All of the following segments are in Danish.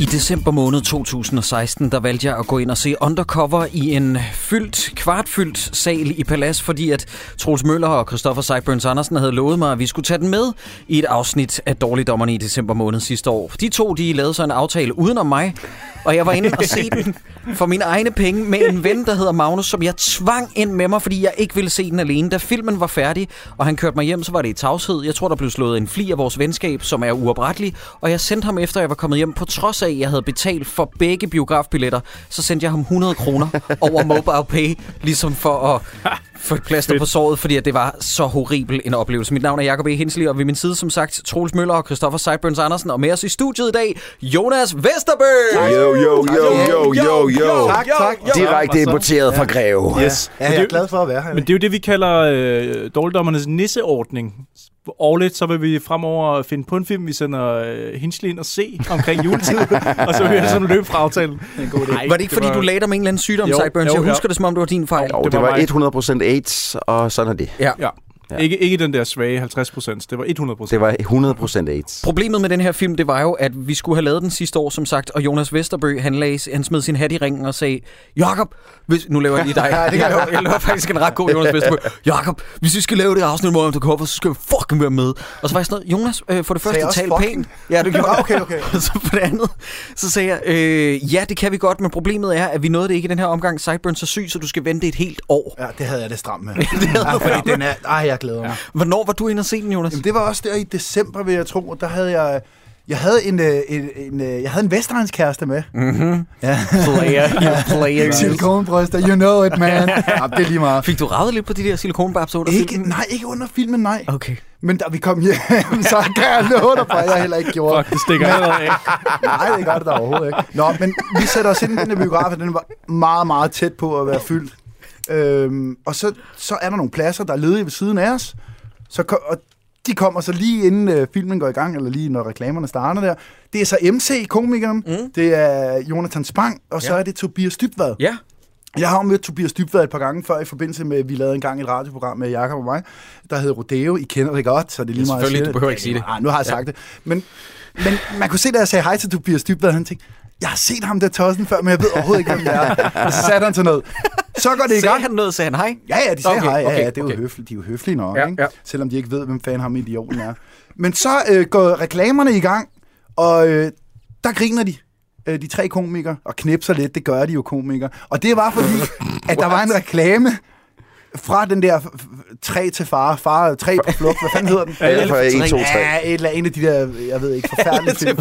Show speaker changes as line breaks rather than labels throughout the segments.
I december måned 2016, der valgte jeg at gå ind og se Undercover i en fyldt, kvartfyldt sal i Palas, fordi at Troels Møller og Christoffer Seiburns Andersen havde lovet mig, at vi skulle tage den med i et afsnit af Dårligdommerne i december måned sidste år. De to, de lavede så en aftale uden om mig, og jeg var inde og se den for mine egne penge med en ven, der hedder Magnus, som jeg tvang ind med mig, fordi jeg ikke ville se den alene. Da filmen var færdig, og han kørte mig hjem, så var det i tavshed. Jeg tror, der blev slået en fli af vores venskab, som er uoprettelig, og jeg sendte ham efter, jeg var kommet hjem, på trods af, at jeg havde betalt for begge biografbilletter, så sendte jeg ham 100 kroner over mobile pay, ligesom for at få et plaster på såret, fordi at det var så horribel en oplevelse. Mit navn er Jacob E. Hensley, og ved min side, som sagt, Troels Møller og Christoffer Seiburns Andersen, og med os i studiet i dag, Jonas Vesterbøl!
Yo, yo, yo, yo, yo, yo.
Tak, tak.
Direkte importeret fra Greve.
Yes. Ja,
Men det
jeg er
er-
glad for at være her.
Men det er jo det, vi kalder øh, dårligdommernes nisseordning. Årligt, så vil vi fremover finde på en film, vi sender øh, Hinsley ind og se omkring juletid, og så vil jeg sådan løbe fra aftalen. En god idé.
Var det ikke, fordi du lagde dig med en eller anden sygdom,
Jo,
Sideburns?
jo,
Jeg
ja.
husker det, som om det var din fejl.
Jo,
Det
det
var
var 100%
mig.
AIDS, og sådan er det.
Ja.
Ja.
ja. Ikke, ikke den der svage 50 procent, det var 100
Det var 100%
procent.
AIDS.
Problemet med den her film, det var jo, at vi skulle have lavet den sidste år, som sagt, og Jonas Vesterbø, han, lagde, han smed sin hat i ringen og sagde, Jakob, hvis, nu laver jeg lige dig. ja, det jeg, laver, jeg laver faktisk en ret god Jonas Vesterbø. Jakob, hvis vi skal lave det afsnit om The Cover, så skal vi fucking være med. Og så var jeg sådan noget, Jonas, øh, for det
Sagde
første,
jeg også
tal
fucking?
pænt. Ja, det gjorde
Nå,
jeg.
okay, okay.
Og så for det andet, så sagde jeg, øh, ja, det kan vi godt, men problemet er, at vi nåede det ikke i den her omgang. Sideburns er syg, så du skal vente et helt år.
Ja, det havde jeg det stramt med. det havde Ah, ja, fordi den er, ej, jeg glæder mig.
Hvornår var du inde og se den, Jonas?
Jamen, det var også der i december, vil jeg tro, og der havde jeg... Jeg havde en, øh, en, en, øh, jeg havde en vestegns-kæreste med.
Mm-hmm. player, you player.
Silikonbryster, you know it, man. ja, det er lige meget.
Fik du ravet lidt på de der silikonbabser under
Ikke,
filmen?
nej, ikke under filmen, nej.
Okay.
Men da vi kom hjem, så kan jeg love dig for, at jeg heller ikke gjorde.
Fuck, det stikker allerede af.
Nej, det gør det da overhovedet ikke. Nå, men vi sætter os ind i den her biograf, og den var meget, meget tæt på at være fyldt. Øhm, og så, så er der nogle pladser, der er ledige ved siden af os. Så, ko- og de kommer så lige inden øh, filmen går i gang, eller lige når reklamerne starter der. Det er så MC, komikeren. Mm. Det er Jonathan Spang, og så
Ja.
er det Tobias Dybvad.
Ja.
Jeg har jo mødt Tobias Dybvad et par gange før, i forbindelse med, at vi lavede engang et radioprogram med Jakob og mig, der hed Rodeo. I kender det godt, så det er lige
Ja,
meget
selvfølgelig,
at
du
sige
behøver ikke sige det.
Nej, Ah, nu har jeg sagt ja. det. Men, men man kunne se, da jeg sagde hej til Tobias Dybvad, han tænkte, jeg har set ham der tossen før, men jeg ved overhovedet ikke, hvem det er. Og så satte han til noget. Så går det i
Sagde
gang.
han noget, sagde han hej?
Ja, ja, de sagde
Okay,
okay, hej. Ja,
okay,
ja, det er jo
okay.
høfligt. De er jo høflige nok,
Ja,
ja, ikke?
ja.
Ja. Selvom de ikke ved, hvem fanden ham idioten er. Men så øh, går reklamerne i gang, og øh, der griner de. Øh, de tre komikere, og knipser lidt. Det gør de jo komikere. Og det var fordi, at der var en reklame fra den der f- f- tre til far, far tre på flugt, hvad fanden hedder den?
Alle fra 1, 2, 3.
Ja, et eller en af de der, jeg ved ikke, forfærdelige film.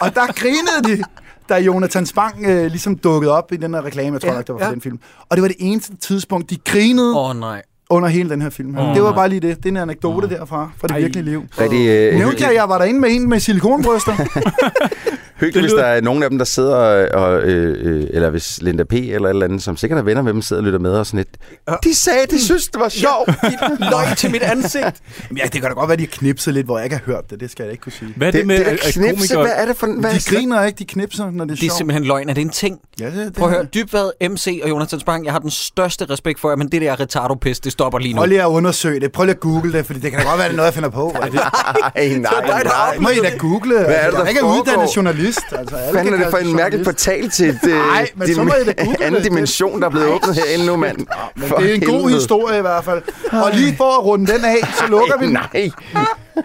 Og der grinede de, da Jonathan Spang øh, ligesom dukkede op i den her reklame, jeg tror
Ja,
ja, nok, det var fra
ja.
ja. den film. Og det var det eneste tidspunkt, de grinede
Åh oh, nej.
under hele den her film. Her. Det var bare lige det. Det er en anekdote derfra, fra det
Ej.
virkelige liv.
Rigtig øh,
Nævnte jeg,
hyggeligt,
at jeg var derinde med en med silikonbryster?
hyggeligt hvis der er nogen af dem, der sidder, og, øh, øh, eller hvis Linda P. eller et eller andet, som sikkert er venner med dem, sidder og lytter med og sådan lidt. De sagde, de synes, det var sjovt.
Løg til mit ansigt.
ja, det kan da godt være, de har knipset lidt, hvor jeg ikke har hørt det. Det skal jeg da ikke kunne sige.
Hvad er det,
Det,
med,
det er
at- at
knipse,
komikere...
hvad er det for... Hvad
De griner ikke, de knipser, når det er
Det er
sjovt.
simpelthen løgn. Er det en ting?
Ja, det, det,
Prøv at høre, Dybvad, MC og Jonathan Spang, jeg har den største respekt for jer, men det der retardo-pis, det stopper lige nu.
Prøv lige at undersøge det. Prøv lige at google det, for det kan da godt være, det er noget, jeg finder på. Altså.
Ej, nej, nej.
Må I da google? Hvad
er det, der
jeg er ikke
foregår?
uddannet journalist. Altså, alle
Hvad
kan
fanden er det
kalde
for
sig
en mærkelig
journalist.
portal til et,
Nej, men så må I da google det.
anden dimension, der er blevet åbnet herinde nu, mand?
Men
For
det er en god
helvede.
historie i hvert fald. Og lige for at runde den af, så lukker vi den.
Nej.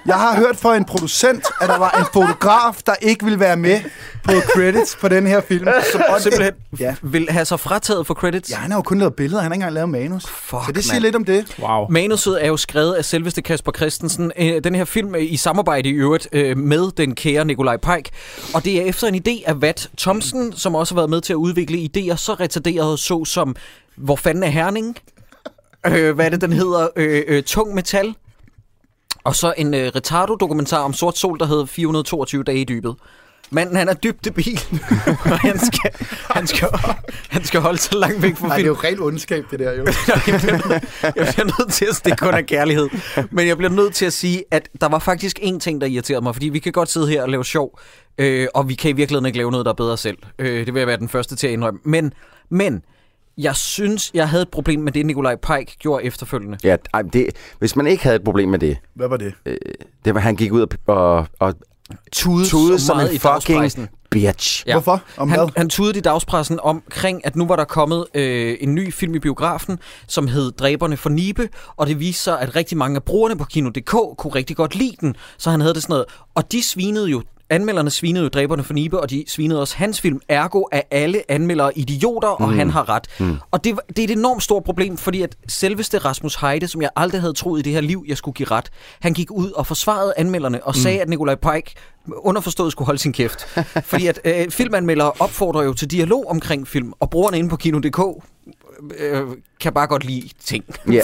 Jeg har hørt fra en producent, at der var en fotograf, der ikke ville være med på credits på den her film. Som
Simpelthen ja.
Ja.
vil have sig frataget for credits.
Ja, han har jo kun lavet billeder, han har ikke engang lavet manus.
Fuck,
så det siger
mand.
lidt om det.
Wow.
Manuset er jo skrevet af selveste Kasper Christensen. Øh, Den her film øh, i samarbejde i øvrigt øh, med den kære Nikolaj Peik. Og det er efter en idé af Vat Thomsen, som også har været med til at udvikle idéer så retarderede så som Hvor fanden er Herning? Øh, hvad er det, den hedder? Øh, øh, tung metal. Og så en øh, retardo-dokumentar om sort sol, der hedder 422 dage i dybet. Manden, han er dybt debil. og han skal, han, skal, han skal holde sig langt væk fra
Nej, det er
film.
jo rent ondskab, det der jo.
jeg, bliver, nød- jeg bliver nødt til at det er kun er kærlighed. Men jeg bliver nødt til at sige, at der var faktisk én ting, der irriterede mig. Fordi vi kan godt sidde her og lave sjov, øh, og vi kan i virkeligheden ikke lave noget, der er bedre selv. Øh, det vil jeg være den første til at indrømme. Men, men jeg synes, jeg havde et problem med det, Nikolaj Pike gjorde efterfølgende.
Ja, ej, men det, hvis man ikke havde et problem med det,
Hvad var det?
øh, det var, han gik ud og, og, og
Tude,
tudede som en
dagspressen.
fucking bitch.
Ja.
Hvorfor? Om
han,
hvad?
han tudede i dagspressen omkring, at nu var der kommet øh, en ny film i biografen, som hed Dræberne for Nibe, og det viste sig, at rigtig mange af brugerne på Kino.dk kunne rigtig godt lide den, så han havde det sådan noget. Og de svinede jo, anmelderne svinede jo Dræberne for Nibe, og de svinede også hans film. Ergo er alle anmeldere idioter, og han har ret. Mm. Og det, var- det er et enormt stort problem, fordi at selveste Rasmus Heide, som jeg aldrig havde troet i det her liv, jeg skulle give ret, han gik ud og forsvarede anmelderne og sagde, mm. at Nikolaj Pike underforstået skulle holde sin kæft. Fordi at øh, filmanmeldere opfordrer jo til dialog omkring film, og brugerne inde på Kino.dk øh, kan bare godt lide ting.
Ja.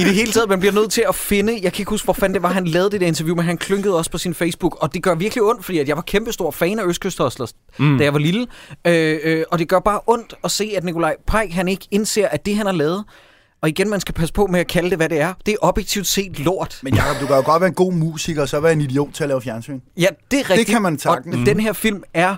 I det hele taget, man bliver nødt til at finde, jeg kan ikke huske, hvor fanden det var, han lavede det der interview, men han klunkede også på sin Facebook, og det gør virkelig ondt, fordi at jeg var kæmpestor fan af Østkysthostlers, mm. da jeg var lille. Øh, øh, og det gør bare ondt at se, at Nikolaj Pajk, han ikke indser, at det, han har lavet, og igen, man skal passe på med at kalde det, hvad det er. Det er objektivt set lort.
Men Jacob, du kan jo godt være en god musiker, og så være en idiot til at lave fjernsyn.
Ja, det er rigtigt.
kan man
Og
sagtens.
den her film er,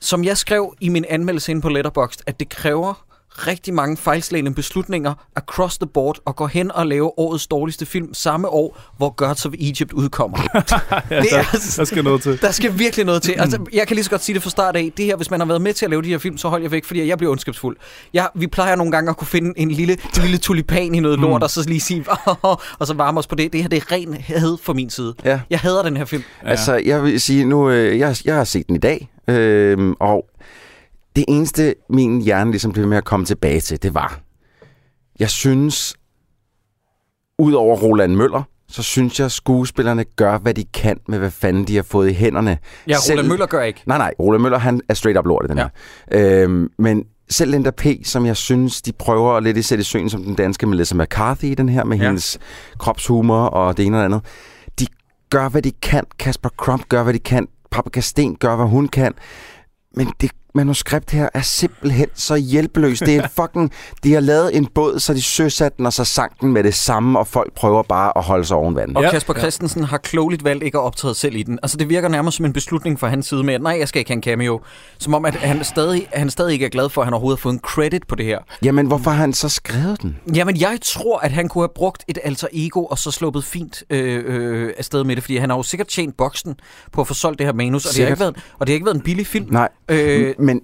som jeg skrev i min anmeldelse inde på Letterboxd, at det kræver rigtig mange fejlslagende beslutninger across the board og gå hen og lave årets dårligste film samme år, hvor Gods of Egypt udkommer.
Ja,
Det
der,
er- altså-
der Altså, skal noget til.
Der skal virkelig noget til. Altså, jeg kan lige så godt sige det fra start af. Det her, hvis man har været med til at lave de her film, så hold jer væk, fordi jeg bliver ondskabsfuld. Jeg, vi plejer nogle gange at kunne finde en lille, en lille tulipan i noget lort, og så lige sige, og så varme os på det. Det her, det er ren had fra min side.
Ja.
Jeg hader den her film.
Altså, jeg vil sige, nu, øh, jeg, jeg har set den i dag, øh, og det eneste, min hjerne ligesom blev med at komme tilbage til, det var, jeg synes, ud over Roland Møller, så synes jeg, at skuespillerne gør, hvad de kan med, hvad fanden de har fået i hænderne.
Ja, Roland Møller gør ikke.
Nej, nej. Ole Møller, han er straight up lort i den
Ja.
ja. her. Øhm, men selv Linda P., som jeg synes, de prøver at lidt i sætte i søen som den danske Melissa McCarthy i den her, med
Ja.
ja. hendes kropshumor og det ene og det andet. De gør, hvad de kan. Kasper Crump gør, hvad de kan. Paprika Sten gør, hvad hun kan. Men det manuskript her er simpelthen så hjælpeløst. Det er en fucking... De har lavet en båd, så de søsatte den, og så sank den med det samme, og folk prøver bare at holde sig oven vandet.
Og ja.
Ja.
Kasper Christensen har klogeligt valgt ikke at optræde selv i den. Altså, det virker nærmest som en beslutning fra hans side med, at nej, jeg skal ikke have en cameo. Som om, at han stadig, han stadig ikke er glad for, at han overhovedet har fået en credit på det her.
Jamen, hvorfor har han så skrevet den?
Jamen, jeg tror, at han kunne have brugt et alter ego, og så sluppet fint øh, øh, afsted med det, fordi han har jo sikkert tjent boksen på at få solgt det her manus, og det, har
Sikkert.
ikke været, og det har ikke været en billig film.
Nej,
Øh,
Øh, men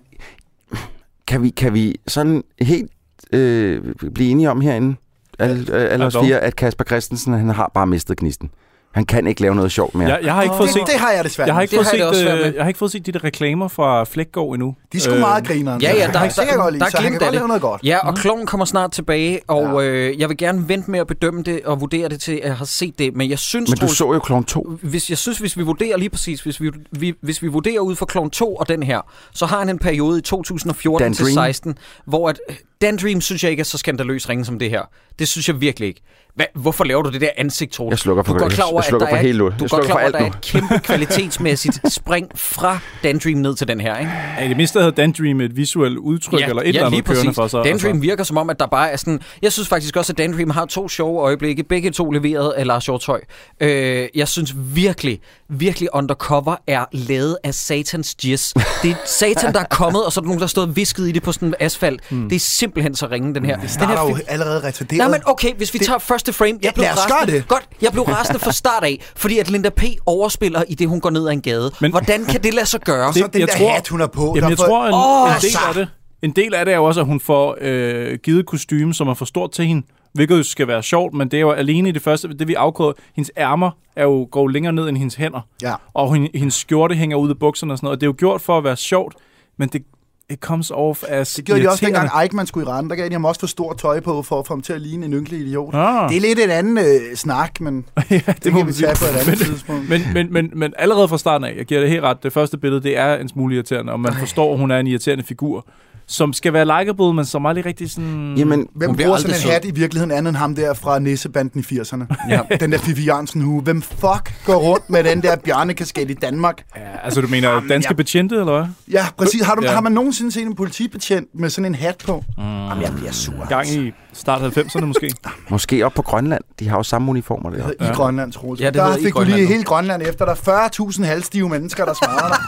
kan vi, kan vi sådan helt øh, blive enige om herinde, alle, øh, alle
Ja,
os
dog.
fire, at Kasper Christensen, han har bare mistet gnisten. Han kan ikke lave noget sjovt mere.
Jeg, jeg har ikke fået
Det,
set...
det har jeg desværre.
Jeg har ikke
Det
fået
har jeg det også
set,
svært med.
øh, jeg har ikke fået set de der reklamer fra Flækgaard endnu. Øh,
De er sgu
Øh,
meget grineren.
ja, ja, der-
der, der,
der-
der, godt lide,
der er
så han
glimt af
kan godt
det.
lave noget godt. Mm.
Ja, og kloven kommer snart tilbage, og øh, jeg vil gerne vente med at bedømme det og vurdere det til, at jeg har set det, men jeg synes,
Men du
Troels-
så jo Kloven 2.
hvis jeg synes, hvis vi vurderer lige præcis, hvis vi, vi, hvis vi vurderer ud fra klon 2 og den her, så har han en periode i 2014
Dan
til
Dream.
16, hvor at, øh, Dan Dream synes jeg ikke er så skandaløs ringe som det her. Det synes jeg virkelig ikke. Hva, hvorfor laver du det der ansigt, Troels?
Jeg slukker for-
du er godt klar over,
jeg slukker
at der
for
er,
helt
du
nu.
er
Jeg
godt
slukker
klar
for
over, at der er
alt
et kæmpe kvalitetsmæssigt spring fra Dan Dream ned til den her, ikke?
Ja, I det mindste havde Dan Dream et visuelt udtryk eller et eller
lige
andet kørende
præcis.
for sig.
Dan
altså.
Dream virker som om, at der bare er sådan... Jeg synes faktisk også, at Dan Dream har to sjove øjeblikke. Begge to leveret af Lars Hjortøj. Øh, jeg synes virkelig, virkelig Undercover er lavet af satans jizz. Det er satan, der er kommet, og så er der nogen, der har stået og visket i det på sådan en asfalt. Mm. Det er simpelthen så ringe, den her. Det
Der
den her
er
film-
jo allerede retarderet.
Nej, men okay, hvis vi det... tager første frame. Jeg
Ja,
blev
lad os
rasende.
gøre det.
Godt, jeg blev rasende fra start af, fordi at Linda P. overspiller i det, hun går ned ad en gade. Men...
Men-
Hvordan kan det lade sig gøre?
så den der hat, hun har på, der
Jamen, jeg
får-
tror, en,
Åh,
oh, en del
så-
af det... En del af det er jo også, at hun får øh, givet kostume, som er for stort til hende, hvilket jo skal være sjovt, men det er jo alene i det første, det vi afkoder, hendes ærmer er jo, går jo længere ned end hendes hænder,
Ja.
og hun, hendes skjorte hænger ud af bukserne og sådan noget, og det er jo gjort for at være sjovt, men det it comes off as
Det gjorde de også
irriterende.
dengang Eichmann skulle i rende. Der gav de ham også for stort tøj på, for at få ham til at ligne en ynkelig idiot.
Ah.
Det er lidt en anden øh, snak, men ja, det, det
må
kan vi
man
tage på
sige.
et andet
Men-
tidspunkt.
Men, men, men, men allerede fra starten af, jeg giver det helt ret, det første billede, det er en smule irriterende, og man forstår, at hun er en irriterende figur. som skal være likable, men som aldrig rigtig sådan...
Jamen,
Hvem
Hun bliver
bruger
aldrig
sådan en
sød.
hat i virkeligheden andet end ham der fra Nissebanden i 80'erne?
Ja.
Den der Fifi Jørgensen hue. Hvem fuck går rundt med den der bjørnekasket i Danmark?
Ja, altså, du mener danske
jeg-
betjente, eller hvad?
Ja, præcis. Har, du,
Ja.
ja. har man nogensinde set en politibetjent med sådan en hat på? Mm. Jamen, jeg bliver sur.
Gang i start 90'erne måske.
måske op på Grønland. De har jo samme uniformer der.
Altså, I Grønland, Troels.
Ja,
Ja,
det
der
hedder i
fik du
Grønland
lige
nu.
hele Grønland efter. Der er 40.000 halvstive mennesker, der svarer dig.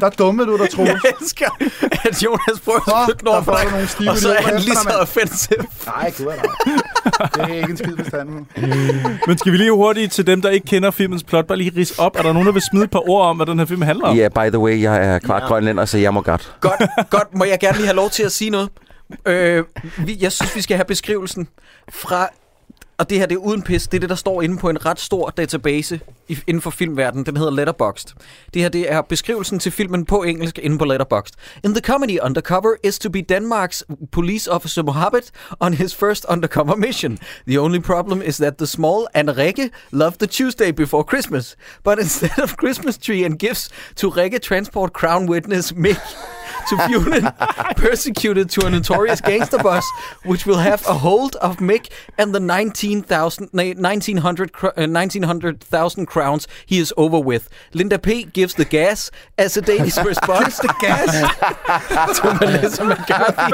Der dummede du dig, Troels.
elsker, at Jonas prøver
Nå, der får du nogle stive elever efter dig, mand.
offensiv.
Nej, gud er Det er ikke en skid bestanden.
Men skal vi lige hurtigt til dem, der ikke kender filmens plot, bare lige ris op. Er der nogen, der vil smide et par ord om, hvad den her film handler om?
Ja, yeah, by the way, jeg er kvart grønlænder, så jeg må godt.
Godt, godt. Må jeg gerne lige have lov til at sige noget? Øh, vi, jeg synes, vi skal have beskrivelsen fra... Og det her, det er uden pis. Det er det, der står inde på en ret stor database i, inden for filmverdenen. Den hedder Letterboxd. Det her, det er beskrivelsen til filmen på engelsk inde på Letterboxd. In the comedy undercover is to be Denmark's police officer Mohammed on his first undercover mission. The only problem is that the small Anrike love the Tuesday before Christmas. But instead of Christmas tree and gifts, to Rikke transport crown witness Mick to Funin, persecuted to a notorious gangster boss, which will have a hold of Mick and the 19,000 nay, 1900 cr- uh, 1900,000 crowns he is over with. Linda P. gives the gas as a Danish response to gas to Melissa McCarthy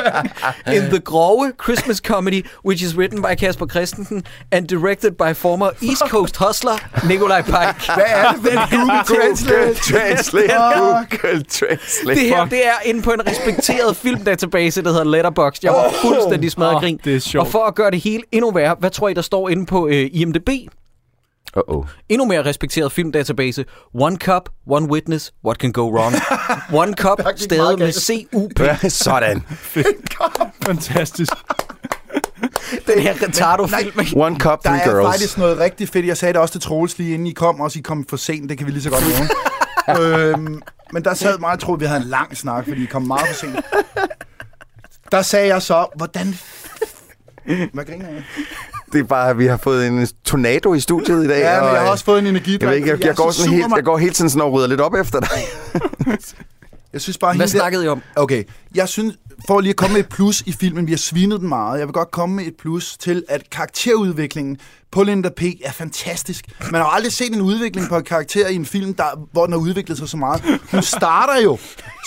in the Grove Christmas comedy, which is written by Kasper Christensen and directed by former East Coast hustler Nikolaj Pike.
Hvad er det for en Google Translate?
Translate.
Fuck.
Google Translate.
Det her, det er inde på en respekteret filmdatabase, der hedder Letterboxd. Jeg var fuldstændig smadret
Åh,
grin.
det er sjovt.
Og for at gøre det hele endnu værre, hvad tror I, der står inde på øh, IMDb?
Uh-oh.
Endnu mere respekteret filmdatabase. One cup, one witness, what can go wrong? One cup,
gik
stadig
meget
med
galt.
C-U-P.
Ja, Sådan.
Fantastisk.
Den her retardo-film. ikke?
One cup,
Der
three
er
girls.
faktisk noget rigtig fedt. Jeg sagde det også til Troels lige inden I kom. Også I kom for sent, det kan vi lige så godt nævne. øhm, men der sad meget, tror vi havde en lang snak, fordi I kom meget for sent. Der sagde jeg så, hvordan... Hvad griner jeg?
Det er bare, at vi har fået en tornado i studiet i dag.
Ja, men
og,
jeg har
øh,
også fået en energi.
Jeg, ved ikke, jeg, jeg, går sådan helt, jeg går hele tiden sådan og rydder lidt op efter dig.
Jeg synes bare,
Hvad
hende der-
snakkede I om?
Okay, jeg synes, for lige at komme med et plus i filmen, vi har svinet den meget, jeg vil godt komme med et plus til, at karakterudviklingen på Linda P. er fantastisk. Man har jo aldrig set en udvikling på en karakter i en film, der, hvor den har udviklet sig så meget. Hun starter jo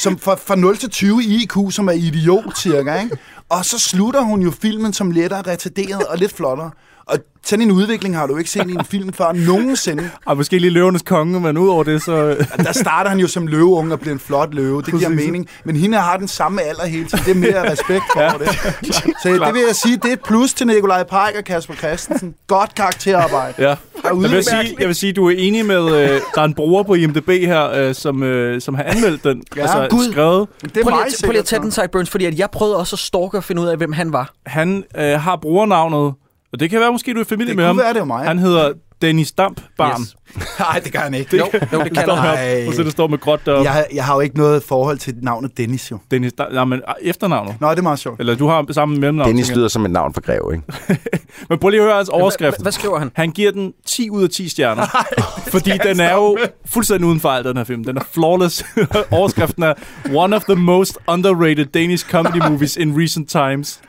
som fra, fra 0 til 20 i IQ, som er idiot cirka, ikke? Og så slutter hun jo filmen som lettere retarderet og lidt flottere. Og sådan en udvikling har du ikke set i en film før nogensinde.
Og måske lige Løvenes Konge, men udover det, så...
Der starter han jo som løveunge og bliver en flot løve. Det giver
Præcis.
mening. Men hende har den samme alder hele tiden. Det er mere respekt for det. Så det vil jeg sige, det er et plus til Nikolaj Pajk og Kasper Christensen. Godt karakterarbejde.
Ja. Jeg vil,
udmærket.
sige, jeg vil sige, du er enig med... Øh, der er en bruger på IMDb her, øh, som, øh, som har anmeldt den.
Ja,
altså,
Gud.
skrevet.
Det er
Prøv lige,
meget
at, prøv lige at tage den
sikkert.
sideburns, fordi at jeg prøvede også at stalke og finde ud af, hvem han var.
Han øh, har brugernavnet, og det kan være, måske du er i familie
Det
med
kunne
ham.
være, det var mig.
Han hedder Dennis Damp Barn.
Yes.
Nej, det gør han ikke.
Jo, jo det kan
Står
han.
heroppe, Og så det står med gråt deroppe.
Jeg, har- jeg har jo ikke noget forhold til navnet Dennis, jo.
Dennis Damp... Nej, men øh, efternavnet.
Nå, det er meget sjovt.
Eller du har samme mellemnavn.
Dennis
tænker jeg.
lyder som et navn for greve, ikke?
Men prøv lige at høre hans
Hvad,
overskrift.
hvad skriver han?
Han giver den 10 ud af 10 stjerner. fordi den er jo fuldstændig uden fejl, den her film. Den er flawless. Overskriften er One of the most underrated Danish comedy movies in recent times.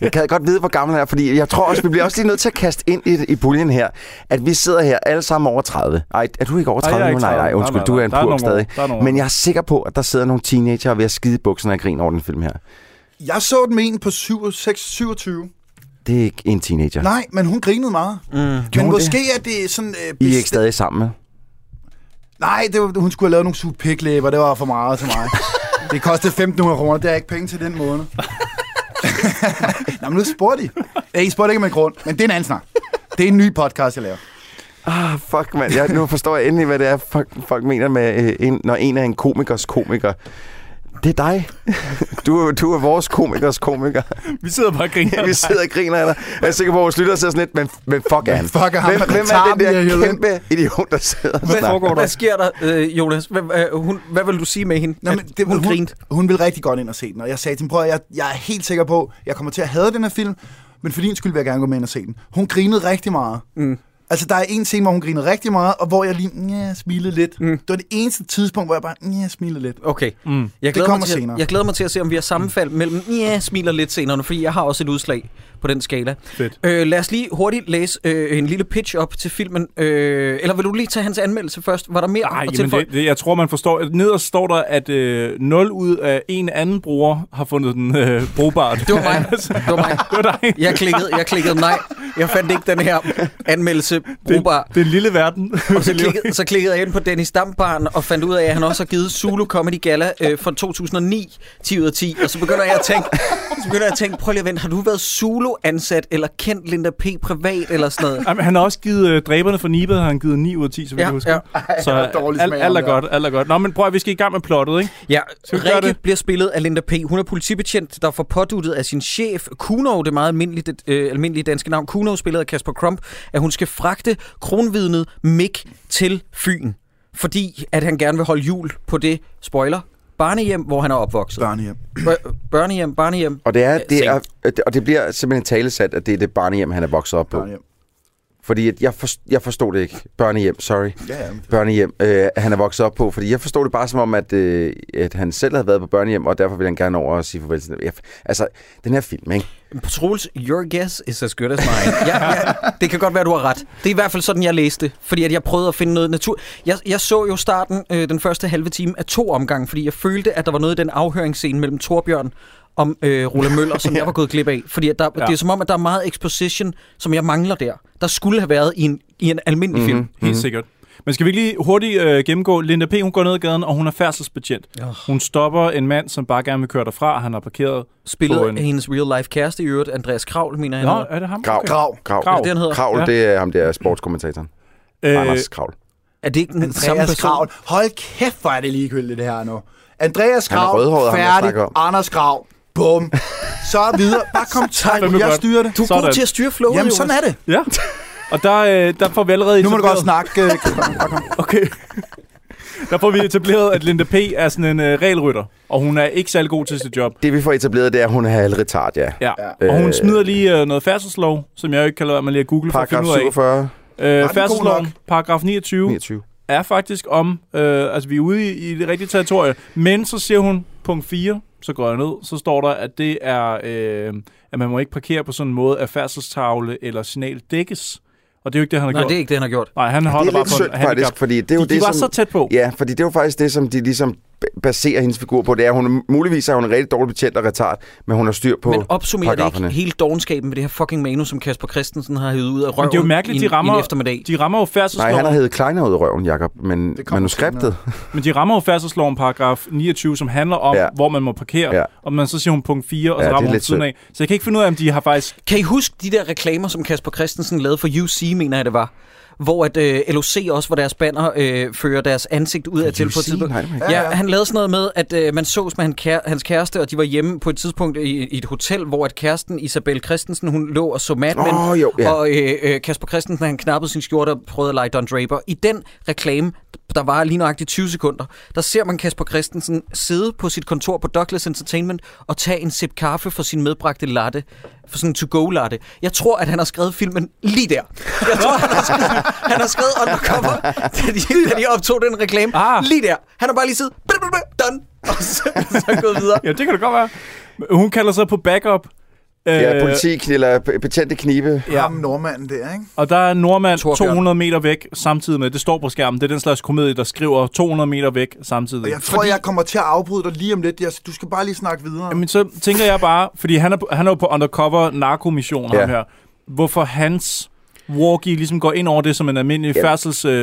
Jeg kan godt vide, hvor gammel han er, fordi jeg tror også, vi bliver også lige nødt til at kaste ind i, i puljen her, at vi sidder her alle sammen over 30. Ej, er du ikke over
Nej,
30
jeg er
nu?
ikke
Nej,
30.
nej, undskyld,
Nej,
du
nej,
er en
nej. Der er
purk
nogle år.
stadig.
Der er nogle år.
Men jeg er sikker på, at der sidder nogle teenager ved at skide i bukserne og grine over den film her.
Jeg så den med en på 7, 6, 27.
Det er ikke en teenager.
Nej, men hun grinede meget. Mm, men
hun
måske er det sådan... Øh,
I er
bestemt-
ikke stadig sammen.
Nej, det var, hun skulle have lavet nogle suge piklæber. Det var for meget til mig. det kostede 1.500 kroner. Det er ikke penge til den måned. Nå, men nu spurgte I. Ja, I spurgte ikke med grund, men det er en anden snak. Det er en ny podcast, jeg laver.
Ah, fuck, mand. Jeg, nu forstår jeg endelig, hvad det er, folk, folk mener med, øh, en, når en er en komikers komiker. Det er dig. Du, er- du er vores komikers komiker.
Vi sidder bare og griner.
Vi sidder og griner af dig. Jeg er sikker på, at vores lytter sidder sådan lidt, men, men fuck er han?
fuck er ham,
hvem,
der
hvem
tager
er den
dem, jeg
der
hiver
kæmpe idiot, der sidder og
Hvad,
snakker?
hvad, hvad sker der, øh, Jonas? Hvad, øh, hun, hvad vil du sige med hende?
Nå,
At
men det,
hun,
hun, hun,
grinte.
hun ville rigtig godt ind og se den, og jeg sagde til hende, prøv at jeg, jeg er helt sikker på, jeg kommer til at have den her film, men for din skyld vil jeg gerne gå med ind og se den. Hun grinede rigtig meget. Mm. Altså, der er en scene, hvor hun griner rigtig meget, og hvor jeg lige "Nja", smilede lidt. Mm. Det var det eneste tidspunkt, hvor jeg bare "Nja", smilede lidt.
Okay.
Mm.
Jeg
kommer
mig til,
senere.
Jeg glæder mig til at se, om vi har sammenfald mellem, ja, smiler lidt senere, fordi jeg har også et udslag på den skala.
Fedt.
Øh, lad os lige hurtigt læse øh, en lille pitch op til filmen. Øh, eller vil du lige tage hans anmeldelse først? Var der mere
Ej,
at
jamen
tilføje?
det, det, jeg tror, man forstår. Nederst står der, at øh, 0 ud af en anden bruger har fundet den øh, brugbart.
Det var mig. Det var mig.
det var dig.
Jeg klikkede, jeg klikkede nej. Jeg fandt ikke den her anmeldelse brugbar.
Den lille verden.
Og så klikkede, så klikkede jeg ind på Dennis Dambarn og fandt ud af, at han også har givet Zulu Comedy Gala øh, fra 2009 10 ud af 10. Og så begynder jeg at tænke, så begynder jeg at tænke prøv lige at vente, har du været Zulu-ansat eller kendt Linda P. privat eller sådan noget?
Jamen, han har også givet øh, dræberne for Nibet, har han givet 9 ud af 10, så vi
Ja,
ja, kan huske.
ja.
Ja. Så
hvor dårlig
alt,
smag
alt er
han har.
godt, alt er godt. Nå, men prøv at vi skal i gang med plottet, ikke?
Ja,
Skal vi gøre
Rikke
det?
bliver spillet af Linda P. Hun er politibetjent, der får påduttet af sin chef, Kuno, det meget almindelige, det, øh, almindelige danske navn, Kuno, spillet af Kasper Krump, at hun skal fragte kronvidnet Mick til Fyn, fordi at han gerne vil holde jul på det, spoiler, barnehjem, hvor han er opvokset.
Børnehjem.
Bør- børnehjem, barnehjem.
Og det, er, det
Øh, Seng.
er, og det bliver simpelthen talesat, at det er det barnehjem, han er vokset op på.
Børnehjem.
Fordi at jeg, forst- jeg forstod det ikke. Børnehjem, sorry.
Ja, ja. men-
Børnehjem, øh, han er vokset op på. Fordi jeg forstod det bare som om, at, øh, at han selv havde været på børnehjem, og derfor ville han gerne over og sige farvel til dem. Altså, den her film, ikke?
Troels, your guess is as good as mine. ja, ja, det kan godt være, du har ret. Det er i hvert fald sådan, jeg læste det, fordi at jeg prøvede at finde noget natur. Jeg, jeg så jo starten, øh, den første halve time, af to omgange, fordi jeg følte, at der var noget i den afhøringsscene mellem Torbjørn om øh, Rola Møller, som jeg var gået glip af. Fordi at der, ja.
Ja.
det er som om, at der er meget exposition, som jeg mangler der. Der skulle have været i en, i en almindelig mm-hmm. film.
Helt sikkert. Men skal vi ikke lige hurtigt øh, gennemgå? Linda P., hun går ned ad gaden, og hun er færdselsbetjent.
Oh.
Hun stopper en mand, som bare gerne vil køre derfra. Han har parkeret
Spillet
på en...
af hendes real-life kæreste i øvrigt, Andreas Kravl, mener jeg. han
Nå, øh,
hedder.
er det ham?
Grav.
Okay.
Grav.
Krav.
Er det, han hedder?
Kravl,
Ja.
det er ham der sportskommentatoren. Øh, Anders Kravl.
Er det ikke den samme
Andreas
person?
Kravl. Hold kæft, hvor er det ligegyldigt, det her nu. Andreas
Han er
Kravl,
rødhåret, ham, jeg
færdig.
snakker om.
Anders Kravl, bum. Så videre. Bare kom
fandme
til, jeg
godt.
styrer det.
Du er god
Sådan.
til at styre flowet,
Jamen, sådan er det.
Ja. Og der, øh, der får vi allerede
Nu må du godt
etableret-
snakke. øh, Christian. Bare kom.
Okay. Der får vi etableret, at Linda P. er sådan en øh, regelrytter, og hun er ikke særlig god til sit job.
Det vi får etableret, det er, at hun er halvretard, ja.
Ja.
Ja.
Og hun
Øh.
smider lige øh, noget færdselslov, som jeg jo ikke kan lade mig lige at google
Paragraf
for at finde ud
47,
af.
god
Øh,
nok?
færdselsloven, paragraf 29,
29.
er faktisk om, øh, altså vi er ude i, i det rigtige territorie, men så siger hun punkt 4, så går jeg ned, så står der, at det er, øh, at man må ikke parkere på sådan en måde, at færdselstavle eller signal dækkes. Og det er jo ikke det, han har
Nej,
gjort.
det er ikke det, han har gjort.
Nej, han
Det
holder
er
bare
lidt synd,
på en handicap.
faktisk, fordi det er jo
De, de
det,
var
som...
så tæt på.
Ja, fordi det er jo faktisk det, som de ligesom b- baserer hendes figur på. Det er, at hun muligvis er hun en rigtig dårlig betjent og retard, men hun har styr på
Men opsummerer det ikke
paragraferne.
hele dogenskaben med det her fucking manus, som Kasper Christensen har hævet ud af røven
Men det er jo mærkeligt,
i, en-
de rammer,
i en eftermiddag?
de rammer jo
Nej,
færdselsloven,
han har heddet Kleiner ud af røven, Jacob, men
Det kommer
manuskriptet...
men de rammer jo færdselsloven paragraf 29, som handler om,
Ja.
ja. hvor man må parkere.
Ja.
Ja. Og man så siger hun punkt 4, og
Ja, det
ja, så
er
rammer hun
lidt
siden af. Så jeg kan ikke finde ud af, om de har faktisk...
Kan I huske de der reklamer, som Kasper Christensen lavede for UC, mener jeg det var? Hvor at øh, LOC også, hvor deres banner øh, fører deres ansigt ud af til på et
UC?
tidspunkt.
Nej, det må jeg
ja, ja, han lavede sådan noget med, at øh, man sås med han kære, hans kæreste, og de var hjemme på et tidspunkt i, i et hotel, hvor at kæresten Isabel Christensen, hun lå og så Mad Men,
Åh, jo, ja.
og øh, øh, Kasper Christensen, han knappede sin skjorte og prøvede at lege Don Draper. I den reklame, der var lige nøjagtigt 20 sekunder, der ser man Kasper Christensen sidde på sit kontor på Douglas Entertainment og tage en sip kaffe for sin medbragte latte, for sådan en to-go-latte. Jeg tror, at han har skrevet filmen lige der. Jeg tror, han har skrevet, han har skrevet undercover, da de, da de optog den reklame.
Ah.
Lige der. Han har bare lige siddet, blip, blip, blip, done, og så, så gået videre.
Ja, det kan det godt være. Hun kalder sig på backup.
Ja,
Øh,
politik eller b- betjente knibe.
Ja.
Ham nordmanden der, ikke?
Og der er en nordmand
Torbjørn.
200 meter væk samtidig med, det står på skærmen, det er den slags komedie, der skriver 200 meter væk samtidig.
Og jeg tror, jeg kommer til at afbryde dig lige om lidt. Jeg- Du skal bare lige snakke videre.
Jamen, så tænker jeg bare, fordi han er, på- han er jo på undercover narkomission,
Ja.
ham her. Hvorfor hans walkie ligesom går ind over det som en almindelig
Ja.
ja.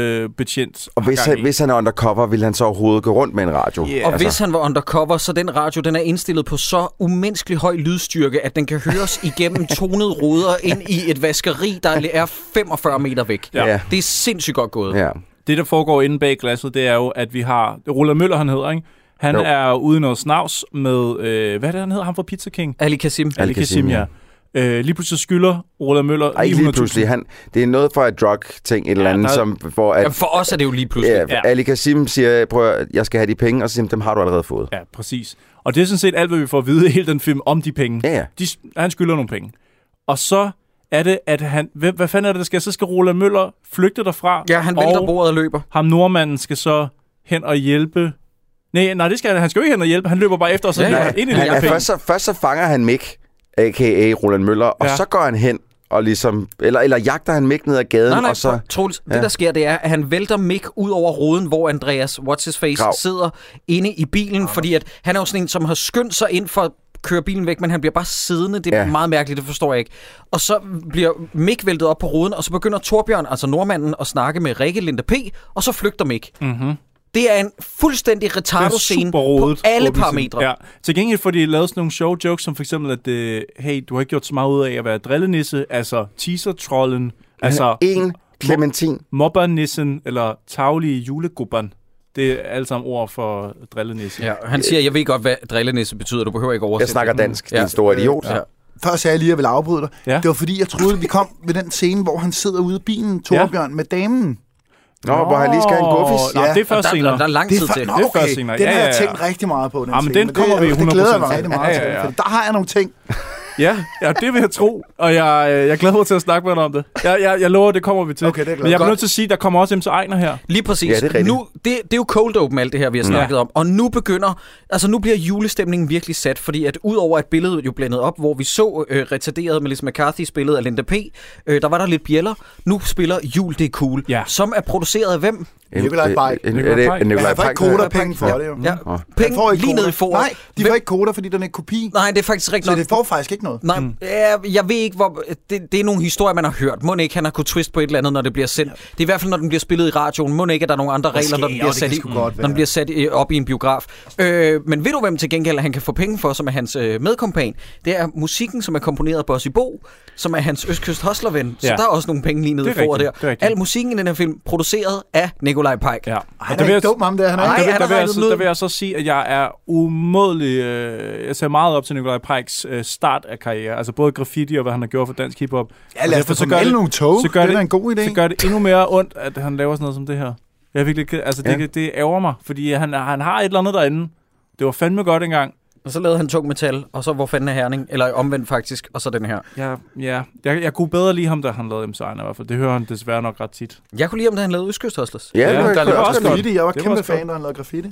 færdselsbetjent.
Og hvis han, hvis han er undercover, vil han så overhovedet gå rundt med en radio?
Yeah.
Og altså. hvis han var undercover, så den radio, den er indstillet på så umenneskelig høj lydstyrke, at den kan høres igennem tonede ruder ind i et vaskeri, der er 45 meter væk.
Ja.
Ja.
Det er sindssygt godt gået.
Ja.
Det, der foregår inde bag glasset, det er jo, at vi har... Roland Møller, han hedder, ikke? Han
Jo.
jo. er ude i noget snavs med... Øh, hvad er det, han hedder? Ham fra Pizza King?
Ali Kasim.
Ali
Ali Kassim,
Kassim,
ja. Øh, lige pludselig skylder Roland Møller
Ej, ikke lige
900.000.
pludselig. Han, det er noget for et drug-ting, et eller andet,
der-
som, hvor at,
Jamen, for os er det jo lige pludselig.
ja,
Ja.
Ali Kasim siger, prøv at, jeg skal have de penge, og så siger han, dem har du allerede fået.
Ja, præcis. Og det er sådan set alt, hvad vi får at vide i hele den film om de penge.
Ja, ja.
De, han skylder nogle penge. Og så er det, at han... Hvem, hvad fanden er det, der sker? Så skal Roland Møller flygte derfra.
Ja, han vælter
og
bordet og løber.
ham nordmanden skal så hen og hjælpe... Nej, nej, det skal han. Han skal jo ikke hen og hjælpe. Han løber bare efter, og så
Ja,
ja,
ja.
ja. ind i
Han,
det
ja,
her
først, så, først så fanger han Mick, a.k.a. Roland Møller, og
Ja.
så går han hen og ligesom... Eller, eller jagter han Mick ned ad gaden,
Nej, nej,
og så...
Troels, ja.
Ja.
det der sker, det er, at han vælter Mick ud over ruden, hvor Andreas What's-His-Face
Grav.
sidder inde i bilen, fordi at han er jo sådan en, som har skyndt sig ind for at køre bilen væk, men han bliver bare siddende. Det er ja.
Ja.
meget mærkeligt, det forstår jeg ikke. Og så bliver Mick væltet op på ruden, og så begynder Torbjørn, altså nordmanden, at snakke med Rikke Linda P., og så flygter Mick. Mm-hmm. Det er en fuldstændig
Det er
retardo-scene
super
på
rodet,
alle
åbent
parametre.
scene. Ja. Til gengæld får de lavet sådan nogle sjove jokes, som for eksempel, at øh, hey, du har ikke gjort så meget ud af at være drillenisse, altså teaser-trollen, altså
En Clementin.
mobbernissen, eller taglige julegubban. Det er alle sammen ord for drillenisse.
Ja, han siger, jeg ved godt, hvad drillenisse betyder. Du behøver ikke oversætte
Jeg snakker
det."
dansk, din store idiot.
Ja.
Før sagde jeg lige, at jeg ville afbryde dig.
Ja.
Ja. Det var fordi, jeg troede, at vi kom ved den scene, hvor han sidder ude i bilen, Torbjørn, ja. med damen.
Nå, hvor han lige skal have en guffis.
Nej,
Ja.
det er først
Der, der,
senere.
der er lang
Det
tid
er
til.
fa- Nå,
Det er
okay.
først senere.
Den
Ja,
har jeg
ja, ja.
tænkt rigtig meget på, den
Ja, men
scene.
den kommer
det,
vi
Det glæder jeg
100%
mig
til.
rigtig meget
Ja, ja, ja.
til. for Der har jeg nogle ting.
Ja, ja, det vil jeg tro, og jeg, øh, jeg glæder mig til at snakke med dig om det. Jeg, jeg, jeg lover, det kommer vi til.
Okay, det er jeg glad
Men jeg
for.
er nødt til at sige, der kommer også MC Ejner her.
Lige præcis.
Ja, det er rigtigt.
nu, det, det er jo cold open, alt det her, vi har snakket om. Og nu begynder, altså nu bliver julestemningen virkelig sat, fordi at udover at billedet jo blandet op, hvor vi så øh, retarderet Melissa McCarthy's billede af Linda P., øh, der var der lidt bjæller. Nu spiller Jul, det er cool,
Ja.
som er produceret af hvem?
Mm.
Nikolaj Bay.
En- en-
Nikolaj
en-
Bay.
en-
Jeg
Nikolaj
har faktisk
Bay.
koder penge for det. jo.
Ja,
Åh.
Han får
penge
ikke
lige ned
kvoter.
i foråret.
Nej, de får ikke koder, fordi den er kopi.
Nej, det er faktisk rigtigt
Så
nok.
det får faktisk ikke noget.
Nej, mm. jeg, jeg ved ikke, hvor... Det, det er nogle historier, man har hørt. Må ikke, han har kunnet twist på et eller andet, når det bliver sendt. Det er i hvert fald, når den bliver spillet i radioen. Må ikke, at der er nogle andre regler, når den
jo,
bliver,
det
sat
kan
i,
sgu godt
når den
være.
bliver sat øh, op i en biograf. Øh, men ved du, hvem til gengæld han kan få penge for, som er hans øh, medkompan? Det er musikken, som er komponeret af Bossy Bo, som er hans Østkyst Hostlerven. Så
Ja.
der er også nogle penge lige nede i
Det er
foråret der.
rigtigt, det er rigtigt.
Al musikken i den her film, produceret af Nikolaj Pike.
Ja.
Han er ikke dum, ham der. Han er
Nej,
ikke
han
der, vil,
har
der, vil jeg,
regnet
så-
den ud.
der vil jeg så sige, at jeg er umådelig... Øh, jeg ser meget op til Nikolaj Pikes øh, start af karriere. Altså både graffiti og hvad han har gjort for dansk hiphop.
Ja,
Og
lad os
derfor
da
så
få
gør
malet
det-
nogle tog.
så gør
Det er da en god idé.
Så gør det endnu mere ondt, at han laver sådan noget som det her. Jeg er virkelig ked. Altså, det,
Ja.
ja. det ærger mig, fordi han, han har et eller andet derinde. Det var fandme godt engang.
Og så lavede han Tung Metal, og så Hvor fanden er Herning? Eller omvendt faktisk, og så den her.
Ja, ja. Jeg, jeg kunne bedre lide ham, da han lavede MC Ejner i hvert fald. Det hører han desværre nok ret tit.
Jeg kunne lide, om da han lavede Østkyst Hostlers.
Ja, det var-
der
det var
var
også
også
godt.
graffiti. Jeg var
Det var
kæmpe
også godt.
fan, når han lavede graffiti.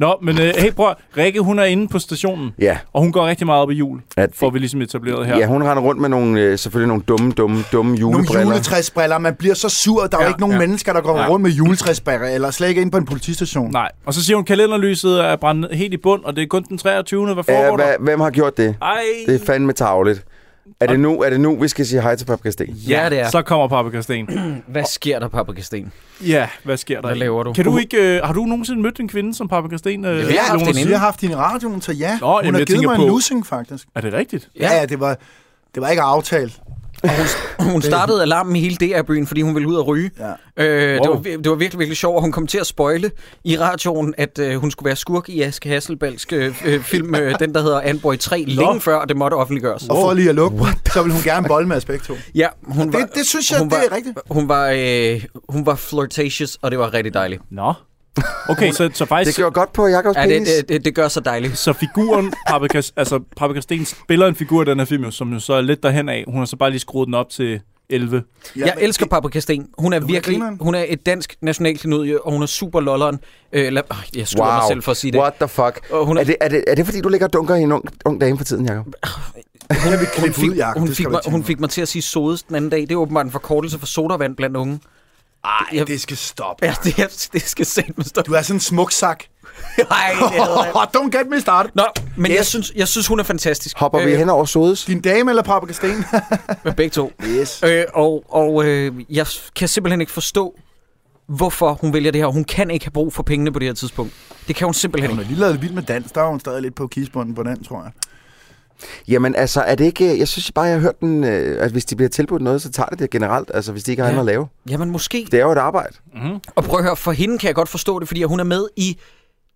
Nå, men øh, hey, bror, Rikke, hun er inde på stationen,
Ja,
og hun går rigtig meget op i jul,
at,
får vi ligesom etableret her.
ja, hun render rundt med nogle, øh, selvfølgelig nogle dumme, dumme, dumme
Nogle
julebriller.
juletræsbriller. Man bliver så sur. Der er
Ja,
jo ikke nogen
ja.
mennesker, der går
Ja.
rundt med juletræsbriller. Eller slet ikke ind på en politistation.
Nej, og så siger hun, kalenderlyset er brændt ned- helt i bund, og det er kun den 23. Hvad
Ja,
foregår der?
hva- hvem har gjort det?
Ej,
Det er fandme tavligt. Er det nu, er det nu vi skal sige hej til Paprika Sten?
Ja, det er.
Så kommer paprikasten.
Hvad sker der, Paprikasten?
Ja, hvad sker der?
Hvad laver du?
Kan du ikke, øh, har du nogensinde mødt en kvinde som paprikasten? Øh,
jeg har haft
Jonas?
en inden.
Jeg har haft hende i radioen, så ja.
Nå, jamen,
Hun har
jeg
givet
tænker
mig
på-
en lussing, faktisk.
Er det rigtigt?
Ja, ja, det var... Det var ikke aftalt.
Hun startede alarmen i hele DR-byen, fordi hun ville ud og ryge.
Ja.
Øh, det,
Wow.
var, vir- det var virkelig, virkelig sjovt, og hun kom til at spoile i radioen, at øh, hun skulle være skurk i Aske Hasselbalsk øh, øh, film, øh, den der hedder Anborg 3, Nå. længe før det måtte offentliggøres.
Og for lige at lukke, så vil hun gerne bolle med aspekto.
Ja, hun var,
Det, det synes jeg,
hun
det er
var-
rigtigt.
hun var, øh, hun var flirtatious, og det var rigtig dejligt.
Nå. Okay, så, så
Det
faktisk...
gjorde godt på Jakobs
Ja, det,
penis.
det, det, det gør så dejligt.
Så figuren, Paprikas, altså Paprikasten spiller en figur i den her film, jo, som jo så er lidt derhen af. Hun har så bare lige skruet den op til 11.
Ja,
jeg
men
elsker Paprika Sten. Hun er virkelig,
grineren.
hun er et dansk nationalklinodie, og hun er super lolleren. Øh, eller, øh, jeg skruer wow. mig selv for at sige det.
What the fuck?
Og hun
Hun
er-
er... Er, det, er, det, er det, fordi du ligger og dunker i en ung, ung dame for tiden, Jacob?
Hun vil
Hun
klippe
fik,
ud, Jacob.
hun,
Det skal
fik
du
mig,
ikke tænke
hun fik mig til at sige sodes den anden dag. Det er åbenbart en forkortelse for sodavand blandt unge.
på.
jeg-
Det skal stoppe.
Ja, det, er- det skal sætte med stå.
Du er sådan en smuk sak.
Nej, det hader jeg.
Don't get me started.
Nå, men jeg
Yes.
synes, jeg synes, hun er fantastisk.
Hopper øh... vi
Øh,
hen over sodes?
Din dame eller Paprika Sten?
Med begge to.
yes.
Øh, og og øh, jeg kan simpelthen ikke forstå, hvorfor hun vælger det her. Hun kan ikke have brug for pengene på det her tidspunkt. Det kan hun simpelthen
Hun har
ikke.
lige lavet vild med dans. Der var hun stadig lidt på kisbunden på den, tror jeg.
Jamen altså, er det ikke... Jeg synes bare, jeg har hørt den, øh, at hvis de bliver tilbudt noget, så tager det det generelt. Altså, hvis de ikke har
Ja.
ja. andet at lave.
Jamen måske.
Det er jo et arbejde.
Og prøv at høre, for hende kan jeg godt forstå det, fordi hun er med i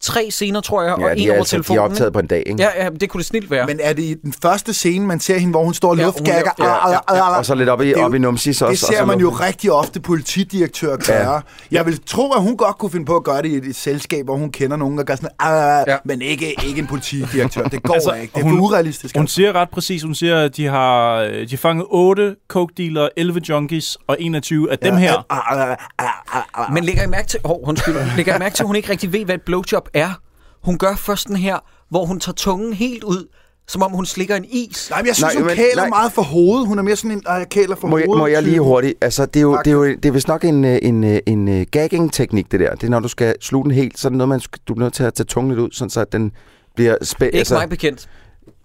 tre scener, tror jeg,
Ja,
og en
de, er
over
altså, de
telefonen.
er optaget på en dag, ikke?
ikke? Ja, ja, det kunne det snilt være.
Men er det i den første scene, man ser hende, hvor hun står og Ah,
Ja,
luftgagger?
hun- ja, ja, ja.
Og så lidt op i,
Det er jo-
op i numsis også.
Det
og
ser
så
man
noget-
jo rigtig ofte politidirektør gøre. Ja. Jeg vil tro, at hun godt kunne finde på at gøre det i et- et selskab, hvor hun kender nogen, og gør sådan, ah,
Ja.
ja. men ikke, ikke en politidirektør. Det går
Altså,
altså, ikke. Det er
hun-
for urealistisk.
Hun siger ret præcis, hun siger, at de har øh, de fanget 8 coke-dealere, 11 junkies og 21 af ja, dem her.
Ah, ah, ah, ah, ah.
Men lægger I mærke til, oh, undskyld, lægger I mærke til, at hun ikke rigtig ved, hvad et blowjob er? Hun gør først den her, hvor hun tager tungen helt ud, som om hun slikker en is.
Nej, men jeg synes,
Nej,
nej, hun
men-
kæler
nej.
meget for hovedet. Hun er mere sådan en, ah, jeg kæler for
Må jeg,
hovedet.
må jeg lige
type.
hurtigt? Altså, det er jo,
Tak.
det er jo det er vist nok en, øh, en, øh, en, en gagging-teknik, det der. Det er, når du skal sluge den helt, så er det noget, man, sk- du er nødt til at tage tungen lidt ud, sådan så at den bliver spæ...
Ikke altså, mig
Altså,
bekendt.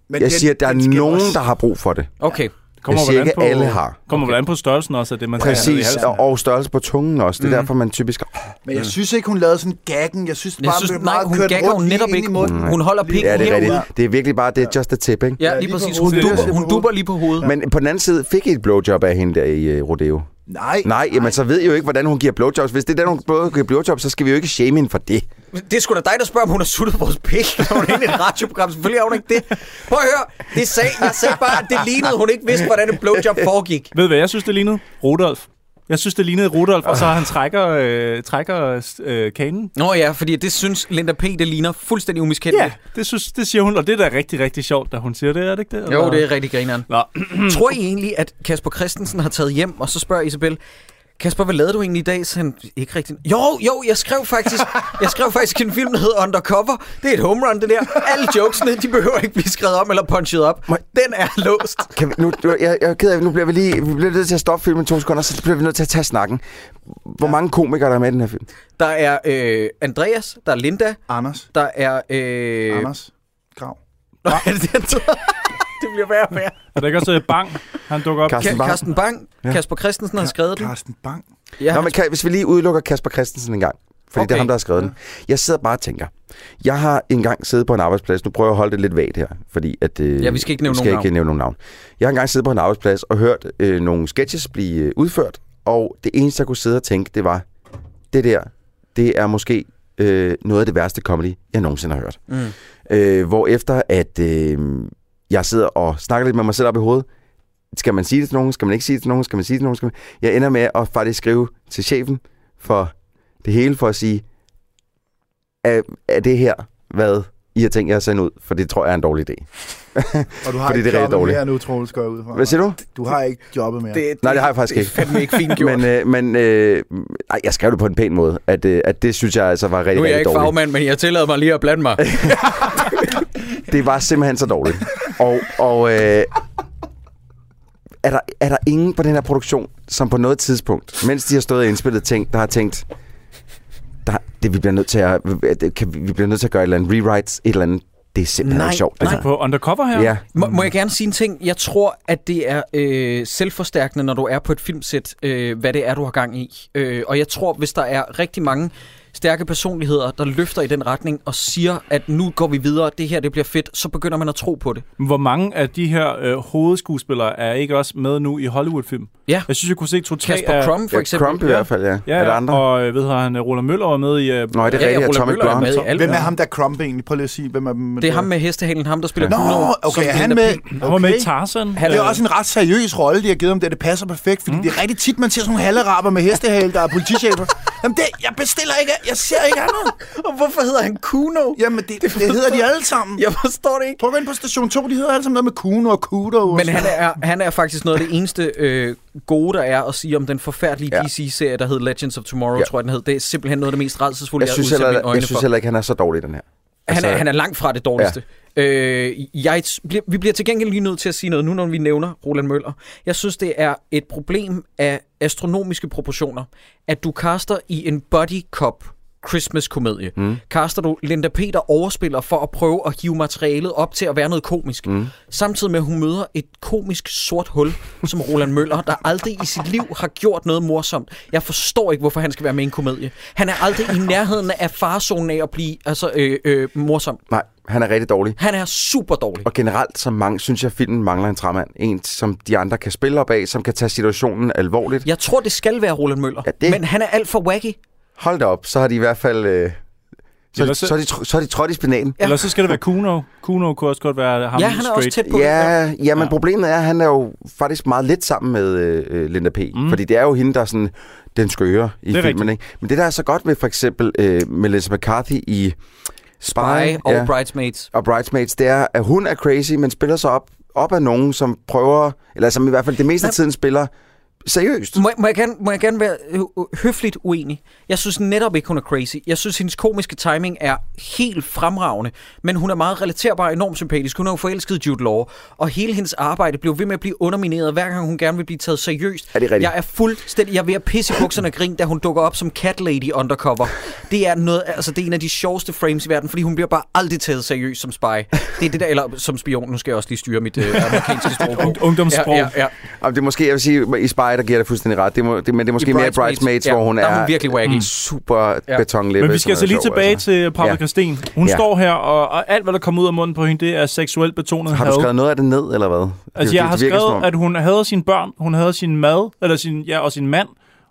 Men
jeg
den-
siger, at der
den skal
er nogen,
også-
der har brug for det.
Okay.
Jeg siger
vel an
ikke, alle har.
Kommer okay. vel an på størrelsen også af det, man tager ned i
Præcis,
halsen.
og, og størrelse på tungen også. Det er derfor, man typisk...
Men
Mm.
jeg synes ikke, hun lavede sådan gaggen. Jeg synes
Jeg
bare,
synes,
det er
nej,
meget
hun
kørt
gagger
rundt
jo
lige
netop
ind i
ikke.
munden.
Hun holder pikken
Ja, det er
herud.
rigtigt. Det er virkelig bare, det er just a tip, ikke?
Ja,
Ja,
lige
lige på
præcis. Hun
hovedet. Det er
duber,
sådan
hun
på hovedet.
duber lige på hovedet. Men,
Men på den anden side fik I et blowjob af hende der i øh, Rodeo.
Nej,
Nej, jamen så ved I jo ikke, hvordan hun giver blowjobs. Hvis det er den, hun både giver blowjobs, så skal vi jo ikke shame hende for det.
det er sgu da dig, der spørger, om hun har suttet vores pik, når hun er inde i et radioprogram. Selvfølgelig har hun ikke det. Prøv at høre. Det sag, jeg sagde bare, at det lignede, hun ikke vidste, hvordan et blowjob foregik.
Ved du hvad, jeg synes, det lignede? Rudolf. Jeg synes, det lignede Rudolf, og så har han trækker, øh, trækker øh, kanen.
Nå ja, fordi det synes Linda P. det ligner fuldstændig umiskendeligt.
Ja, det, synes, det siger hun, og det er da rigtig, rigtig sjovt, da hun siger det, er det ikke det?
Jo,
Eller-
det er rigtig grineren.
Nå.
Tror I egentlig, at Kasper Christensen har taget hjem, og så spørger Isabel, Kasper, hvad lavede du egentlig i dag? Så han, ikke rigtigt. Jo, jo, jeg skrev faktisk, jeg skrev faktisk en film, der hedder Undercover. Det er et home run, det der. Alle jokesene, de behøver ikke blive skrevet om eller punchet op. Den er låst.
Kan vi, nu, du- jeg, jeg er ked af, nu bliver vi lige vi bliver nødt til at stoppe filmen to sekunder, så bliver vi nødt til at tage snakken. Hvor mange komikere der er med i den her film?
Der er øh, Andreas, der er Linda,
Anders.
der er... Øh...
Anders. Grav.
Nej, det, er- det bliver værre og værre.
Er der ikke også øh, Bang, han dukker op?
Carsten
Ka-
Bang.
Carsten Bang, Kasper Christensen har skrevet den.
Carsten Bang.
Ja,
Nå,
han-
men kan, hvis vi lige udelukker Kasper Christensen en gang. Fordi okay. det
Okay.
er ham, der har skrevet den. Jeg sidder bare og tænker. Jeg har engang siddet på en arbejdsplads. Nu prøver jeg at holde det lidt vagt her. Fordi at, øh,
Ja, vi skal ikke nævne
vi skal
nogen
ikke
navn.
nævne nogen navn. Jeg har engang siddet på en arbejdsplads og hørt øh, nogle sketches blive øh, udført. Og det eneste, jeg kunne sidde og tænke, det var, det der, det er måske øh, noget af det værste comedy, jeg nogensinde har hørt.
Mm.
Øh, hvor efter at øh, jeg sidder og snakker lidt med mig selv op i hovedet, skal man sige det til nogen, skal man ikke sige det til nogen, skal man sige det til nogen, skal man... Jeg ender med at faktisk skrive til chefen for det hele, for at sige, er, er det her, hvad I har tænkt jer at sende ud? For det tror jeg er en dårlig idé.
Og du har
Fordi
ikke
det er rigtig
jobbet
dårligt.
mere nu, Troels, går jeg ud fra.
Hvad siger du?
Du har ikke jobbet mere.
det,
Nej, det har jeg faktisk ikke.
Det er fandme ikke fint gjort.
Men, øh, men øh, ej, jeg skrev det på en pæn måde, at, øh, at det synes jeg altså var rigtig,
Nu er jeg
rigtig
ikke
dårligt.
fagmand, men jeg tillader mig lige at blande mig.
Det var simpelthen så dårligt. Og, og øh, er, der, er der ingen på den her produktion, som på noget tidspunkt, mens de har stået og indspillet ting, der har tænkt, der, det, vi, bliver nødt til at, det, kan, vi vi bliver nødt til at gøre et eller andet rewrites, et eller andet. Det er simpelthen
Nej,
ikke sjovt.
Altså på undercover her?
Ja.
Må, må jeg gerne sige en ting? Jeg tror, at det er øh, selvforstærkende, når du er på et filmsæt, øh, hvad det er, du har gang i. Øh, og jeg tror, hvis der er rigtig mange stærke personligheder, der løfter i den retning og siger, at nu går vi videre, det her det bliver fedt, så begynder man at tro på det.
Hvor mange af de her øh, hovedskuespillere er ikke også med nu i Hollywood-film?
Ja.
Jeg synes, jeg kunne se to-tre
Kasper
af...
Crumb for
Ja,
eksempel.
Crump i hvert fald, ja.
Ja,
er der
ja,
andre?
og øh, ved du, han øh, Roland Møller var med i... Øh,
Nå, er det
Ja,
rigtigt?
ja, Roland
Atomic
Møller er
Blonde.
med i alt.
Hvem er ham, der er Crump egentlig? Prøv lige at sige, hvem er dem?
Det er ham med hestehanen, ham der spiller
Nå,
Kuno, som
okay, er han
Linda
med?
P.
Han var med i Tarzan. Øh,
Han
Det er også en ret seriøs rolle, de har givet ham der. Det passer perfekt, fordi mm. det er rigtig tit, man ser sådan nogle hallerapper med hestehale, der er politichefer. Jamen det, jeg bestiller ikke, jeg ser ikke andet.
Og hvorfor hedder han Kuno?
Jamen det, det, hedder de alle sammen.
Jeg forstår det ikke.
Prøv at gå ind på station 2, de hedder alle sammen noget med Kuno og Kudo. og
Men
sådan
han er, han er faktisk noget af det eneste øh, gode, der er at sige om den forfærdelige
Ja.
ja. DC-serie, der hed Legends of Tomorrow,
Ja.
ja. tror jeg, den hed. Det er simpelthen noget af det mest rædselsfulde,
Jeg
jeg,
synes,
har udsat
heller,
mine øjne
jeg synes
for.
heller ikke, han er så dårlig, den her.
han, er,
altså-
han er langt fra det dårligste. Ja. Øh, jeg, t- bliver- vi bliver til gengæld lige nødt til at sige noget nu, når vi nævner Roland Møller. Jeg synes, det er et problem af astronomiske proportioner, at du kaster i en buddy cop Christmas-komedie. Mm. Kaster du Linda P., der overspiller for at prøve at hive materialet op til at være noget komisk. Mm. Samtidig med, at hun møder et komisk sort hul, som Roland Møller, der aldrig i sit liv har gjort noget morsomt. Jeg forstår ikke, hvorfor han skal være med i en komedie. Han er aldrig i nærheden af farzonen af at blive altså, øh, øh, morsom.
Nej, han er rigtig dårlig.
Han er super dårlig.
Og generelt, så mange, synes jeg, filmen mangler en træmand. En, som de andre kan spille op af, som kan tage situationen alvorligt.
Jeg tror, det skal være Roland Møller, ja,
Ja, det-
det... men han er alt for wacky.
Hold da op, så har de i hvert fald... Øh, Så,
Eller
er de-
så-
så, er de, tr- så er de trådt i spinaten.
Ja. Eller så skal det være Kuno. Kuno kunne også godt være ham
Ja, han er
straight.
også tæt på.
Ja, ja, men
Ja.
ja. problemet er, at han er jo faktisk meget lidt sammen med øh, øh, Linda P.
Mm.
Mm. Fordi det er jo hende, der er sådan, den skøre i
Det er
filmen. Ikke? Men det, der er så godt med for eksempel øh, Melissa McCarthy i Spy,
Spy og
ja,
Bridesmaids.
og Bridesmaids, det er, at hun er crazy, men spiller sig op, op af nogen, som prøver, eller som i hvert fald det meste af
Men-
tiden spiller seriøst.
Må, jeg- må, jeg gerne, må jeg gerne være øh, øh, høfligt uenig? Jeg synes netop ikke, hun er crazy. Jeg synes, hendes komiske timing er helt fremragende. Men hun er meget relaterbar og enormt sympatisk. Hun er jo forelsket i Jude Law. Og hele hendes arbejde blev ved med at blive undermineret, hver gang hun gerne vil blive taget seriøst.
Er det rigtigt?
Jeg er fuldstændig... Jeg er ved at pisse i bukserne og grine, da hun dukker op som cat lady undercover. Det er, noget, altså, det er en af de sjoveste frames i verden, fordi hun bliver bare aldrig taget seriøst som spy. Det er det der... Eller som spion. Nu skal jeg også lige styre mit øh, amerikanske sprog.
Ung- ungdomssprog.
Ja, ja, ja.
Og det er måske, jeg vil sige, i Spy, der giver det fuldstændig ret. Det må, det, men det er måske mere i Bridesmaids,
ja,
hvor hun
der er
er Mm.
hun virkelig wacky. Mm.
super
Ja.
ja. betonlæbe.
Men vi skal
som
altså
er
lige
sjov,
tilbage
altså.
til Paprika
Ja.
Sten. Hun
Ja.
står her, og, og alt, hvad der kommer ud af munden på hende, det er seksuelt betonet
Har du skrevet noget af det ned, eller hvad?
Altså,
Det-
jeg
det
har
virker som om-
skrevet, at hun havde sine børn, hun havde sin mad, eller sin, ja, og sin mand,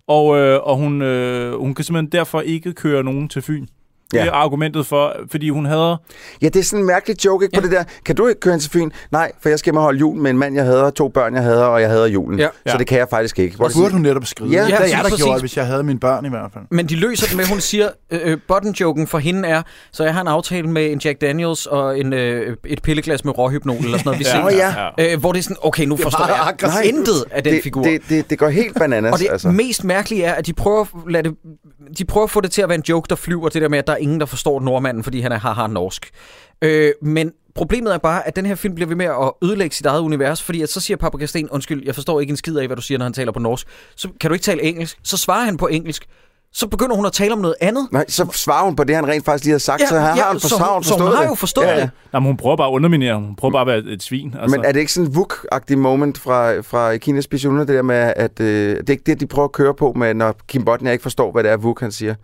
og, øh, og hun, øh, hun kan simpelthen derfor ikke køre nogen til Fyn. Ja.
Ja.
Det er argumentet for, fordi hun havde...
Ja, det er sådan en mærkelig joke, ikke? Ja. På det der, kan du ikke køre hen til Fyn? Nej, for jeg skal hjem og holde jul med en mand, jeg hader, to børn, jeg hader, og jeg hader julen.
Ja.
Ja.
Ja.
Så det kan jeg faktisk ikke. Hvor
Hvor
det
burde
sådan-
hun netop skrive?
Ja,
det er
præcis,
jeg, der gjorde,
præcis.
hvis jeg havde mine børn i hvert fald.
Men de løser den med, hun siger, øh, øh, bottom-joken for hende er, så jeg har en aftale med en Jack Daniels og en, øh, et pilleglas med råhypnol eller sådan noget, vi
Ja.
ja.
Nå,
ser.
ja.
Øh, hvor det er sådan, okay, nu forstår
meget
jeg
aggressivt.
intet af den
det,
figur.
Det, det, det går helt bananas,
og det
altså.
mest mærkelige er, at de prøver, at lade det, de prøver at få det til at være en joke, der flyver. Det der med, at der er ingen, der forstår nordmanden, fordi han er haha norsk. Øh, men problemet er bare, at den her film bliver ved med at ødelægge sit eget univers, fordi at så siger Paprika Sten, undskyld, jeg forstår ikke en skid af, hvad du siger, når han taler på norsk. Så kan du ikke tale engelsk? Så svarer han på engelsk. Så begynder hun at tale om noget andet.
Nej, så svarer hun på det, han rent faktisk lige har sagt, ja, så her har hun på
så, hun-
savn
så
forstået
hun har
det.
jo forstået
Ja.
det.
Jamen, hun prøver bare at underminere, hun prøver bare at være et svin. Altså.
Men er det ikke sådan en vuk-agtig moment fra, fra Kinas Special Unit, det der med, at øh, det er ikke det, de prøver at køre på med, når Kim Bodnia ikke forstår, hvad det er, Vuk han siger?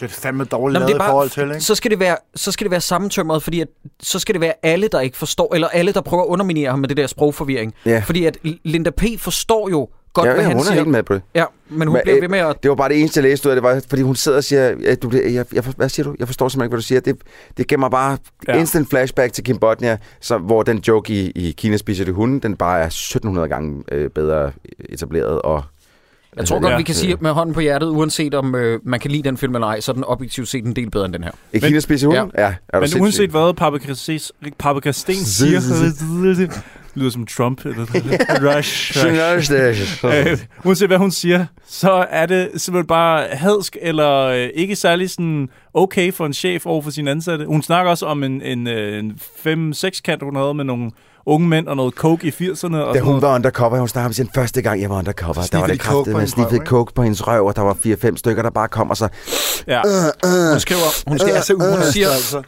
Det er fandme dårligt
Nå, men det
lavet
er
i forhold
bare,
til, ikke?
så skal det være, så skal det være sammentømret, fordi at, så skal det være alle, der ikke forstår, eller alle, der prøver at underminere ham med det der sprogforvirring.
Ja.
Fordi at L- Linda P. forstår jo godt,
ja,
hvad
ja,
han
hun er
siger.
helt med på det.
Ja, men hun
Men,
men, bliver
øh,
ved med at...
Det var bare det eneste, jeg læste ud af det, var, fordi hun sidder og siger, at du, bliver- jeg, jeg, hvad siger du? Jeg forstår simpelthen ikke, hvad du siger. Det, det giver mig bare
Ja.
ja. instant flashback til Kim Bodnia, som, hvor den joke i, i Kina spiser det hunde, den bare er 1700 gange øh, bedre etableret. Og,
Jeg tror godt,
Ja.
vi kan sige med hånden på hjertet, uanset om øh, man kan lide den film eller ej, så er den objektivt set en del bedre end den her.
I
Men-
Kina spiser hunde? Ja. ja er
Men
du
uanset hvad Paprika Ses- Paprika Sten siger, lyder som Trump. Eller, Rush, Rush.
hvad?
Øh, uanset hvad hun siger, så er det simpelthen bare hadsk, eller øh, ikke særlig sådan okay for en chef over for sine ansatte. Hun snakker også om en, en, øh, en 5-6 kant, hun havde med nogle unge mænd og noget coke i 80'erne. Og sådan
Da hun
noget.
var undercover, hun snakkede om sin første gang, jeg var undercover. Der var
Sniffede de
det
coke
kraftigt,
på
man
hendes røv,
sniffede
ikke?
coke på hendes røv, og der var 4-5 stykker, der bare kom og så...
ja.
øh,
Hun skriver, hun, skriver,
Det er så
hun
uanstændigt,
siger,
altså.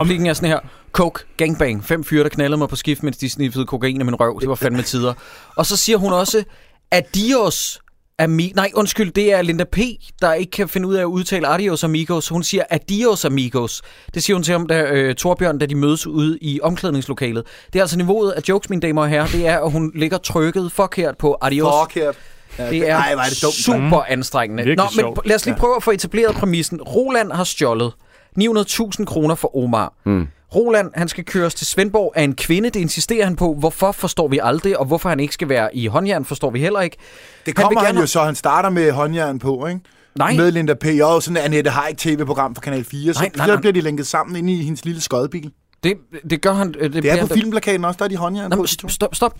replikken er sådan her, Coke, gangbang, fem fyre, der knaldede mig på skift, mens de sniffede kokain i min røv. Det var fandme tider. Og så siger hun også, adios, ami Nej, undskyld, det er Linda P., der ikke kan finde ud af at udtale adios amigos. Hun siger adios amigos. Det siger hun til ham, da øh, Torbjørn, da de mødes ude i omklædningslokalet. Det er altså niveauet af jokes, mine damer og herrer. Det er, at hun ligger trykket forkert på adios.
Forkert.
Det er,
Ej, hvor er det dumt, mand.
super anstrengende.
Virkelig
Nå, men
sjovt.
lad os lige prøve at få etableret præmissen. Roland har stjålet 900.000 kroner for Omar. Mm. Roland, han skal køres til Svendborg af en kvinde. Det insisterer han på. Hvorfor forstår vi aldrig, og hvorfor han ikke skal være i håndjern, forstår vi heller ikke.
Det
Han
kommer
vil
han,
gerne-
han jo så, han starter med håndjern på, ikke?
Nej.
Med Linda P. Jo, sådan en Annette Haik tv-program fra Kanal 4. Så,
Nej,
nej,
nej,
nej, så
nej.
bliver de lænket sammen ind i hendes lille skodbil.
Det, det gør han... øh, Det,
Det
bliver-
er på filmplakaten også, der er de håndjern
Nå,
på.
men
de to.
stop, stop, stop.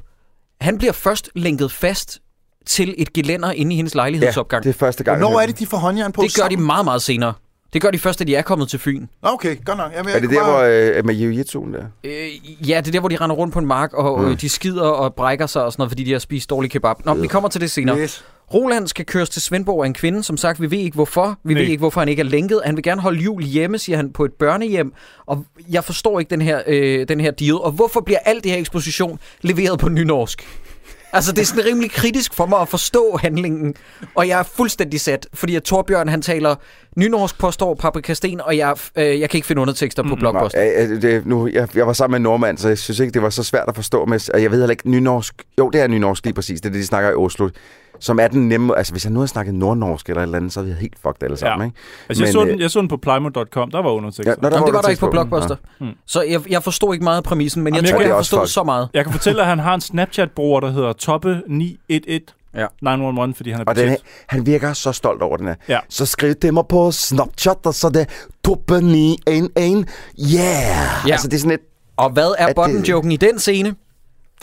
Han bliver først lænket fast til et gelænder inde i hendes lejlighedsopgang.
det er
det,
første gang.
Hvornår er det, de får håndjern på?
det gør de
sammen?
meget, meget senere. Det gør de først, da de er kommet til Fyn.
Nå, Okay, godt nok. Jamen, jeg
Er det
kunne
der,
bare-
hvor øh, med jiu-jitsuen der?
Øh, ja, det er der, hvor de render rundt på en mark, og mm. øh, de skider og brækker sig og sådan noget, fordi de har spist dårlig kebab. Nå, vi kommer til det senere.
Yes.
Roland skal køres til Svendborg af en kvinde. Som sagt, vi ved ikke hvorfor. Vi ved
Nej.
ikke, hvorfor han ikke er lænket. Han vil gerne holde jul hjemme, siger han, på et børnehjem. Og jeg forstår ikke den her, øh, den her deal. Og hvorfor bliver alt det her eksposition leveret på nynorsk? Altså, det er sådan rimelig kritisk for mig at forstå handlingen. Og jeg er fuldstændig sat, fordi at Torbjørn, han taler nynorsk, påstår Paprika Sten, og jeg, øh, jeg kan ikke finde undertekster på blogposten.
Nej, øh, det, nu, jeg, jeg var sammen med en nordmand, så jeg synes ikke, det var så svært at forstå. Med, og jeg ved heller ikke nynorsk. Jo, det er nynorsk lige præcis. Det er det, de snakker i Oslo. som er den nemme... Altså, hvis jeg nu havde snakket nordnorsk eller et eller andet, så havde jeg helt fucked alle sammen,
Ja.
ikke?
Altså, jeg,
Men,
så den,
øh,
jeg så den på plymo.com, der var undertekster.
nå,
der...
Jamen,
var
det var der ikke
tekst
på Blockbuster.
Nå.
Ja. Så jeg, jeg forstod ikke meget af præmissen, men
Jamen,
jeg
jeg
tror,
kan-
jeg
Det er
har
også
forstået
folk.
så meget.
Jeg kan fortælle, at han har en Snapchat-bruger, der hedder Toppe911.
Ja.
911, fordi han er
Og den her,
betjent.
han virker så stolt over den her.
Ja.
Så skriv til mig på Snapchat, og så er det toppe 911. Yeah! Ja. Altså, det er sådan et...
Og hvad er
øh,
det-
bottom-joken i den scene?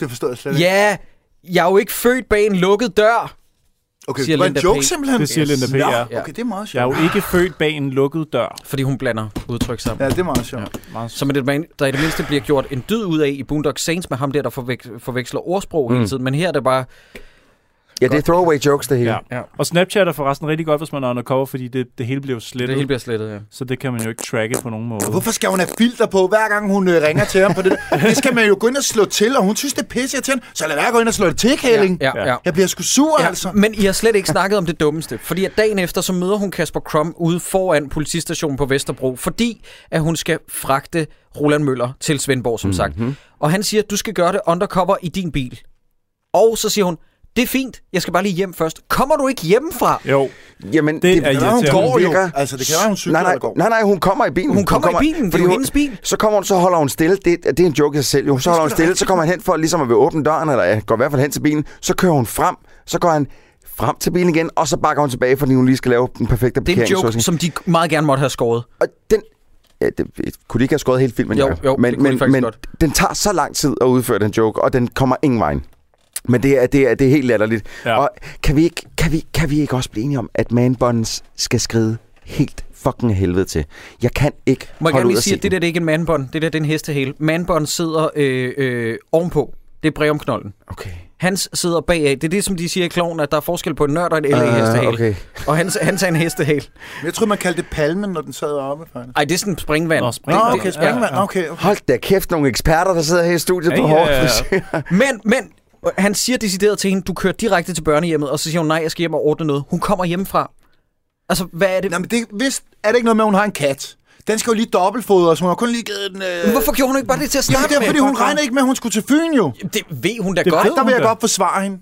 Det forstår jeg slet ikke.
Ja, jeg er jo ikke født bag en lukket dør.
Okay,
siger
det var en
Linda
joke
P.
simpelthen.
Det siger Linda P,
Nå,
ja.
Okay, det er meget
Jeg er
sjovt.
jo ikke født bag en lukket dør.
Fordi hun blander udtryk sammen.
Ja, det er meget sjovt.
Meget
Som er det, man, der i det mindste bliver gjort en dyd ud af i Boondock Saints med ham der, der forvek- forveksler ordsprog mm. hele tiden. Men her er det bare...
Ja, det er throwaway jokes, det hele.
Ja.
Ja.
Og Snapchat er forresten rigtig godt, hvis man er undercover, fordi det, det hele bliver jo slettet,
Det hele bliver slettet, ja.
så det kan man jo ikke tracke på nogen måde.
Hvorfor skal hun have filter på, hver gang hun øh, ringer til ham på det der? Det skal man jo gå ind og slå til, og hun synes, det er pisse til Så lad være at gå ind og slå det til, Kæling.
Ja, ja. ja.
Jeg bliver sgu sur, ja. altså.
Ja, men I har slet ikke snakket om det dummeste. Fordi at dagen efter, så møder hun Kasper Krom ude foran politistationen på Vesterbro, fordi at hun skal fragte Roland Møller til Svendborg, som
Mhm.
mm-hmm. sagt. Og han siger, du skal gøre det undercover i din bil. Og så siger hun, det er fint, jeg skal bare lige hjem først. Kommer du ikke hjemmefra?
Jo,
Jamen, det,
er
Ja, hun
irriterende.
går jo.
virker-
Altså, det kan være, hun cykler
nej, nej,
eller går.
nej, nej, hun kommer i bilen.
Hun kommer i bilen, det er jo hendes bil.
Så kommer hun, så holder hun stille. Det, det er en joke i sig selv. Jo. Så holder hun stille, så kommer han hen for ligesom at vil åbne døren, eller ja, går i hvert fald hen til bilen. Så kører hun frem, så går han frem til bilen igen, og så bakker hun tilbage, fordi hun lige skal lave den perfekte
Det
parkering.
er en
så at
joke,
sige.
som de meget gerne måtte have skåret.
Og den... Ja, det, det- kunne de ikke have skåret hele filmen?
Jo,
Jacob?
jo, det
men,
kunne de
men,
faktisk
men
godt.
den tager så lang tid at udføre den joke, og den kommer ingen vej. Men det er, det er, det er helt latterligt.
Ja.
Ja. Og kan vi, ikke, kan, vi, kan vi ikke også blive enige om, at manbåndens skal skride helt fucking af helvede til? Jeg kan ikke
Må jeg
holde
gerne
ud
lige
at
sige,
se
at det der
den.
det er ikke en manbånd. Det der det er en hestehale. Manbånd sidder øh, øh, ovenpå. Det er brevomknolden.
Okay.
Hans sidder bagaf. Det er det, som de siger i kloven, at der er forskel på en nørd og en LA
Ah,
hestehale.
okay.
Og hans, hans er en hestehale.
Men Jeg tror man kaldte det palmen, når den sad oppe. faktisk.
Ej, det er sådan en springvand.
Nå,
Nå,
springvand.
okay, springvand. Okay, okay.
Hold da kæft, nogle eksperter, der sidder her i studiet
Ja,
på
ja,
hårdt.
ja.
Men, men, øh, han siger decideret til hende, du kører direkte til børnehjemmet, og så siger hun, nej, jeg skal hjem og ordne noget. Hun kommer hjemmefra. Altså, hvad er det?
Nå, men det, vist, er det ikke noget med, at hun har en kat? Den skal jo lige dobbeltfodres. Hun har kun lige givet den... Øh...
Men Hvorfor gjorde hun ikke bare det til at
Ja,
starte
det er, fordi
med?
hun regnede ikke med, at hun skulle til Fyn, jo.
Det ved hun da
Det
godt.
ved
Der vil jeg
da.
godt forsvare hende.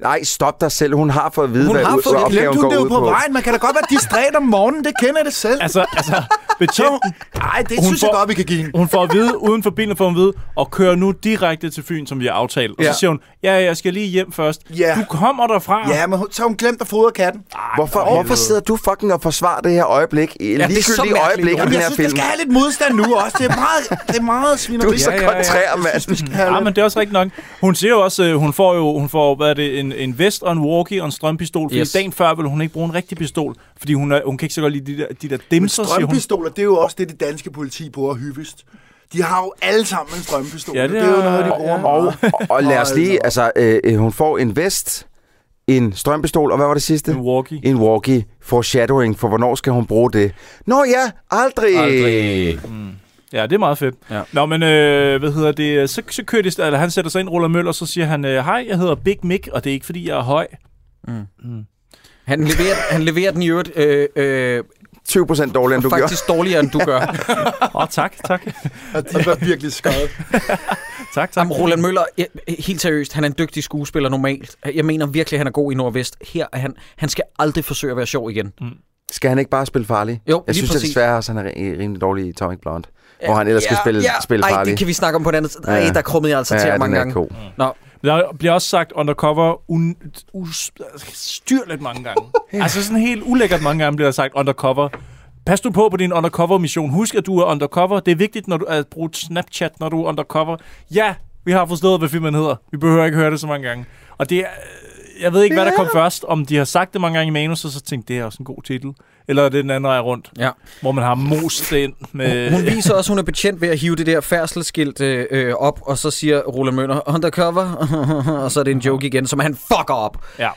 Nej, stop dig selv. Hun har fået at vide,
Hun
hvad
har
ud-
fået-
hvad
Glemte
opgaven
Glemte
går
hun det jo
ud
på, vejen? Man kan da godt være distræt om morgenen. Det kender jeg det selv.
Altså, altså,
Så,
betjent,
ej, det
Hun
synes jeg
får-
godt, vi kan give hende.
hun får at vide, uden for bilen får hun at vide, og kører nu direkte til Fyn, som vi har aftalt. Og
Ja.
så siger hun, ja, ja, jeg skal lige hjem først.
Ja.
Du kommer derfra.
Ja, men hun- så har hun glemt at fodre katten.
Hvorfor, hvorfor sidder du fucking og forsvarer det her øjeblik? Ja,
så mærkeligt,
ligegyldige øjeblik
Lone.
i den
Jamen,
her
jeg synes,
film.
det skal have lidt modstand nu også. Det er meget, det er meget svineri.
Du er så
Ja, ja, ja.
kontrær, mand.
Ja, "Ah, men det er også rigtigt nok. Hun siger jo også, øh, hun får jo hun får, hvad er det, en, en vest og en walkie og en strømpistol, fordi
Yes.
yes. dagen før ville hun ikke bruge en rigtig pistol, fordi hun, er, hun kan ikke så godt lide de der, de der dimser, siger hun.
Strømpistoler, det er jo også det, det danske politi bruger hyppigst. De har jo alle sammen en strømpistol.
Ja,
Ja,
det
det, det er jo
er-
noget, de bruger
ja.
ja. meget.
Og, og lad os lige, altså, øh, øh, hun får en vest, en strømpistol, og hvad var det sidste?
En walkie.
En walkie. Foreshadowing, for hvornår skal hun bruge det? Nå ja, aldrig. aldrig.
Ja, det er meget fedt.
Ja.
Ja. Nå, men øh, hvad hedder det? Så, så kører de, st- eller han sætter sig ind, ruller møller, og så siger han, øh, hej, jeg hedder Big Mick, og det er ikke, fordi jeg er høj.
Han leverer, han leverer den i øvrigt øh, øh,
20 procent dårligere, end du gjorde.
faktisk dårligere, end du gør.
Åh, oh, tak, tak,
Og de var virkelig skøjet.
tak, tak.
Jamen, Roland Møller, jeg, helt seriøst, han er en dygtig skuespiller normalt. Jeg mener virkelig, han er god i Nordvest. Her er han, han skal aldrig forsøge at være sjov igen.
Skal han ikke bare spille farlig?
Jo, lige
jeg synes at
præcis.
desværre, også, at han er ri- rimelig dårlig i Atomic Blonde, ja, hvor han ellers skal spille, spille
Ej,
farlig.
det kan vi snakke om på et andet. Ej,
Ja.
der krummede jeg altså
ja,
til
den
ham mange
er
gange.
god.
Nå,
Der bliver også sagt undercover un- us- styrligt mange gange. altså sådan helt ulækkert mange gange bliver der sagt undercover. Pas du på på din undercover-mission. Husk, at du er undercover. Det er vigtigt når du, at bruge Snapchat, når du er undercover. Ja, vi har forstået, hvad filmen hedder. Vi behøver ikke høre det så mange gange. Og det er... Jeg ved ikke, hvad der kom først. Om de har sagt det mange gange i manus, og så tænkte det er også en god titel. Eller er det den anden vej rundt,
ja.
hvor man har most det ind med...
Hun viser også, hun er betjent ved at hive det der færdselsskilt øh, øh, op, og så siger Roland Møller, undercover, og så er det en joke igen, som han fucker op.
Ja.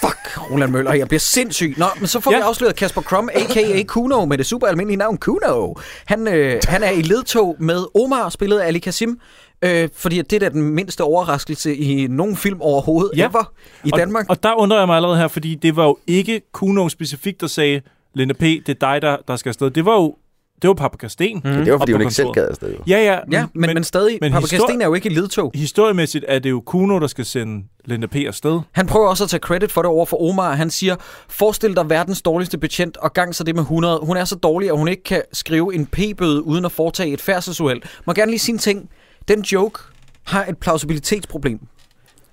Fuck, Roland Møller, jeg bliver sindssyg. Nå, men så får ja.
Ja.
vi afsløret Kasper Krom, a.k.a. Kuno, med det super almindelige navn Kuno. Han, øh, han er i ledtog med Omar, spillet af Ali Kasim. Øh, fordi at det er da den mindste overraskelse i nogen film overhovedet ja.
Ja.
ever i
og,
Danmark.
Og der undrer jeg mig allerede her, fordi det var jo ikke Kuno specifikt, der sagde, Linda P., det er dig, der, der skal afsted. Det var jo, Det var Paprika Sten.
Mm.
Men Mm-hmm. det var, fordi
Og på
hun ikke selv
kontoret.
gad afsted. Jo.
Ja, ja.
Ja, men, men, men stadig, men
men
Paprika
histori-
Sten er jo ikke i ledtog.
Historiemæssigt er det jo Kuno, der skal sende Linda P. afsted.
Han prøver også at tage credit for det over for Omar. Han siger, forestil dig verdens dårligste betjent og gang så det med 100. Hun er så dårlig, at hun ikke kan skrive en p-bøde uden at foretage et færdselsuheld. Må gerne lige sige en ting. Den joke har et plausibilitetsproblem.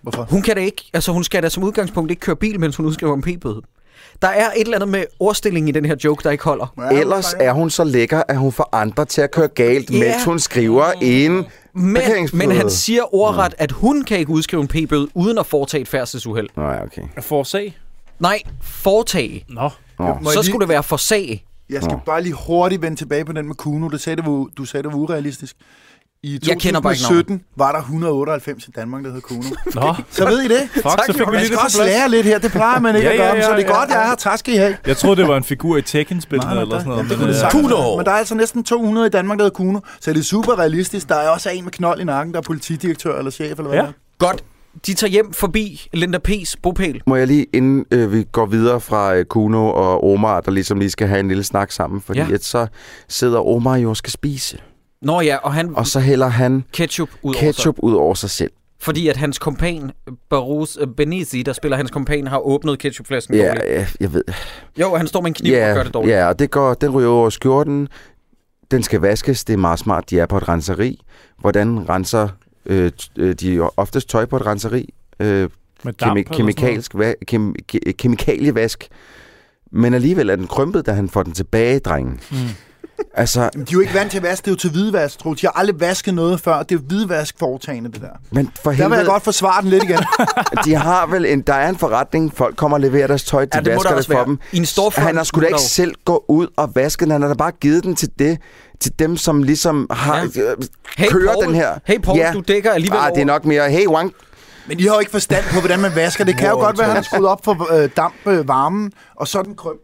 Hvorfor?
Hun kan da ikke, altså hun skal da som udgangspunkt ikke køre bil, mens hun udskriver en p-bøde. Der er et eller andet med ordstillingen i den her joke, der ikke holder.
Ellers er hun så lækker, at hun får andre til at køre galt,
Ja.
yeah. mens hun skriver
Mm.
en
Men,
parkeringsbøde.
men han siger ordret, at hun kan ikke udskrive en p-bøde uden at foretage et færdselsuheld.
Nå, ja, okay.
For sag.
Nej, foretage.
Nå.
Må jeg
Så
lige-
skulle det være for sag.
Jeg skal bare lige hurtigt vende tilbage på den med Kuno. Det sagde, det var, du sagde, det var urealistisk. I
Jeg kender bare ikke
2017 var der 198 i Danmark, der hed Kuno.
Nå.
Så ved I det?
Fuck, så fik vi
Man
lige
skal
det på
også
plads.
lære lidt her. Det plejer man ikke
Ja,
at gøre,
ja,
men
ja,
så det er
ja,
godt,
ja.
jeg har tak skal I have.
Jeg troede, det var en figur i Tekken-spillene eller sådan noget.
det
men,
kunne det
øh,
sagtens
Kuno!
være. Men der er altså næsten 200 i Danmark, der hedder Kuno, så det er super realistisk. Der er også en med knold i nakken, der er politidirektør eller chef eller hvad.
Ja.
det er.
Godt. De tager hjem forbi Linda P's bopæl.
Må jeg lige, inden øh, vi går videre fra øh, Kuno og Omar, der ligesom lige skal have en lille snak sammen, fordi
Ja.
ja. at så sidder Omar jo og skal spise,
Nå ja, og han
og så hælder han
ketchup ud over
ketchup ud over sig selv.
sig. Fordi at hans kompan, Barus øh, Benizzi, der spiller hans kompan, har åbnet ketchupflasken
Ja,
dårligt.
ja, jeg ved.
Jo, han står med en kniv og gør det dårligt.
ja, og det går, den ryger over skjorten. Den skal vaskes. Det er meget smart. De er på et renseri. Hvordan renser øh, t- øh, de er oftest tøj på et renseri? Øh,
Med damp
kemi-
eller sådan noget.
kemikalsk va- kem- ke- kemikalievask. Men alligevel er den krympet, da han får den tilbage, drengen. Mm. Altså,
Jamen, de er jo ikke vant til at vaske, det er jo til hvidvask, tror jeg. De har aldrig vasket noget før. Det er hvidvask foretagende, det der.
men for
Der vil
helvede,
jeg godt forsvare den lidt igen.
de har vel en, der er en forretning, folk kommer og leverer deres tøj, de
Ja, det må
vasker
der
det
også
for
være.
dem.
I en stor
han har
fond
sgu da
må
ikke
der jo-
selv gå ud og vaske den, han har da bare givet den til det, til dem, som ligesom har,
Ja.
ja. kører
Poul.
den her.
Hey, Poul, du dækker alligevel
Ah, det
over.
er nok mere, hey, Wang.
Men I har jo ikke forstand på, hvordan man vasker. Det kan jo godt være, at han har skruet op for øh, damp, øh, varmen, og så er den krøm.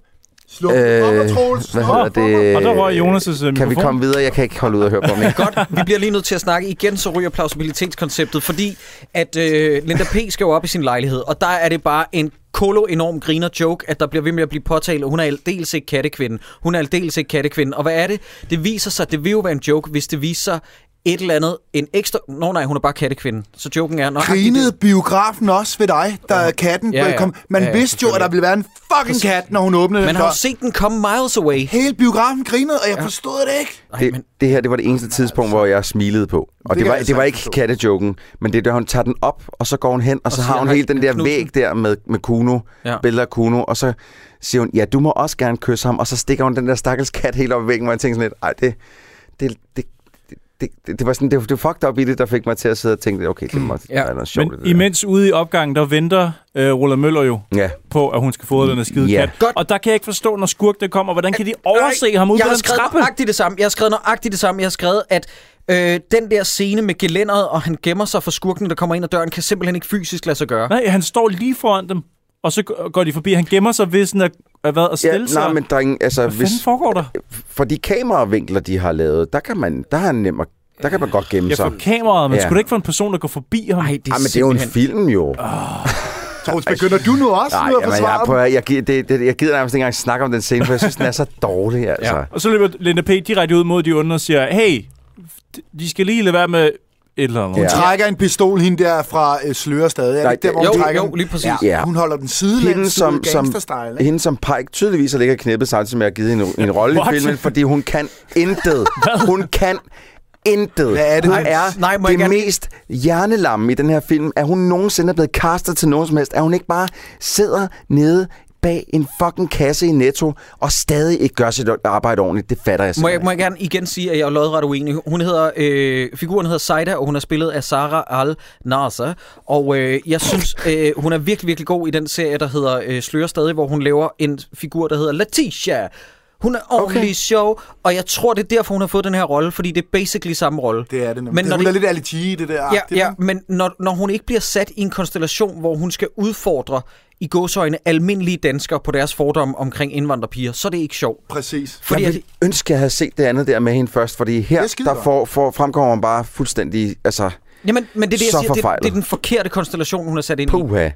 Slå øh, op, og Troels.
hvad
Nå,
hedder det?
Og der røg Jonas' øh, mikrofon.
Kan vi komme videre? Jeg kan ikke holde ud og høre på mig.
Godt, vi bliver lige nødt til at snakke igen, så ryger plausibilitetskonceptet, fordi at øh, Linda P. skal jo op i sin lejlighed, og der er det bare en kolo enorm griner joke, at der bliver ved med at blive påtalt, at hun er aldeles ikke kattekvinden. Hun er aldeles ikke kattekvinden. Og hvad er det? Det viser sig, det vil jo være en joke, hvis det viser sig et eller andet, en ekstra... Nå nej, hun er bare kattekvinden. Så joken er... Nå,
Grinede biografen også ved dig, da katten
Ja,
ja,
ja.
ja. kom? Man
Ja,
ja,
ja,
ja, vidste jo, at der ville være en fucking kat, når hun åbnede
Man
den
har jo
dør.
set den komme miles away.
Hele biografen grinede, og jeg forstod det ikke.
Det, det her, det var det eneste tidspunkt, hvor jeg smilede på. Og
Det
det,
kan
det, var,
jeg
det var
sagtens
ikke
forstå.
kattejoken, men det er, da hun tager den op, og så går hun hen, og, og så
siger,
har hun
"Hej,
hele den der
Knudsen."
væg der med, med Kuno,
Ja.
ja. billeder af Kuno, og så siger hun, ja, du må også gerne kysse ham, og så stikker hun den der stakkels kat helt op i væggen, hvor jeg tænkte sådan lidt, ej, det, det, det, det, det, det var sådan, det, det var fucked up i det, der fik mig til at sidde og tænke, okay, det må
Ja.
ja. være noget sjovt.
Men
det der.
imens ude i opgangen, der venter øh, Roland Møller jo
Ja.
på, at hun skal fodre den her skide
Ja.
kat. Og der kan jeg ikke forstå, når skurk det kommer. Hvordan kan de overse
Øh, Nej,
ham ud
jeg
på
har
den
skrevet
trappe?
nøjagtigt det samme. Jeg har skrevet nøjagtigt det samme. Jeg har skrevet, at øh, den der scene med gelænderet, og han gemmer sig for skurken, der kommer ind ad døren, kan simpelthen ikke fysisk lade sig gøre.
Nej, han står lige foran dem, og så g- går de forbi. Han gemmer sig ved sådan at, at, hvad, at
Ja,
stille sig.
nej, men drengen, altså,
Hvad
hvis,
fanden foregår der?
for de kameravinkler, de har lavet, der kan man, der har nem at, der kan man godt gemme
Jeg
sig.
får kameraet, men
Ja.
skulle det ikke for en person, der går forbi ham?
Ej, det er,
Ej, men det er jo en
simpelthen-
film, jo.
Troels, begynder du nu også
Nej,
nu at
jamen, jeg,
forsvare
prøver, jeg, gi- det, det, jeg gider nærmest ikke engang snakke om den scene, for jeg synes, den er så dårlig, altså.
Ja.
Ja.
Og så løber Linda P. direkte ud mod de onde og siger, hey, de skal lige lade være med et eller andet.
Ja.
Hun trækker en pistol, hende der fra øh, Sløre stadig. Er det
Nej,
ikke der, hvor
Jo,
hun trækker
jo,
den?
lige præcis.
Ja.
Hun holder den sidelæns,
Hende som, som,
gangsterstyle. ikke?
hende som Pike tydeligvis har ligget og knippet samtidig med at give hende en- en rolle
What?
i filmen, fordi hun kan intet. hun kan intet.
Hvad er det,
hun
hun-
er
Nej, må jeg
det
gerne-
mest hjernelamme i den her film. Er hun nogensinde blevet castet til nogen som helst? Er hun ikke bare sidder nede bag en fucking kasse i Netto og stadig ikke gør sit arbejde ordentligt? Det fatter
Må
jeg
jeg,
simpelthen
må jeg gerne igen sige, at jeg er lodret uenig. Hun hedder, øh, figuren hedder Saida, og hun er spillet af Sara al Nasa. Og øh, jeg synes, øh, hun er virkelig, virkelig god i den serie, der hedder øh, Slører stadig, hvor hun laver en figur, der hedder Letitia. Hun er ordentlig okay. sjov, og jeg tror, det er derfor, hun har fået den her rolle, fordi det er basically samme rolle.
Det er det nemlig.
Men
Men
når
det, hun
det-
er lidt aliti i det der.
Ja,
agtigt,
ja
ikke?
men når, når hun ikke bliver sat i en konstellation, hvor hun skal udfordre i godsøjne almindelige danskere på deres fordomme omkring indvandrerpiger, så er det ikke sjovt.
Præcis.
Fordi
jeg
at,
ville ønske, jeg havde set det andet der med hende først, fordi her
Det er
det
skidegodt.
der får, får, fremkommer man bare fuldstændig, altså,
jamen, men det er det, jeg
Så
siger, det, det
forfejlet.
er den forkerte konstellation, hun er sat ind i.
puha.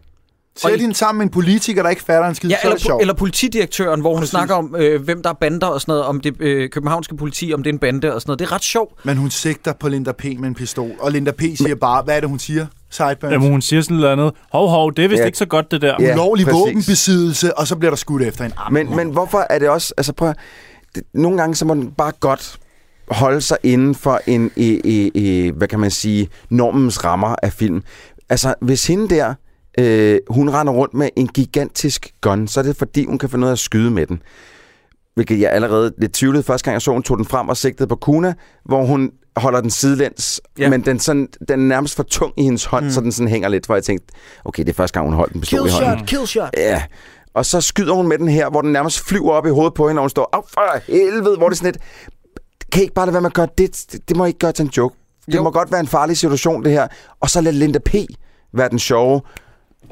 Og
Sæt
i-
hende sammen med en politiker, der ikke fatter en skid,
Ja,
så er det
eller,
sjovt.
eller politidirektøren, hvor hun
Præcis.
snakker om, øh, hvem der er bander og sådan noget, om det øh, københavnske politi, om det er en bande og sådan noget. Det er ret sjovt.
Men hun sigter på Linda P. med en pistol, og Linda P. siger bare, hvad er det, hun siger? Sideburns.
Jamen, hun siger sådan noget andet. Hov, hov, det er vist
Ja.
ikke så godt, det der.
Ja.
Ulovlig
præcis.
våbenbesiddelse, og så bliver der skudt efter en arm.
Men, men hvorfor er det også... Altså prøv at, det, Nogle gange så må den bare godt holde sig inden for en, e, e, e, hvad kan man sige, normens rammer af film. Altså, hvis hende der, øh, hun render rundt med en gigantisk gun, så er det fordi, hun kan få noget at skyde med den. Hvilket jeg allerede lidt tvivlede første gang, jeg så, hun tog den frem og sigtede på Kuna, hvor hun holder den sidelæns,
Ja.
ja. men den, sådan, den er nærmest for tung i hendes hånd, mm. så den sådan hænger lidt, hvor jeg tænkte, okay, det er første gang, hun holdt den pistol i hånden.
kill shot.
Ja. Og så skyder hun med den her, hvor den nærmest flyver op i hovedet på hende, og hun står, af for helvede, hvor er det sådan et... Kan I ikke bare lade være med at gøre det? Det- Det må I ikke gøre til en joke. Det
Jo.
jo. må godt være en farlig situation, det her. Og så lad Linda P. være den sjove.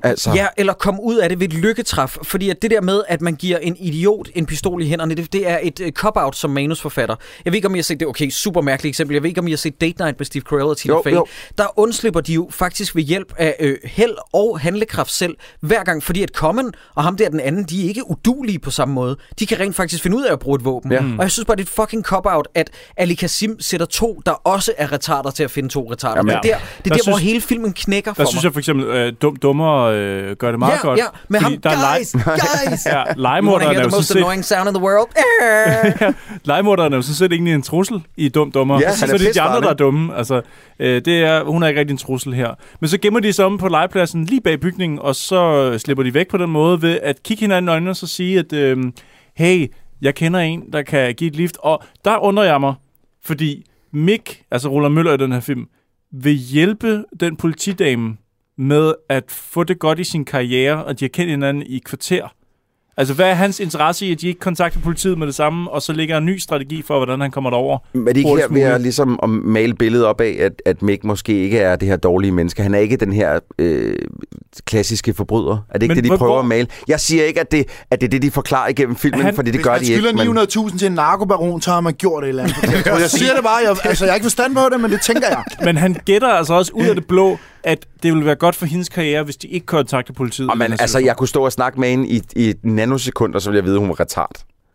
Altså,
Ja, eller komme ud af det ved et lykketræf. Fordi at det der med, at man giver en idiot en pistol i hænderne, det, det er et uh, cop-out som manusforfatter. Jeg ved ikke, om I har set det. Okay, super mærkeligt eksempel. Jeg ved ikke, om I har set Date Night med Steve Carell og Tina
Jo,
Fey.
jo.
Der undslipper de jo faktisk ved hjælp af øh, held og handlekraft selv hver gang. Fordi at Common og ham der den anden, de er ikke udulige på samme måde. De kan rent faktisk finde ud af at bruge et våben.
Ja.
Og jeg synes bare, det er et fucking cop-out, at Ali Kasim sætter to, der også er retarder til at finde to retarder.
Jamen,
det er
ja.
der, det er
Der
der hvor
synes-
hele filmen knækker for
Der
mig.
synes jeg for eksempel, øh, dum, dummere øh, gør det meget
ja,
godt.
Ja, med ham,
fordi der er
guys, guys.
lege- ja,
You wanna
legemorderen er
hear
jo
the
sådan
most
set
annoying sound in the world?
Legemorderen er jo sådan set egentlig en trussel i dum dummer.
Ja,
Ja, så
han
er
er
det de andre,
pissfarlig.
der er dumme. Altså, øh, det er, hun er ikke rigtig en trussel her. Men så gemmer de sig om på legepladsen lige bag bygningen, og så øh, slipper de væk på den måde ved at kigge hinanden i øjnene og så sige, at øh, hey, jeg kender en, der kan give et lift. Og der undrer jeg mig, fordi Mick, altså Roland Møller i den her film, vil hjælpe den politidame med at få det godt i sin karriere, og de har kendt hinanden i et kvarter. Altså, hvad er hans interesse i, at de ikke kontakter politiet med det samme, og så ligger en ny strategi for, hvordan han kommer derover?
er det ikke her
hurtigst
ved at,
muligt.
ligesom, at male billedet op af, at, at Mick måske ikke er det her dårlige menneske? Han er ikke den her øh, klassiske forbryder. Er det ikke
Men
Men det,
hvor-
de prøver
hvor-
at male? Jeg siger ikke, at det, at det er det, de forklarer igennem filmen,
Han-
han, fordi det
Hvis
gør
man
de ikke.
skylder 900.000 til en narkobaron, så har man gjort et eller andet. Jeg, tror, jeg siger det bare. Jeg, altså, jeg har ikke forstand på det, men det tænker jeg.
Men han gætter altså også ud af det blå, at det ville være godt for hendes karriere, hvis de ikke kontakter politiet.
Og
i den
man,
her
altså,
situation.
jeg kunne stå og snakke med hende i, i et nanosekunder, så ville jeg vide, at hun var retard.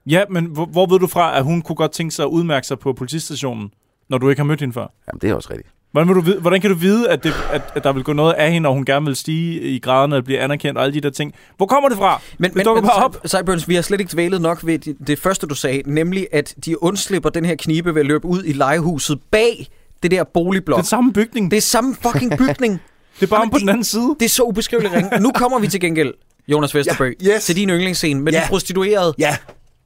Ja, men hvor, hvor ved du fra, at hun kunne godt tænke sig at udmærke sig på politistationen, når du ikke har mødt hende før?
Jamen, det er også rigtigt.
Hvordan, vil du vide, hvordan kan du vide, at, det, at, at der vil gå noget af hende, og hun gerne vil stige i graderne og blive anerkendt og alle de der ting? Hvor kommer det fra?
Men,
det
men,
dukker
men
bare op.
Cy- Cyburns, vi har slet ikke dvælet nok ved det, det første, du sagde, nemlig at de undslipper den her knibe ved at løbe ud i legehuset bag det der boligblok.
Den samme bygning.
Det
Det,
er samme fucking bygning.
det er bare om
Jamen,
på den
det-
anden side.
Det er så ubeskriveligt ringe. Nu kommer vi til gengæld, Jonas Vesterbø,
Ja, yes.
til din yndlingsscene med
Ja.
de prostituerede
Ja,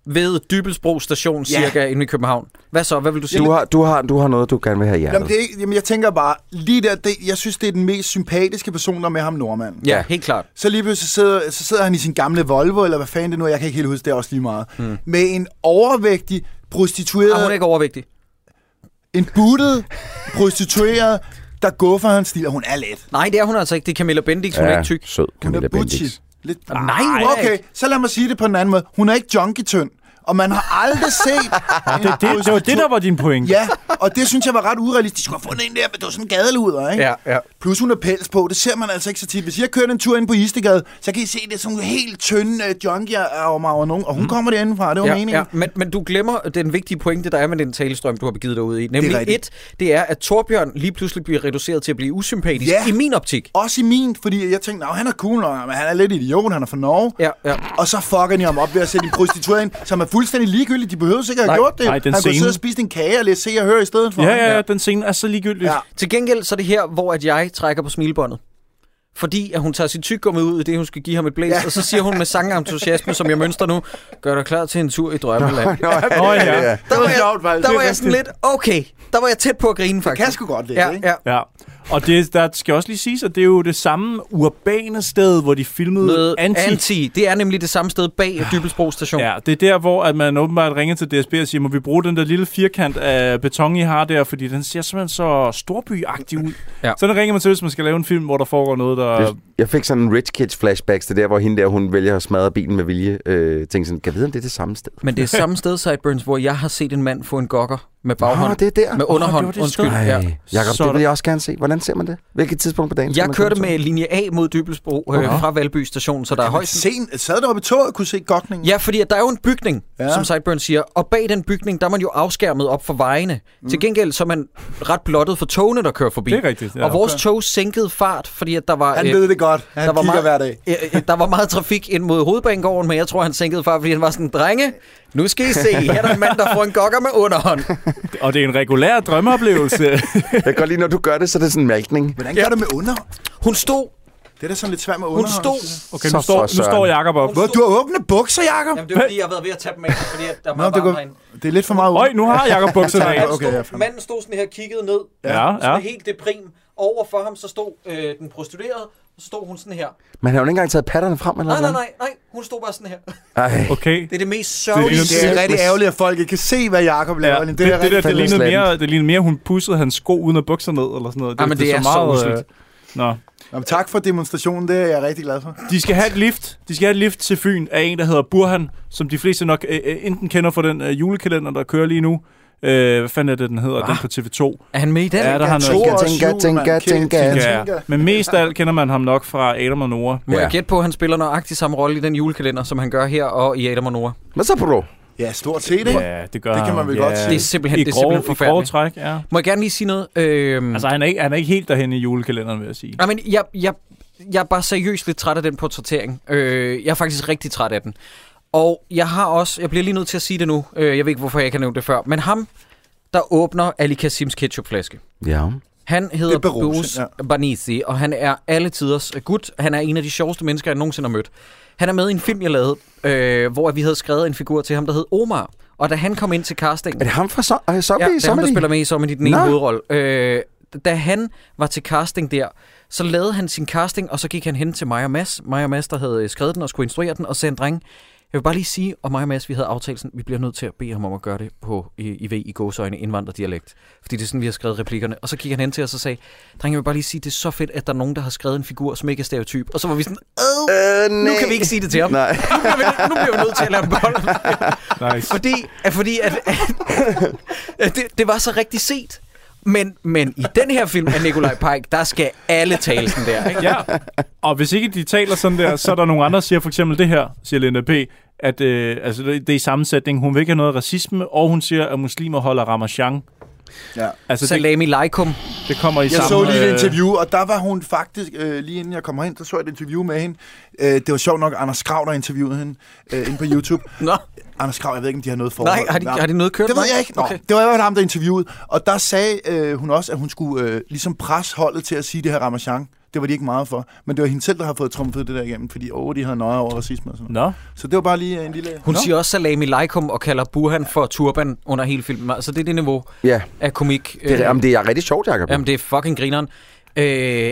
ved Dybelsbro station,
Ja.
cirka inde i København. Hvad så? Hvad vil du sige?
Du har, du, har, du har noget, du gerne vil have i hjertet.
jamen, det er, ikke- jamen, jeg tænker bare, lige der, det, jeg synes, det er den mest sympatiske person, der er med ham nordmanden.
Ja, helt klart.
Så lige pludselig sidder, så sidder han i sin gamle Volvo, eller hvad fanden det nu er, jeg kan ikke helt huske, det er også lige meget, mm. med en overvægtig
Ah, hun er
prostitueret,
ikke overvægtig.
en buttet prostitueret, der guffer hans stil, og hun er let.
Nej, det er hun altså ikke. Det er Camilla Bendix, hun er ikke tyk.
Sød,
Hun
Camilla
er Gucci.
Bendix.
Lidt...
Ah, nej, hun er
okay,
ikke.
så lad mig sige det på en anden måde. Hun er ikke junkie-tynd, og man har aldrig set...
Det, det, det var det, der var din pointe.
Ja, og det synes jeg var ret urealistisk. De skulle have fundet en der, men det var sådan en gadeluder, ikke?
Ja, ja.
Plus hun har pels på, det ser man altså ikke så tit. Hvis jeg kører en tur ind på Istegade, så kan I se, det er sådan nogle helt tynde uh, junkier over mig og nogen, og hun mm. kommer derindefra, det var ja, meningen. Ja.
Men, men du glemmer den vigtige pointe, der er med den talestrøm, du har begivet dig ud i. Nemlig det et,
rigtigt.
det er, at Torbjørn lige pludselig bliver reduceret til at blive usympatisk
Ja.
i min optik.
Også i min, fordi jeg tænkte, "Nå, han er cool nok, men han er lidt idiot, han er fra Norge.
Ja, ja.
Og så fucker de ham op ved at sætte en prostitueret ind, som er fuldstændig ligegyldig. De behøver sikkert
Nej,
have gjort det.
nej, den
han kunne
scene.
sidde og spise en kage og læse se og høre i stedet for.
Ja, ja, ja, den scene er så ligegyldig.
Ja.
Til gengæld så er det her, hvor at jeg trækker på smilbåndet. Fordi at hun tager sit tyggegummi ud i det, hun skal give ham et blæs, ja. og så siger hun med sangentusiasme, som jeg mønster nu, gør dig klar til en tur i drømmeland.
Nå, ja.
Der var,
var
jeg,
sjovt, faktisk.
der
Det
var
er
jeg sådan lidt, okay, der var jeg tæt på at grine faktisk.
kan sgu godt lidt,
ja,
ikke?
ja.
Ja, og det, der skal også lige siges, at det er jo det samme urbane sted, hvor de filmede
Med
anti.
anti. anti. Det er nemlig det samme sted bag Dybelsbro station.
Ja, det er der, hvor at man åbenbart ringer til DSB og siger, må vi bruge den der lille firkant af beton, I har der, fordi den ser simpelthen så storbyagtig ud.
Ja. Øh,
Ja. Sådan ringer man til, hvis man skal lave en film, hvor der foregår noget, der
Det- Jeg fik sådan en rich kids flashbacks til der, hvor hende der, hun vælger at smadre bilen med vilje. Øh, tænkte sådan, kan jeg vide, om det er det samme sted?
Men det er samme sted, Sideburns, hvor jeg har set en mand få en gokker med baghånd.
Nå, det er der.
Med underhånd,
Åh, det var det
undskyld.
sted.
Ja.
Ej, Jacob,
Så er
det vil
der-
jeg også gerne se. Hvordan ser man det? Hvilket tidspunkt på dagen? skal
Jeg
man
kørte
komme til?
med linje A mod Dybelsbro øh,
Okay.
fra Valby station, så der er højst...
Sen, sad deroppe i toget og kunne se gokningen.
Ja, fordi at der er jo en bygning, ja.
Ja.
som Sideburns siger, og bag den bygning, der er man jo afskærmet op for vejene. Mm. Til gengæld så er man ret blottet for togene, der kører forbi.
Det er rigtigt, ja.
og vores tog sænkede fart, fordi at der var...
Han
øh,
ved det godt. Han
der var,
kigger
meget,
hver dag.
Øh, øh, der var meget trafik ind mod hovedbanegården, men jeg tror, han sænkede fart, fordi han var sådan, drenge, nu skal I se, her er der en mand, der får en gokker med underhånd.
Og det er en regulær drømmeoplevelse.
Jeg kan godt lide, når du gør det, så er det sådan en mælkning.
Hvordan gør det med under?
Hun stod,
Det er da sådan lidt svært med under.
hun stod.
Okay,
Så
nu står,
for
nu
søren.
står Jacob op.
Hvor, du har åbne bukser, Jacob?
Jamen, det er fordi, jeg har været ved at tage dem af, fordi at der var
Nå, det, går, det er lidt for meget
Øj, nu har Jacob bukserne af.
Han
Okay,
stod,
ja,
okay,
fandme.
manden stod sådan her kigget ned,
Ja,
sådan
ja.
helt deprim. Over for ham, så stod øh, den prostituerede, og så stod hun sådan her.
Man har jo ikke engang taget patterne frem eller
Nej, nej,
noget.
nej, nej, hun stod bare sådan her.
Ej.
Okay.
Det er det mest
Det
sørgelige.
er
Det er rigtig ærgerligt, at folk ikke kan se, hvad Jacob laver.
Ja,
Ja,
det, det, der,
rigtig
det,
fandme
lignede
slattent.
mere, det lignede mere, hun pussede hans sko uden at bukser ned, eller sådan noget.
Ej, men det er så usselt.
øh, Nå.
Jamen, tak for demonstrationen, det er jeg rigtig glad for.
De skal have et lift. De skal have et lift til Fyn af en, der hedder Burhan, som de fleste nok øh, øh, enten kender fra den øh, julekalender, der kører lige nu. Øh, hvad fanden er det, den hedder? Den på TV2.
Er han med i den?
Ja, der har
To
noget.
Tænker, tænker,
og syv,
tænker,
mand. Kæft,
tænker.
tænker.
Ja, ja. Men mest af alt kender man ham nok fra Adam og Nora.
Må
Ja.
jeg gætte på, at han spiller nøjagtig samme rolle i den julekalender, som han gør her og i Adam og Nora?
Hvad så, bro?
Ja, stort set, ikke?
Ja, det gør
Det kan man
han.
vel
ja.
godt sige.
Det er simpelthen,
I
det er
grove-
simpelthen
I grove
forfærdeligt. Mm.
træk, ja.
Må jeg gerne lige sige noget? Øhm,
Altså, han er, ikke, han er ikke helt derhen i julekalenderen, vil jeg sige.
Nej, men jeg, jeg, jeg er bare seriøst lidt træt af den portrættering. Øh, jeg er faktisk rigtig træt af den. Og jeg har også, jeg bliver lige nødt til at sige det nu, øh, jeg ved ikke, hvorfor jeg ikke har nævnt det før, men ham, der åbner Ali Kasims ketchupflaske.
Ja.
Han hedder
Det er Barose,
Bruce ja.
ja.
Banisi, og han er alle tiders gut. Han er en af de sjoveste mennesker, jeg nogensinde har mødt. Han er med i en film, jeg lavede, øh, hvor vi havde skrevet en figur til ham, der hed Omar. Og da han kom ind til castingen...
Er det ham fra so- øh, Zombie?
Ja, det er ham, der
Zombie?
spiller med i Sommer i den ene
Nå.
hovedrolle. Øh, da han var til casting der, så lavede han sin casting, og så gik han hen til mig og Mads. Mig og Mads, der havde øh, skrevet den og skulle instruere den, og sagde en dreng, jeg vil bare lige sige, og mig og Mads, vi havde aftalt sådan, vi bliver nødt til at bede ham om at gøre det på i, i V i gåsøjne indvandrerdialekt. Fordi det er sådan, vi har skrevet replikkerne. Og så gik han hen til os og sagde, dreng, jeg vil bare lige sige, det er så fedt, at der er nogen, der har skrevet en figur, som ikke er stereotyp. Og så var vi sådan, "Ad,
Øh,
nu
nej.
kan vi ikke sige det til ham.
Nej.
Nu bliver vi, nu bliver vi nødt til at lade ham beholde
Nice.
fordi, at, fordi at, at, at det, det var så rigtig set. Men, men i den her film af Nikolaj Pike, der skal alle tale sådan der. Ikke?
Ja, og hvis ikke de taler sådan der, så er der nogle andre, der siger for eksempel det her, siger Linda P., at øh, altså, det det er i sammensætning. Hun vil ikke have noget racisme, og hun siger, at muslimer holder ramachan.
Ja.
Altså, det,
Salami laikum.
det kommer i
Jeg
samme...
så lige et
øh,
interview, og der var hun faktisk, øh, lige inden jeg kom herind, så så jeg et interview med hende. Øh, det var sjovt nok, Anders Krav, der interviewede hende øh, inde på YouTube.
Nå,
Anders Krav, jeg ved ikke, om de har noget forhold.
nej, har de, har de noget kørt?
Det ved
Nej.
jeg ikke. Nå, okay. Det var i hvert fald ham, der interviewede. Og der sagde øh, hun også, at hun skulle øh, ligesom presse holdet til at sige det her Ramachan. Det var de ikke meget for. Men det var hende selv, der har fået trumfet det der igennem, fordi åh, de havde nøje over racisme og sådan noget.
Nå, Altså,
Så det var bare lige øh, en lille...
Hun
Nå.
siger også salami laikum og kalder Burhan for turban under hele filmen. Altså, det er det niveau
Ja,
af komik.
det,
øh,
er, jamen, det er rigtig sjovt, Jacob.
Jamen, det er fucking grineren. Øh,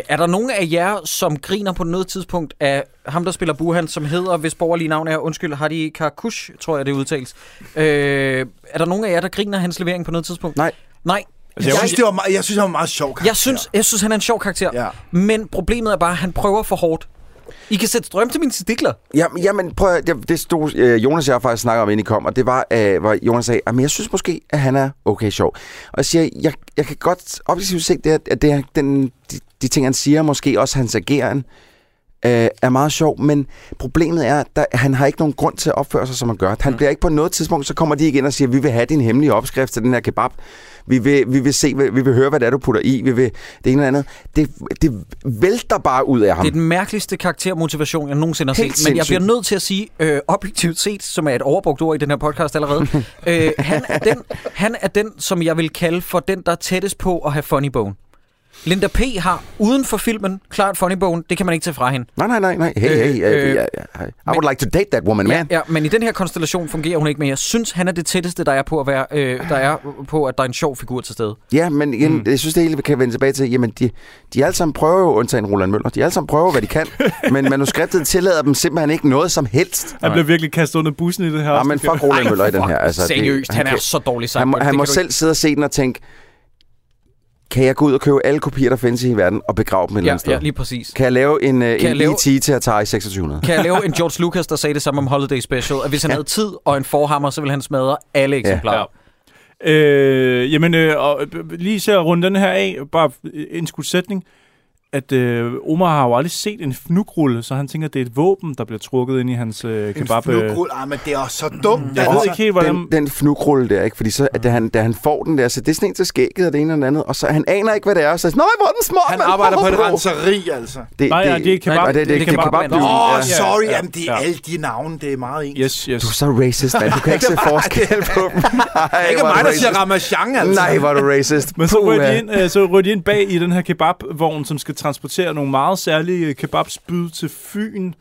er der nogen af jer, som griner på noget tidspunkt af ham, der spiller Burhan, som hedder, hvis borgerlige navn er, undskyld, Hadi Karakush, tror jeg, det udtales. Øh, er der nogen af jer, der griner af hans levering på noget tidspunkt?
Nej.
Nej.
Altså,
Jeg,
Jeg,
synes, det var meget, jeg synes, han var meget sjov. karakter.
jeg, synes, jeg synes, han er en sjov karakter.
Ja.
Men problemet er bare, at han prøver for hårdt. I kan sætte strøm til mine testikler.
Jamen, jamen prøv at, jeg- det stod øh, Jonas og jeg faktisk snakker om, inden I kom, og det var, øh, hvor Jonas sagde, at jeg synes måske, at han er okay sjov. Og jeg siger, jeg, jeg kan godt objektivt se, det, at- at det, er den, de, de ting, han siger, måske også hans ageren, øh, er meget sjov, men problemet er, at der, han har ikke nogen grund til at opføre sig, som han gør. Han
Mm.
bliver ikke på noget tidspunkt, så kommer de igen og siger, vi vil have din hemmelige opskrift til den her kebab. Vi vil, vi vil se, hvad- vi vil høre, hvad det er, du putter i. Vi vil det ene eller andet. Det, det vælter bare ud af ham.
Det er den mærkeligste karaktermotivation, jeg nogensinde har set.
Helt
Men jeg
sindssygt.
bliver nødt til at sige, øh, objektivt set, som er et overbrugt ord i den her podcast allerede, øh, han, er den, han er den, som jeg vil kalde for den, der er tættest på at have funny bone. Linda P. har uden for filmen klart funny bone. Det kan man ikke tage fra hende.
Nej, nej, nej, nej. Hey,
Øh,
hey, hey,
øh,
hey, hey, hey. I would like to date that woman, man.
Ja, ja, men i den her konstellation fungerer hun ikke, men jeg synes, han er det tætteste, der er på, at, være, øh, der er på, at der er en sjov figur til stede.
Ja, men igen, mm. jeg synes, det hele vi kan vende tilbage til, jamen, de, de alle sammen prøver jo, undtagen Roland Møller, de alle sammen prøver, hvad de kan, men manuskriptet tillader dem simpelthen ikke noget som helst.
han blev virkelig kastet under bussen i det her.
Ja, men fuck Roland Møller i den her. Altså,
Seriøst,
det,
han, er
kan-
så dårlig
han,
sammen.
må, han må selv sidde og se den og tænke, Kan jeg gå ud og købe alle kopier, der findes i hele verden, og begrave dem et eller
Ja,
andet sted?
ja, lige præcis.
Kan jeg lave en, øh,
jeg
en
lave-
lave... E.T. til Atari 2600?
Kan jeg lave en George Lucas, der sagde det samme om Holiday Special, at hvis han havde tid og en forhammer, så ville han smadre alle eksemplarer.
Ja. Øh, jamen, øh, og, øh, lige til at runde den her af, bare øh, en skudt sætning, at øh, Omar har jo aldrig set en fnugrulle, så han tænker, at det er et våben, der bliver trukket ind i hans øh,
En
kebab. øh.
fnugrulle. Ah, men det er også så dumt.
Jeg ved ikke helt, hvordan...
Den, den fnugrulle der, ikke? Fordi så, at da han, da han får den der, så det er sådan en til skægget og det ene og det andet, og så han aner ikke, hvad det er, og så er sådan, nej, hvor er den små,
Han
mand!
arbejder på et
Wow.
renseri, altså.
Det,
Nej, nej, det er kebab.
Nej, det, det, det, det er kebab.
Åh,
Åh, oh,
Ja,
sorry,
ja,
jamen det er
ja.
alle de navne, det er meget ens.
Yes, yes.
Du er så racist, mand. Du kan ikke se forskel på dem. Ej,
Det er ikke
hvor er
mig,
du
der siger
racist.
Ramachan, altså.
Nej, hvor er du racist.
Men så
Puh,
ryger, de
ja.
ind, øh, så ryger de ind bag i den her kebabvogn, som skal transportere nogle meget særlige kebabspyd til Fyn.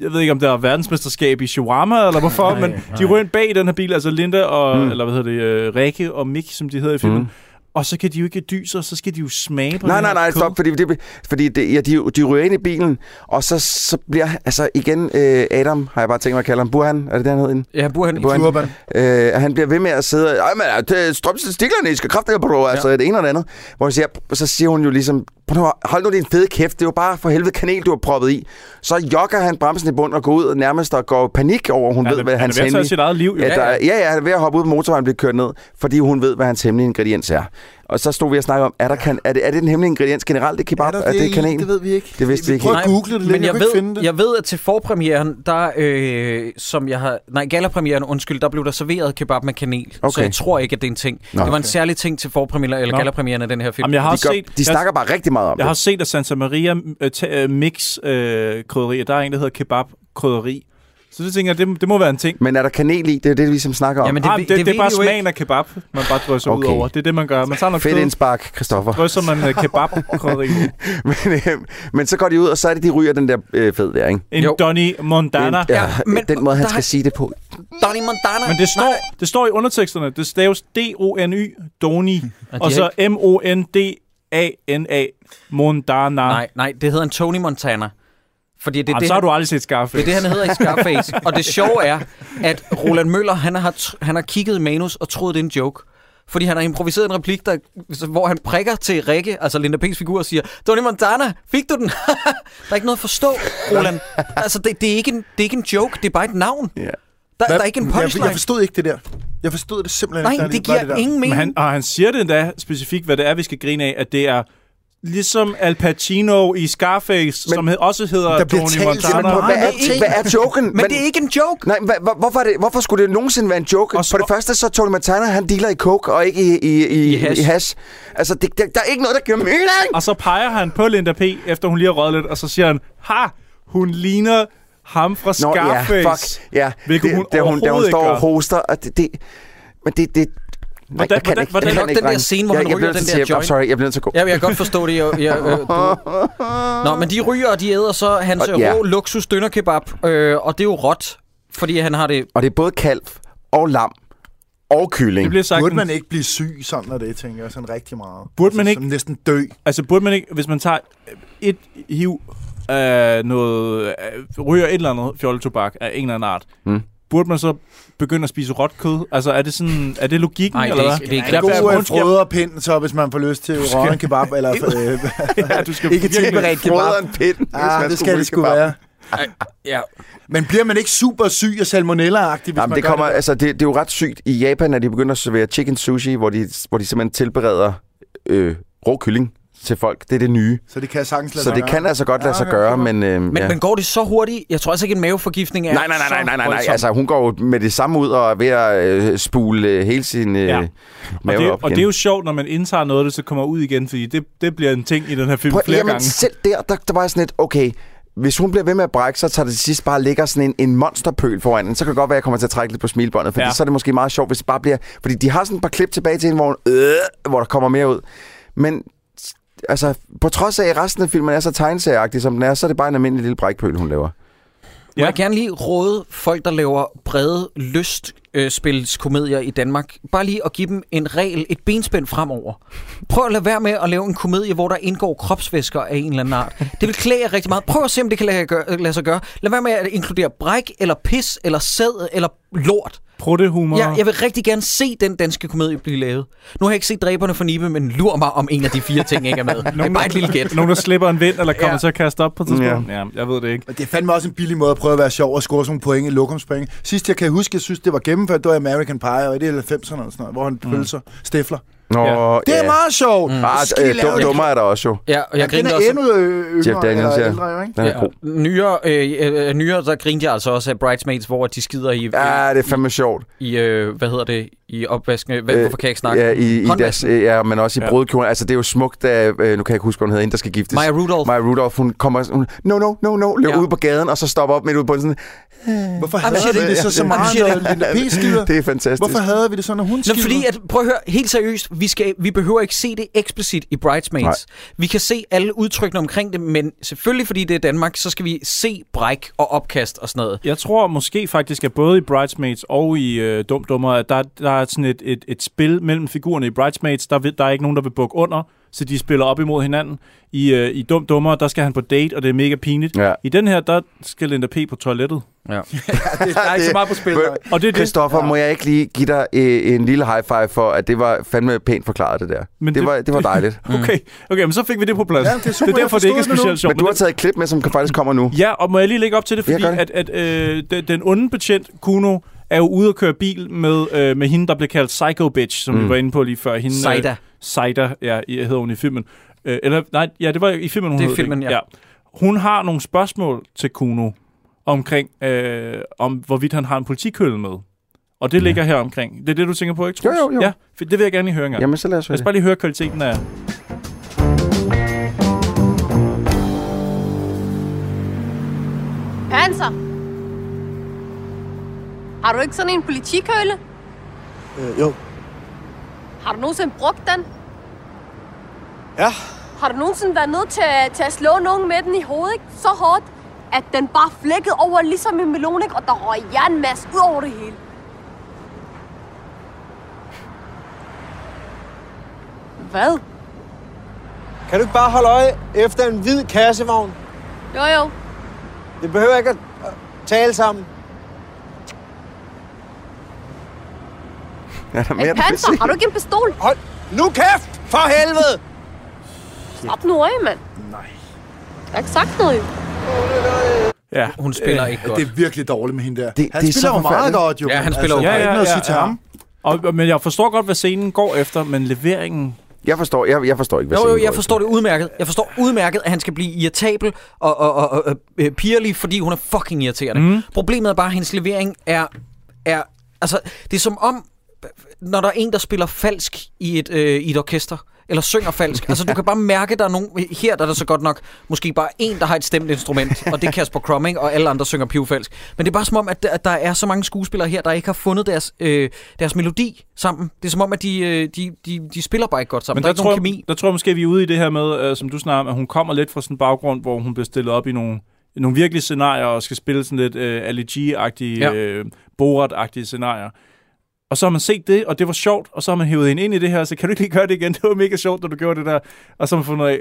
Jeg ved ikke, om der er verdensmesterskab i shawarma, eller hvorfor, men de ryger ind bag i den her bil, altså Linda og, mm. eller hvad hedder det, øh, Rikke og Mik, som de hedder i filmen. Mm. Og så kan de jo ikke dyse, og så skal de jo smage på
Nej,
den
nej,
her
nej,
kød.
stop, fordi, det, fordi det, ja, de, de ryger ind i bilen, og så, så bliver, altså igen, øh, Adam, har jeg bare tænkt mig at kalde ham, Burhan, er det det, han hed? inden?
Ja, burde han
Burhan.
Turban.
Øh, han bliver ved med at sidde, ej, men øh, det er strømstiklerne, I skal kraftigt på, altså det ene og det andet. Hvor jeg siger, så siger hun jo ligesom, "Prøv nu at- hold nu din fede kæft, det er jo bare for helvede kanel, du har proppet i. Så jogger han bremsen i bund og går ud og nærmest og går i panik over, hun
Han,
ved, hvad
han, han
hans
er ved at tage
hemmelige...
sit eget liv, jo.
Ja, der, ja, ja, han er ved at hoppe ud på motorvejen og blive kørt ned, fordi hun ved, hvad hans hemmelige ingrediens er. Og så stod vi og snakkede om, er, der kan, er, det, er det den hemmelige ingrediens generelt, det kebab? Er, er det,
i?
kanel?
Det ved vi ikke.
Det vidste vi ikke
prøver
helt.
at google det lidt,
men jeg,
kunne
ved,
ikke finde det.
jeg ved, at til forpremieren, der, øh, som jeg har, nej, gallapremieren, undskyld, der blev der serveret kebab med kanel. Så
Okay.
jeg tror ikke, at det er en ting. Nå,
Nå,
det var en
okay.
særlig ting til forpremieren, eller
Nå.
gallapremieren af den her film.
Jamen, jeg har
De,
også
gør,
set...
de
jeg-
snakker bare rigtig meget om
Jeg
det.
har set, at Santa Maria øh, ta- øh, Mix øh, krydderier, der er en, der hedder kebab krydderi. Så det tænker jeg, det, det må være en ting.
Men er der kanel i? Det er det, vi ligesom snakker om.
Jamen,
Jamen,
det-
Det, ah, men
det
det, det,
ved
det er bare
vi jo ikke.
smagen af kebab, man bare drysser okay.
Okay.
ud over. Det er det, man gør. Man tager noget
Fedt
kød,
indspark, Christoffer.
drysser man øh, kebab krydderi.
men, øh, men så går de ud, og så er det, de ryger den der øh, fed der, ikke?
En
Jo.
Donny Montana.
Den, ja,
Ja, men-
den måde,
der
han
er-
skal sige det på.
Donny Montana.
Men det står, det står i underteksterne. Det staves D-O-N-Y, Doni, og så M-O-N-D-A-N-A, Montana.
Nej, nej, det hedder en Tony Montana. Fordi det er
Jamen,
det,
så har
han-
du aldrig set
Det er
Scarface.
det, han hedder i Scarface. og det sjove er, at Roland Møller, han har, tr- han har kigget i manus og troet, det er en joke. Fordi han har improviseret en replik, der, hvor han prikker til Rikke, altså Linda P's figur, og siger, Donny Montana, fik du den? der er ikke noget at forstå, Roland. Altså, det, det, er ikke en, det er ikke en joke, det er bare et navn.
Ja.
Der,
Hvad-
der er ikke en
jeg, jeg
punchline.
forstod ikke det der. Jeg forstod det simpelthen ikke.
Nej,
da jeg
det
lige var
giver
der.
ingen
Men
mening.
han, og han siger det endda specifikt, hvad det er, vi skal grine af, at det er ligesom Al Pacino i Scarface, men, som hed, også hedder
der bliver
Tony
talt
Montana.
så
Hvad
meget.
er,
det er ikke-
hvad er joken?
Men det er ikke en joke.
Nej, hva, hva, hvorfor, er det, hvorfor skulle det nogensinde være en joke?
Og
Og
så-
For det første, så Tony Montana, han dealer i coke og ikke i, i, i,
I
I,
hash.
hash. i hash. Altså, det, der, der er ikke noget, der giver mening!
Og så peger han på Linda P., efter hun lige har røget lidt, og så siger han, ha, hun ligner ham fra
Nå,
Scarface.
ja, fuck. Ja,
Hvilket hun
da hun, da hun
overhovedet
står
ikke
og
gør.
hoster, og det... det men det... det Nej,
Hvordan-
jeg kan
hvordan-
ikke,
hvordan-
jeg
Det er
kan
nok
ikke,
den der
drenge.
scene, hvor
jeg,
han
jeg bliver
ryger
nødt
den
til
der
at sige, I'm
joint.
sorry, jeg bliver nødt til at gå.
Ja, men jeg kan godt forstå det. Jeg, jeg, øh, du... Nå, men de ryger, og de æder så hans
Og- ja.
rå luksus dønderkebab, øh, og det er jo råt, fordi han har det
Og det er både kalv og lam og kylling.
Det bliver sagt,
Burde man ikke blive syg sådan når det, tænker jeg sådan rigtig meget.
Burde man
Altså,
ikke-
Sådan næsten dø.
altså burde man ikke, hvis man tager et hiv af noget, øh, ryger et eller andet fjolletobak af en eller anden art,
Mm.
burde man så begynde at spise råt kød? Altså er det sådan, er det logikken,
Nej, det er
eller
ikke- det er ikke-
hvad?
Jeg
God
Derfor-
af
undskyld,
frøder pind, så hvis man får lyst til råden kebab, eller øh,
ja, du skal
ikke
virkelig-
tilberedt kebab.
en pind. hvis
Ah,
man
det
skulle
skal det sgu
kebab.
være.
Ja,
Men bliver man ikke super syg af salmonella-agtig, hvis
Jamen,
man
det,
gør
kommer,
det?
altså, det, det er jo ret sygt. I Japan er de begyndt at servere chicken sushi, hvor de, hvor de simpelthen tilbereder øh, rå kylling til folk. Det er det nye.
Så det kan sagtens lade
Så
sig
det
gøre.
kan altså godt lade
Ja,
sig
okay,
gøre,
super.
men... Øh,
men,
ja.
ja. men går det så hurtigt? Jeg tror altså ikke, en maveforgiftning er
Nej, nej, nej, nej,
så
nej, nej, nej.
voldsom.
Altså, hun går jo med det samme ud og er ved at øh, spule øh, hele sin øh,
Ja.
ja.
Og Og
mave
det,
op
og
igen.
det er jo sjovt, når man indtager noget af det, så kommer ud igen, fordi det, det bliver en ting i den her film
Prøv,
flere
jamen,
gange.
selv der, der, der var jeg sådan lidt, okay, hvis hun bliver ved med at brække, så tager det til sidst bare og ligger sådan en, en monsterpøl foran hende. Så kan det godt være, at jeg kommer til at trække lidt på smilbåndet, fordi
Ja.
ja. så er det måske meget sjovt, hvis det bare bliver... Fordi de har sådan et par klip tilbage til hende, hvor, hun, øh, hvor der kommer mere ud. Men s- altså, på trods af, at resten af filmen er så tegneserieagtig, som den er, så er det bare en almindelig lille brækpøl, hun laver.
Må
Ja.
jeg gerne lige råde folk, der laver brede lystspilskomedier i Danmark, bare lige at give dem en regel, et benspænd fremover. Prøv at lade være med at lave en komedie, hvor der indgår kropsvæsker af en eller anden art. Det vil klæde jer rigtig meget. Prøv at se, om det kan lade, gøre, lade sig gøre. Lad være med at inkludere bræk, eller pis, eller sæd, eller lort.
pruttehumor.
Ja, jeg vil rigtig gerne se den danske komedie blive lavet. Nu har jeg ikke set Dræberne for Nibe, men lur mig, om en af de fire ting ikke er med. Det er bare et lille gæt.
Nogen, der slipper en vind, eller kommer
Ja.
ja. til at kaste op på et tidspunkt. Ja. ja. jeg ved det ikke.
Og det er fandme også en billig måde at prøve at være sjov og score sådan nogle point i lokumspenge. Sidst jeg kan huske, jeg synes, det var gennemført, det var American Pie, og i det 90'erne eller sådan noget, hvor han pølser stifler.
Nå,
Ja.
Det er
Mm. ja.
meget sjovt! Mm.
Bare, øh, dum, dummer er der også jo.
Ja, og jeg
den
griner
er
også.
endnu øh, yngre,
Jeff Daniels,
eller
ja.
ældre, jo, ikke?
Den er god.
Nyere, øh, øh, nyere, der grinte jeg altså også af Bridesmaids, hvor de skider i,
Ja, det er fandme sjovt.
i øh, hvad hedder det, i opvasken. Hvad,
Øh,
hvorfor kan jeg ikke snakke?
Ja, i, i deres,
Håndvasken.
øh, ja, men også i
Ja.
brudekjolen. Altså, det er jo smukt, da, øh, nu kan jeg ikke huske, hvad hun hedder, hende, der skal giftes.
Maya Rudolph.
Maja Rudolph, hun kommer hun, no, no, no, no, løber
Ja.
ja. ud på gaden, og så stopper op midt ude på den sådan, Mm.
Hvorfor
Jamen,
havde
shit,
vi det så, så
Jamen,
meget,
shit,
når Linda P. skider?
det er fantastisk.
Hvorfor havde vi det så, når hun
Nå,
skider?
fordi at, prøv at høre, helt seriøst, vi, skal, vi behøver ikke se det eksplicit i Bridesmaids. Nej.
Nej.
Vi kan se alle udtrykkene omkring det, men selvfølgelig fordi det er Danmark, så skal vi se bræk og opkast og sådan noget.
Jeg tror måske faktisk, at både i Bridesmaids og i øh, Dum Dummer, at der, der er sådan et, et, et spil mellem figurerne i Bridesmaids. Der, vil, der er ikke nogen, der vil bukke under, så de spiller op imod hinanden. I, øh, i Dum Dummer, der skal han på date, og det er mega pinligt.
Ja.
I den her, der skal Linda P. på toilettet.
Ja.
Der er ikke så meget på spil. nej.
Og det er det.
Christoffer, må jeg ikke lige give dig øh, en lille high five for, at det var fandme pænt forklaret, det der.
Men
Men det,
det-
det, var, det var dejligt.
Okay, okay, men så fik vi det på plads.
Ja, det er
det
super,
er
jeg
derfor, det ikke er
forstod det nu.
specielt sjovt.
Men du har taget et klip med, som faktisk kommer nu.
Ja, og må jeg lige lægge op til det,
Ja,
fordi
gør det.
at, at øh, den, den onde betjent, Kuno, er jo ude at køre bil med, øh, med hende, der blev kaldt Psycho Bitch, som mm. vi var inde på lige før. Hende,
Saida.
Øh, Saida, ja, i- hedder hun i filmen. Øh, eller, nej, ja, det var i filmen, hun
Det er
hed
filmen,
ikke?
ja.
Hun har nogle spørgsmål til Kuno omkring, øh, om hvorvidt han har en politikølle med. Og det ja. ligger her omkring. Det er det, du tænker på, ikke, Troels?
Jo, jo, jo.
Ja, for det vil jeg gerne lige høre engang.
Jamen, så lad os
Lad
høre
os
det.
bare lige høre kvaliteten af...
Panser! Har du ikke sådan en politikølle?
Øh, jo.
Har du nogensinde brugt den?
Ja.
Har du nogensinde været nødt til, til at slå nogen med den i hovedet ikke? så hårdt, at den bare flækkede over ligesom en melon, ikke? og der røg jernmasse ud over det hele? Hvad?
Kan du ikke bare holde øje efter en hvid kassevogn?
Jo jo,
Vi behøver ikke at at tale sammen.
Ja, der er mere,
en
du vil
panser,
se.
har du ikke en pistol?
Hold nu kæft! For helvede!
Slap nu af, mand. Nej. Jeg har ikke sagt noget, jo.
Ja,
Hun spiller øh, ikke godt.
Det er virkelig dårligt med hende der. Det, han
det er
spiller
så
jo meget
forfærdeligt.
godt, jo.
Ja, han
men
spiller jo
altså, der er ikke noget at sige til ham.
Og, og- men jeg forstår godt, hvad scenen går efter, men leveringen...
Jeg forstår, jeg, jeg forstår ikke, hvad
Jo, jo,
scenen
jeg
går
forstår det udmærket. Jeg forstår udmærket, at han skal blive irritabel og, og, og, og, og øh, pigerlig, fordi hun er fucking irriterende. Mm. Problemet er bare, at hendes levering er, er... Altså, det er som om, når der er en, der spiller falsk i et, øh, i et orkester, eller synger falsk. Altså, du kan bare mærke, der er nogen... Her der er der så godt nok måske bare en, der har et stemt instrument, og det er Kasper Cromming, og alle andre synger pivfalsk. Men det er bare som om, at der, at der er så mange skuespillere her, der ikke har fundet deres, øh, deres melodi sammen. Det er som om, at de, øh, de, de, de spiller bare ikke godt sammen. Men der, er ikke
tror,
nogen kemi.
jeg, der tror jeg måske, vi er ude i det her med, øh, som du snakker om, at hun kommer lidt fra sådan en baggrund, hvor hun bliver stillet op i nogle, i nogle virkelige scenarier, og skal spille sådan lidt øh, Ali G-agtige,
Ja.
ja. øh, Borat-agtige scenarier. Og så har man set det, og det var sjovt, og så har man hævet hende ind i det her, så kan du ikke lige gøre det igen? Det var mega sjovt, da du gjorde det der. Og så har man fundet ud af,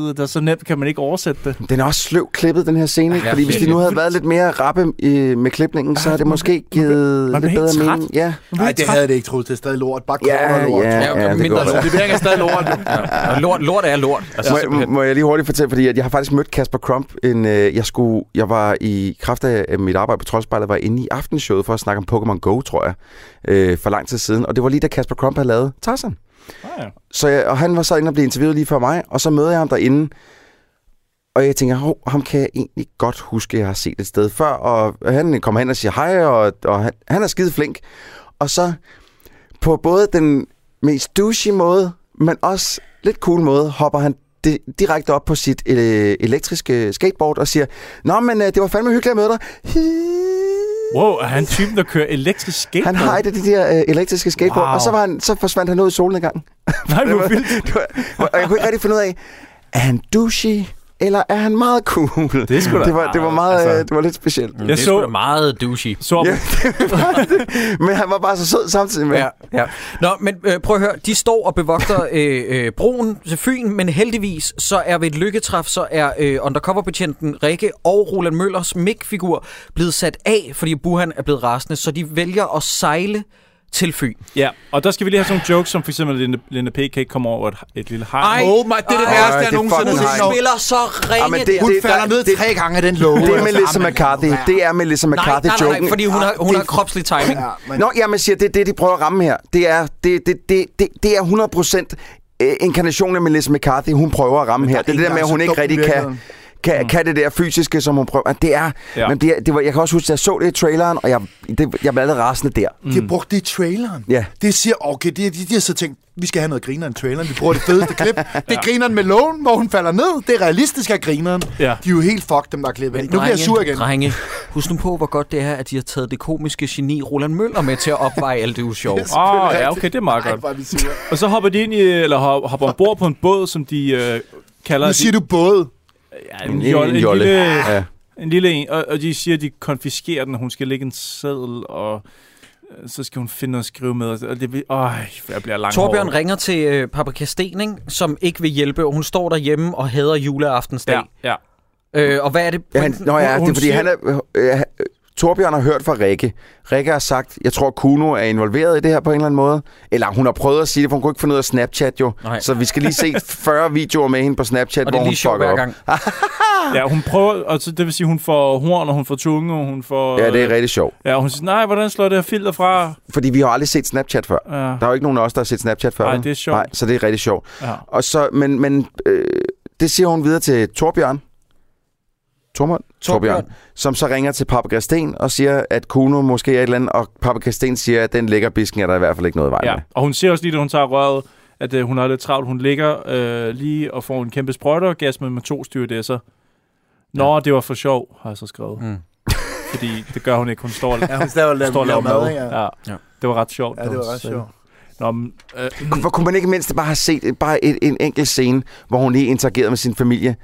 øh, det er så nemt, kan man ikke oversætte det.
Den er også sløv klippet, den her scene. ikke?
Ja,
Fordi hvis de
virkelig.
nu havde været lidt mere rappe øh, med klipningen, så havde det måske givet
man
lidt
bliver
bedre
helt træt.
mening. Ja,
Nej, det havde det ikke troet. Det er stadig lort. Bare
ja,
kortere lort.
ja,
Ja, okay,
ja, det
mindre
går.
lort.
Leveringen er stadig lort. jo.
Ja. Og Lort, lort er lort. Altså,
Må, jeg, må jeg lige hurtigt fortælle, fordi at jeg har faktisk mødt Kasper Crump. En, øh, jeg, skulle, jeg var i kraft af af mit arbejde på Troldspejlet, var jeg inde i aftenshowet for at snakke om Pokémon Go, tror jeg, øh, for lang tid siden. Og det var lige da Kasper Crump havde lavet Tarzan.
Ah, ja.
Så jeg, og han var så inde og blev interviewet lige før mig, og så møder jeg ham derinde. Og jeg tænker, hov, ham kan jeg egentlig godt huske, jeg har set et sted før. Og han kommer hen og siger hej, og, og han, han er skide flink. Og så på både den mest douchey måde, men også lidt cool måde, hopper han di- direkte op på sit øh, elektriske skateboard og siger, Nå, men øh, det var fandme hyggeligt at møde dig.
Wow, er han typen, der kører elektrisk skateboard?
Han har et af de der øh, elektriske skateboard,
Wow.
wow. og så, var han, så forsvandt han ud i solnedgangen.
Nej, hvor
Det var-
vildt.
det var, og jeg kunne ikke rigtig finde ud af, er han douchey? eller er han meget cool?
Det er sgu da-
det var, det var, meget,
Altså-
altså... det var lidt specielt.
Jeg det er
så-
så... meget douchey.
Så
Ja, det var det. Men han var bare så sød samtidig med.
Ja, ja. Nå, men øh, prøv at høre, de står og bevogter øh, øh, broen til Fyn, men heldigvis så er ved et lykketræf, så er øh, undercoverbetjenten Rikke og Roland Møllers MIG-figur blevet sat af, fordi Burhan er blevet rasende, så de vælger at sejle til Fyn.
Ja, og der skal vi lige have sådan nogle jokes, som for eksempel Linda, Linda P. kan ikke komme over et, et lille hej.
oh my, det er det
værste, jeg nogensinde
Hun
fucking har set.
spiller så ringe
men
ja,
det-
det, der.
Hun
det-
falder
der-
ned
det-
tre gange af den låge. Altså,
Det er med Melissa McCarthy. Det er Melissa
Nej, nej, nej, nej,
McCarthy-joken.
fordi hun har, hun
det-
har kropslig timing.
Ja, men
Nå, jamen jeg siger, det er det, de prøver at ramme her. Det er, det, det, det, det, det er 100% øh, inkarnationen af Melissa McCarthy, hun prøver at ramme her. Det er det
ikke
der med, at
engang
hun
så
ikke
dumt i
rigtig kan,
virkeligheden.
kan, kan det der fysiske, som hun prøver. Det er,
Ja.
ja. men det, er- det var, jeg kan også huske, at jeg så det i traileren, og jeg, det, jeg blev allerede rasende der.
de har brugt det i traileren.
Ja.
Det siger, okay, de, de, de har så tænkt, vi skal have noget grineren i traileren. Vi bruger det fedeste klip. Det er grineren med lågen, hvor hun falder ned. Det er realistisk af grineren.
Ja.
De er jo helt fucked, dem der har klippet. det. Nu bliver jeg sur igen.
Drenge, husk nu på, hvor godt det er, at de har taget det komiske geni Roland Møller med til at opveje alt det usjove.
Åh, oh, ja, okay, det er meget
Ej,
godt.
hvor er vi sure.
Og så hopper de ind i, eller hop- hopper ombord på en båd, som de øh, kalder...
Nu siger du både.
ja, en, jolle, en,
jolle.
lille,
Ja.
en lille en. Og, og de siger, at de konfiskerer den, og hun skal lægge en seddel, og øh, så skal hun finde noget at skrive med. Og det, bliver- øj, jeg bliver langt
Torbjørn ringer til øh, Paprika Sten, ikke? som ikke vil hjælpe, og hun står derhjemme og hader
Ja,
juleaftensdag.
ja.
Ja. Øh, og hvad er det?
Ja, han,
pointen?
nå ja,
hun-
det
hun
er fordi, han er... Øh, øh, Torbjørn har hørt fra Rikke. Rikke har sagt, jeg tror, Kuno er involveret i det her på en eller anden måde. Eller hun har prøvet at sige det, for hun kunne ikke finde ud af Snapchat jo.
Nej.
Så vi skal lige se 40 videoer med hende på Snapchat,
og det
hvor
er
hun
lige sjovt
fucker
hver
op.
gang.
ja, hun prøver, og så, det vil sige, hun får horn, og hun får tunge, og hun får...
Ja, det er
øh,
rigtig sjovt.
Ja, og hun siger, nej, hvordan slår det her filter fra?
Fordi vi har aldrig set Snapchat før.
Ja.
Der er jo ikke nogen af os, der har set Snapchat før.
Nej,
vel?
det er sjovt.
Nej, så det er rigtig sjovt.
Ja.
Og så, men, men øh, det siger hun videre til Torbjørn. Tormund?
Torbjørn.
Som så ringer til Paprika Sten og siger, at Kuno måske er et eller andet, og Paprika Sten siger, at den lækker bisken er der i hvert fald ikke noget i vejen
Ja,
med.
og hun ser også lige, da hun tager røret, at øh, hun har lidt travlt. Hun ligger øh, lige og får en kæmpe sprøjteorgasme med to styrdesser. Nå, ja. det var for sjov, har jeg så skrevet. Mm.
Mm.
Fordi det gør hun ikke. Hun står,
Ja, hun står og laver-
står og laver
laver
mad.
mad, ja.
Ja.
Ja.
Det var ret sjovt.
Ja,
da
det
hun
var ret
sagde
sjovt.
det. Nå, men, øh,
Hvor kunne man ikke mindst bare have set et- bare et, en enkelt scene, hvor hun lige interagerede med sin familie?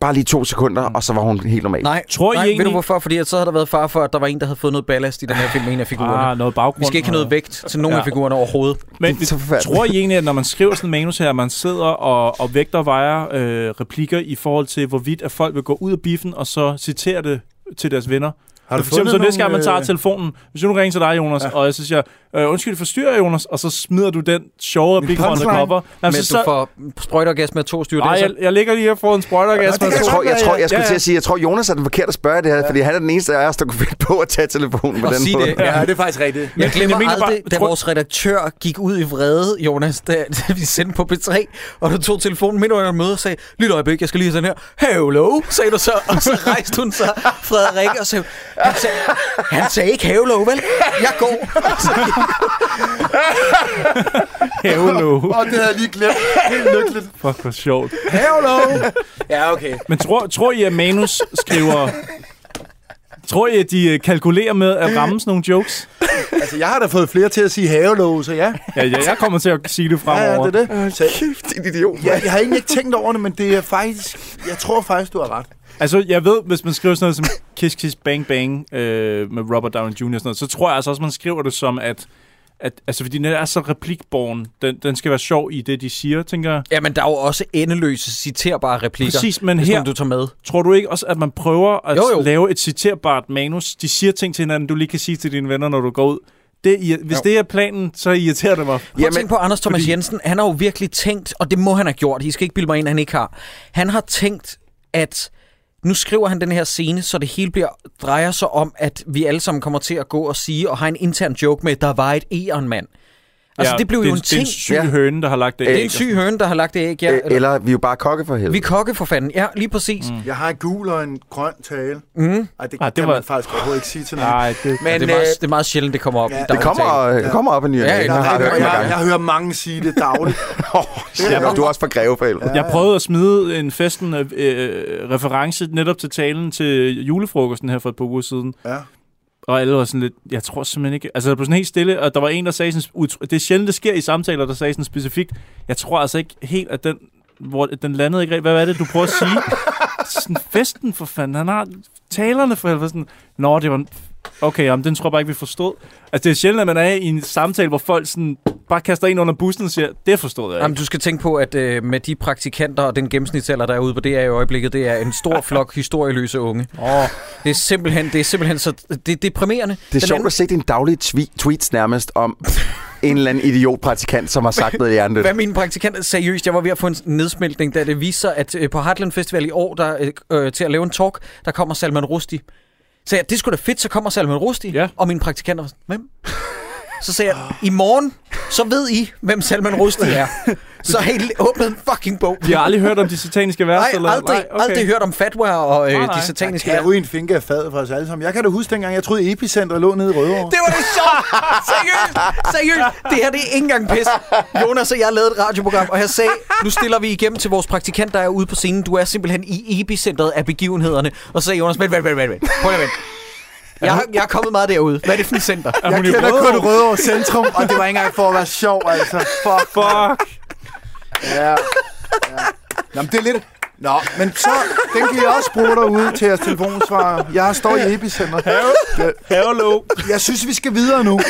Bare lige to sekunder, og så var hun helt normal.
Nej,
Tror I
nej ved
egentlig-
du hvorfor? Fordi at så havde der været far for, at der var en, der havde fået noget ballast i den her film med en af figurerne.
ah, noget baggrund.
Vi skal ikke have noget vægt til nogen
Ja.
af figurerne overhovedet.
Men
Det er så forfærdeligt.
tror I egentlig, at når man skriver sådan en manus her, at man sidder og, og vægter og vejer øh, replikker i forhold til, hvorvidt at folk vil gå ud af biffen og så citere det til deres venner?
Har
For eksempel, så næste gang man
øh,
tager telefonen, hvis jeg nu ringer til dig, Jonas, ja. og jeg så siger, øh, undskyld, forstyrrer jeg, Jonas, og så smider du den sjove replik fra
punchline.
Undercover.
Men
Jamen,
du
så, Altså, så,
får sprøjteorgasme med to styr.
ej, jeg, jeg ligger lige her foran sprøjtergas.
Jeg tror, jeg, tror, jeg skulle
ja,
til at sige, jeg tror, Jonas er den forkerte at spørge det her, fordi han er den eneste af os, der kunne finde på at tage telefonen på
Og
den
sige
måde.
det. Ja,
det er faktisk rigtigt.
Jeg
Men jeg
glemmer
mener bare-
aldrig, da
tror-
vores redaktør gik ud i vrede, Jonas, da, da vi sendte på P3, og du tog telefonen midt under et møde og sagde, lyt øjeblik, jeg skal lige sådan her, hello, sagde du så, og så rejste hun sig, Frederik, og sagde, han sagde, han sagde ikke hello, vel? Jeg går.
Hello.
Og det havde jeg lige glemt. Helt lykkeligt.
Fuck, hvor sjovt.
Hello!
Ja, okay.
Men tror, tror I, at manus skriver... Tror I, at de øh, kalkulerer med at ramme sådan nogle jokes?
Altså, jeg har da fået flere til at sige hello, så ja.
Ja, ja, jeg kommer til at sige det
Ja,
fremover.
ja, det er det. Så,
Kæft, din idiot.
ja, jeg har egentlig ikke tænkt over det, men det er faktisk... Jeg tror faktisk, du har ret.
Altså, jeg ved, hvis man skriver sådan noget som Kiss Kiss Bang Bang øh, med Robert Downey Jr. og sådan noget, så tror jeg altså også, man skriver det som, at, at altså, fordi den er så replikborn, den, den skal være sjov i det, de siger, tænker jeg.
Jamen, der er jo også endeløse, citerbare replikker,
Præcis, men
hvis
her-
nogen du tager med.
Tror du ikke også, at man prøver at jo,
Jo,
jo.
jo.
lave et citerbart manus? De siger ting til hinanden, du lige kan sige til dine venner, når du går ud. Det, er irri- hvis jo. det er planen, så irriterer det mig.
Prøv at
Jamen,
tænke på Anders Thomas fordi... Jensen. Han har jo virkelig tænkt, og det må han have gjort. I skal ikke bilde mig ind, at han ikke har. Han har tænkt, at nu skriver han den her scene, så det hele bliver, drejer sig om, at vi alle sammen kommer til at gå og sige, og har en intern joke med, der var et æren, mand. Altså, ja, det blev jo
det,
en altså.
det er en
ting.
syg ja.
Ja.
høne, der har lagt det
Det er
æg,
en
og
syg høne, der har lagt det æg, ja.
Øh, Eller vi er jo bare kokke for helvede.
Vi er kokke for fanden. Ja, lige præcis. Mm.
Jeg har en gul og en grøn tale. Mm. Ej, det,
Ej, Mhm. Ah, det
det
var-
kan
Ah,
var... man faktisk overhovedet ikke sige til nogen.
Nej, det...
Men, øh, det, er meget, det er meget sjældent, det kommer op.
ja,
i
det
Det
dagligtalen.
kommer, øh,
Ja.
kommer op i ny og
Ja,
næ.
ja,
Det har
jeg,
jeg hørt
jeg,
mange
jeg,
gange.
jeg hører mange sige det dagligt.
Jamen, Du er også fra Greveforældre.
Jeg prøvede at smide en festen øh, øh, reference netop til talen til julefrokosten her for et par uger siden.
Ja.
Og alle var sådan lidt, jeg tror simpelthen ikke... Altså, det blev sådan helt stille, og der var en, der sagde sådan... ut- Det er sjældent, det sker i samtaler, der sagde sådan specifikt, jeg tror altså ikke helt, at den hvor den landede ikke rigtigt. Hvad var det, du prøver at sige? sådan, festen for fanden. Han har talerne for helvede. Sådan, Nå, det var... en- Okay, jamen, den tror jeg bare ikke, vi forstod. Altså, det er sjældent, at man er i en samtale, hvor folk sådan bare kaster en under bussen og siger, det forstod jeg ikke.
Jamen, du skal tænke på, at øh, med de praktikanter og den gennemsnitsalder, der er ude på det her i øjeblikket, det er en stor flok historieløse unge.
Åh,
Det er simpelthen, det er simpelthen så det, det er deprimerende.
Det er sjovt at se dine daglige twi- tweets nærmest om en eller anden idiotpraktikant, som har sagt noget i andet.
Hvad mine praktikanter, seriøst, jeg var ved at få en nedsmeltning, da det viste sig, at øh, på Heartland Festival i år, der øh, øh, til at lave en talk, der kommer Salman Rushdie. Så jeg, det skulle da fedt, så kommer Salman Rushdie.
Ja.
Og mine praktikanter var sådan, hvem? Så sagde jeg, i morgen, så ved I, hvem Salman Rushdie er. Så helt åbnet en fucking bog.
Vi har aldrig hørt om de sataniske vers?
Nej,
eller?
aldrig, okay. aldrig hørt om fatwa og øh,
Nej, nej.
de sataniske
Kan jeg en finger af fadet fra os alle sammen? Jeg kan da huske dengang, jeg troede Epicenter lå nede i Rødovre.
Det var det sjovt. Seriøst. Seriøst. Det her, det er ikke engang pis. Jonas og jeg lavede et radioprogram, og jeg sagde, nu stiller vi igennem til vores praktikant, der er ude på scenen. Du er simpelthen i epicentret af begivenhederne. Og så sagde Jonas, vent, vent, vent, vent. vent. Prøv lige at vent. Jeg, har- jeg er kommet meget derude. Hvad er det for et center?
Er
Jeg
hun i
kender kun
Rødovre?
Rødovre Centrum, og det var ikke engang for at være sjov, altså. Fuck.
Fuck.
Ja. ja. Nå, men det er lidt... Nå, men så, den kan I også bruge derude til jeres telefonsvarer. Jeg står i Epicenter. Det-
Hello.
Jeg synes, vi skal videre nu.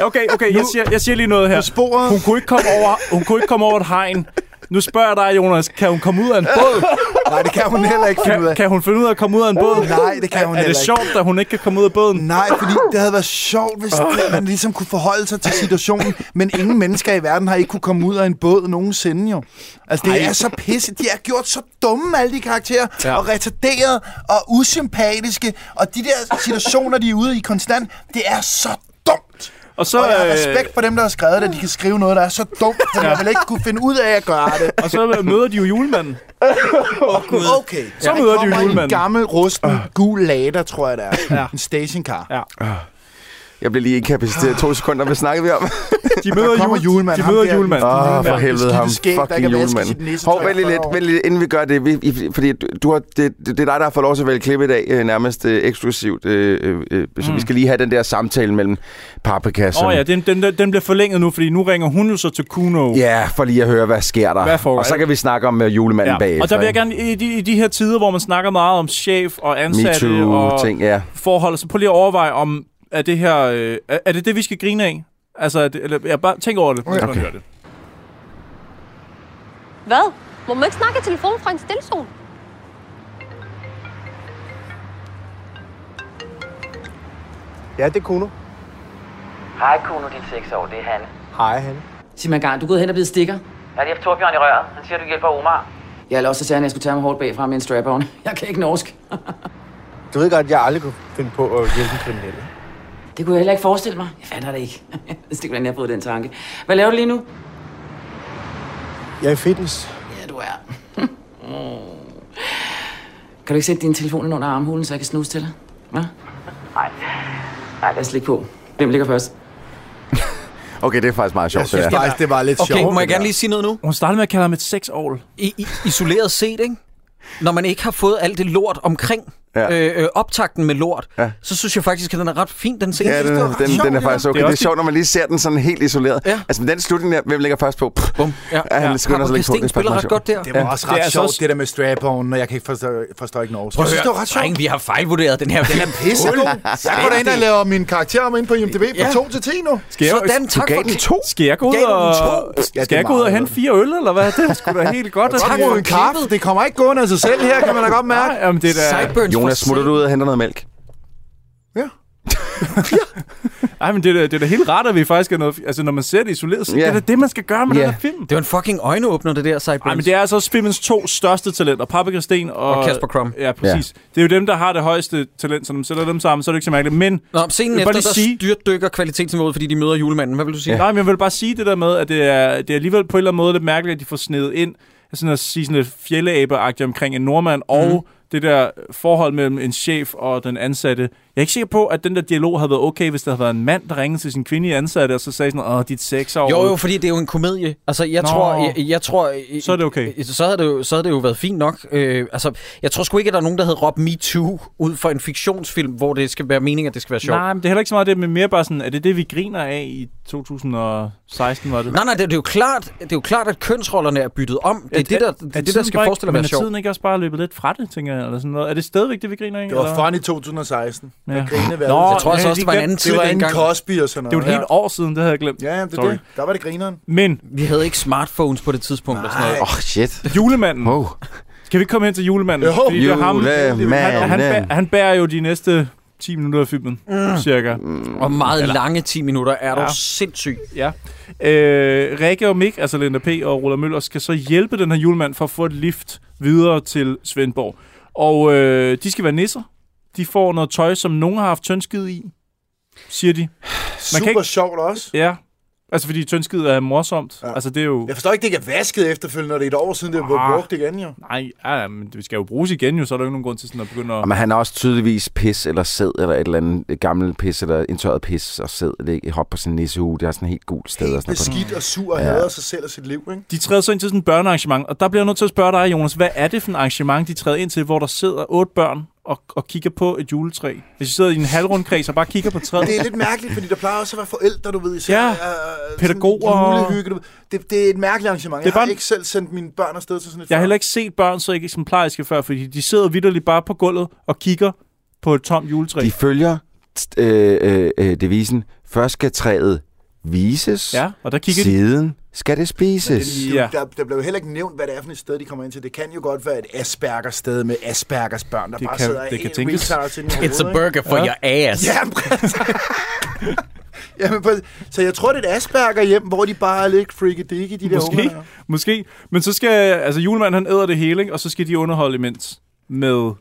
Okay, okay, jeg siger, jeg siger lige noget her.
Sporet.
Hun kunne ikke komme over, hun kunne ikke komme over et hegn. Nu spørger jeg dig, Jonas, kan hun komme ud af en båd?
Nej, det kan hun heller ikke finde ud
Kan,
af.
kan hun finde ud af at komme ud af en båd?
Nej, det kan hun
Er
heller
det
ikke.
sjovt, at hun ikke kan komme ud af båden?
Nej, fordi det havde været sjovt, hvis man ligesom kunne forholde sig til situationen, men ingen mennesker i verden har ikke kunne komme ud af en båd nogensinde jo. Altså, det Ej. er så pisse. De er gjort så dumme, alle de karakterer,
Ja.
ja. og retarderede, og usympatiske, og de der situationer, de er ude i konstant, det er så dumt.
Og så,
og jeg har
øh,
respekt for dem, der har skrevet det, at de kan skrive noget, der er så dumt, at man vil ikke kunne finde ud af at gøre det.
Og så øh, møder de jo julemanden.
Okay.
Så møder de
kommer
julemanden.
en gammel, rusten, gul lader, tror jeg, det er.
Ja.
En stationcar.
Ja.
Jeg blev lige inkapaciteret to sekunder. Hvad snakkede vi om?
De
Der
møder,
kommer
jule,
julemanden,
de
ham
møder
der.
julemanden.
Åh, oh, for
mand.
helvede
Beskidte
ham.
skæg, der
Fucking
ikke har vasket
julemand.
sit nissetøj
Hov, vent lige
i
lidt,
fyrre år.
vent lige, lidt, inden vi gør det. Vi, vi- fordi du- du har, det, det, det er dig, der har fået lov til at vælge klip i dag, øh, nærmest øh, eksklusivt. Øh, øh, øh, så vi skal lige have den der samtale mellem paprikasserne.
Åh oh, ja, den, den, den bliver forlænget nu, fordi nu ringer hun jo så til Kuno.
Ja, for lige at høre, hvad sker der.
Hvad for,
og så
ikke?
kan vi snakke om uh, julemanden bagefter.
Og der vil jeg
ikke?
gerne, i de, i de her tider, hvor man snakker meget om chef og ansatte og
MeToo-ting, ja.
forhold, så prøv lige at overveje, om er det her, øh, er, er det det, vi skal grine af? Altså, er det, eller, jeg bare tænk over det. Okay.
Okay.
okay. det.
Hvad? Må man ikke snakke i telefon fra en stillezone?
Ja, det er Kuno.
Hej Kuno, din 6 år, det er Hanne.
Hej, Hanne.
Sig mig engang, du er gået hen og blevet stikker.
Jeg har lige haft Torbjørn i røret. Han siger, du hjælper Omar.
Jeg er også sagde, han, at jeg skulle tage ham hårdt bagfra med en strap -on. Jeg kan ikke norsk.
Du ved godt, at jeg aldrig kunne finde på at hjælpe kriminelle.
Det kunne jeg heller ikke forestille mig. Jeg fatter det ikke. Jeg ved ikke, hvordan jeg har fået den tanke. Hvad laver du lige nu?
Jeg er i fitness.
Ja, du er. kan du ikke sætte din telefon ind under armhulen, så jeg kan snuse til dig? Hva?
Nej.
Nej, lad os ligge på. Hvem ligger først?
Okay, det er faktisk meget sjovt.
Jeg synes
det der.
faktisk, det var lidt
Okay,
sjovt.
må jeg
det der.
gerne lige sige noget nu?
Hun startede med at kalde ham et sexål.
I, i, isoleret set, ikke? Når man ikke har fået alt det lort omkring
Ja.
ja. øh, øh, optakten med lort,
Ja.
ja. så synes jeg faktisk, at den er ret fin, den scene.
Ja, den,
det var ret
den,
sjovt,
den er
det
faktisk
der.
okay. Det
Det er
er,
også-
sjovt, når man lige ser den sådan helt isoleret.
Ja.
Altså, men den slutning der, hvem ligger først på? Pff,
Bum. Ja.
ja, han
Ja.
skynder
Harper
sig lidt på. Det
Kesting
er faktisk
spiller
meget
ret
sjovt.
godt der.
Det var også ret
Det er altså
sjovt,
også-
det der med strap og jeg kan ikke forstå, forstå ikke Norge.
Prøv
Jeg synes,
at
det var
høre,
ret sjovt.
dreng, vi har fejlvurderet den her. Den er
Pissegod. Jeg går da ind og laver min karakter om ind på IMDb fra
Ja.
2 til 10 nu.
Skal
Sådan, tak
gav
for
den to.
Skal jeg gå ud
Gav den
og,
to?
skal jeg gå ud og hente fire øl, eller hvad? Det er sgu da helt godt. at-
Tak
Brug
for
en kaffe.
klippet.
Det kommer ikke gående af sig selv her, kan man da godt mærke.
Nej, jamen, det er da...
Sideburns
Jonas,
for
smutter du
satan.
ud og henter noget mælk?
Ja.
Ej, men det er, da- det er da helt rart, at vi faktisk er noget... Altså, når man ser det isoleret, så
Ja.
yeah. det er da det, man skal gøre med yeah.
Ja.
den her film.
Det var en fucking øjenåbner, det der Sideburns.
Ej, men det er altså også filmens to største talenter, Paprika Sten og...
Og Kasper Crumb.
Ja, præcis. Ja. Det er jo dem, der har det højeste talent, så når man sætter dem sammen, så er det ikke så mærkeligt. Men
Nå, om scenen
Jeg vil bare
efter, der
lige sige-
sige... styrtdykker kvalitetsniveauet, fordi de møder julemanden. Hvad vil du sige? Ja.
Nej, men jeg vil bare sige det der med, at det er, det er alligevel
Mhm.
på en eller anden måde lidt mærkeligt, at de får snedet ind sådan at sige sådan lidt fjelleabe omkring en nordmand, og det der forhold mellem en chef og den ansatte. Jeg er ikke sikker på, at den der dialog havde været okay, hvis der havde været en mand, der ringede til sin kvindelige ansatte, og så sagde sådan, åh, dit sexår.
Jo, jo, fordi det er jo en komedie. Altså, jeg
Nå.
tror... Jeg, jeg tror
Så er det okay.
øh, Så havde det, jo, så havde det jo været fint nok. Øh, altså, jeg tror sgu ikke, at der er nogen, der havde råbt Me Too ud for en fiktionsfilm, hvor det skal være meningen, at det skal være sjovt.
Nej, men det er heller ikke så meget det, men mere bare sådan, er det det, vi griner af i 2016, var det?
Nej, nej, det, det, er jo klart, det er jo klart, at kønsrollerne er byttet om. Det er, det, der, det, er det, der
tiden
skal
bare ikke-
forestille at være
Men er
sjovt.
tiden ikke også bare løbet lidt fra det, tænker jeg, eller sådan noget? Er det stadigvæk det, vi griner af?
Det var
eller?
fun i 2016.
Ja.
Ja. Jeg grinede hver
Nå,
uge.
Jeg tror altså
Ja,
også, det
de
var en
glemte-
anden
Det
tid
var en
dengang.
Cosby og sådan
Det var
noget.
et helt år siden, det havde jeg glemt.
Ja, ja, det er
Sorry.
det. Der var det grineren.
Men
Vi havde ikke smartphones på det tidspunkt. Og sådan noget.
Åh, oh, shit.
julemanden.
Oh.
Kan vi ikke komme hen til julemanden?
Jo.
Fordi det er ham, han, han,
Julemanden.
bærer, han bærer jo de næste 10 minutter af filmen, mm. cirka.
Og meget Eller... lange 10 minutter er ja.
Ja.
dog sindssygt.
Ja. Øh, Rikke og Mik, altså Linda P. og Roland Møller, skal så hjælpe den her julemand for at få et lift videre til Svendborg. Og øh, de skal være nisser. De får noget tøj, som nogen har haft tønskid i, siger de. kan
Super
ikke-
sjovt også.
Ja. Altså, fordi tønskid er morsomt. Ja.
Ja.
Altså, det er jo...
Jeg forstår ikke, det ikke er vasket efterfølgende, når det er et år siden, det
Ah.
var brugt igen, jo.
Nej, ja, men det skal jo bruges igen jo, så er der jo ikke nogen grund til sådan at begynde at...
Og men han er også tydeligvis pis eller sæd, eller et eller andet gammelt pis, eller indtørret pis og sæd, det hop på sin nissehue. Det er sådan et helt gult sted. og
Helt
sådan noget.
beskidt og sur og hader sig selv og sit liv, ikke?
De træder så ind til sådan et børnearrangement, og der bliver jeg nødt til at spørge dig, Jonas, hvad er det for et arrangement, de træder ind til, hvor der sidder otte børn og, og kigger på et juletræ? Hvis de sidder i en halvrund kreds og bare kigger på træet.
Det er lidt mærkeligt, fordi der plejer også at være forældre, du ved. især,
Ja,
øh, sådan
pædagoger.
julehygge, du ved. Det, det er et mærkeligt arrangement.
Det er
Jeg har
bare-
ikke selv sendt mine børn afsted til sådan et
Jeg har
før.
heller ikke set børn så ikke eksemplariske før, fordi de sidder vidderligt bare på gulvet og kigger på et tomt juletræ.
De følger t- øh, øh, øh, devisen, først skal træet vises,
Ja, og der kigger de.
siden skal det spises.
Det,
Ja.
ja. der, der blev jo heller ikke nævnt, hvad det er for et sted, de kommer ind til. Det kan jo godt være et Asperger-sted med Aspergers børn, der
Det
bare
kan-
sidder
det
helt
kan tænkes.
retarded til den
It's a burger for ja. your ass.
Ja, men præcis. Jamen, præcis. så jeg tror, det er et Asperger hjem, hvor de bare er lidt freaky dicky, de der
Måske,
unger.
måske. Men så skal, altså julemanden han æder det hele, ikke? og så skal de underholde imens med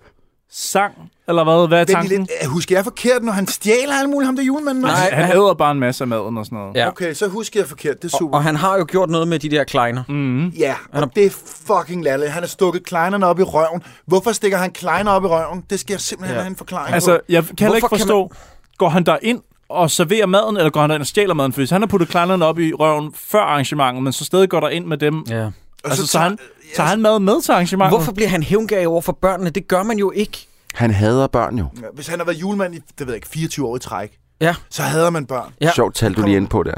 sang, eller hvad, hvad er
Den er
tanken?
lidt, øh, husker jeg forkert, når han stjæler alt muligt, ham der julemanden? også?
Han, han æder bare en masse af maden og sådan noget.
Ja.
Okay, så husker jeg forkert. Det er super.
Og han har jo gjort noget med de der kleiner. Mm.
Ja, og det er fucking latterligt. Han har stukket kleinerne op i røven. Hvorfor stikker han kleiner op i røven? Det skal jeg simpelthen
Ja.
ja. have en forklaring
Altså,
på.
jeg kan heller ikke
Hvorfor kan
forstå, går han der ind og serverer maden, eller går han derind og stjæler maden? For hvis han har puttet kleinerne op i røven før arrangementet, men så stadig går der ind med dem, ja.
Ja.
Og
altså, så,
tager-
han, tager han mad med til arrangementet?
Hvorfor bliver han hævngav over for børnene? Det gør man jo ikke.
Han hader børn jo.
Ja, Hvis han har været julemand i, det ved jeg ikke, 24 år i træk,
Ja.
så hader man børn.
Ja.
Ja. Sjovt tal, du lige ind på der.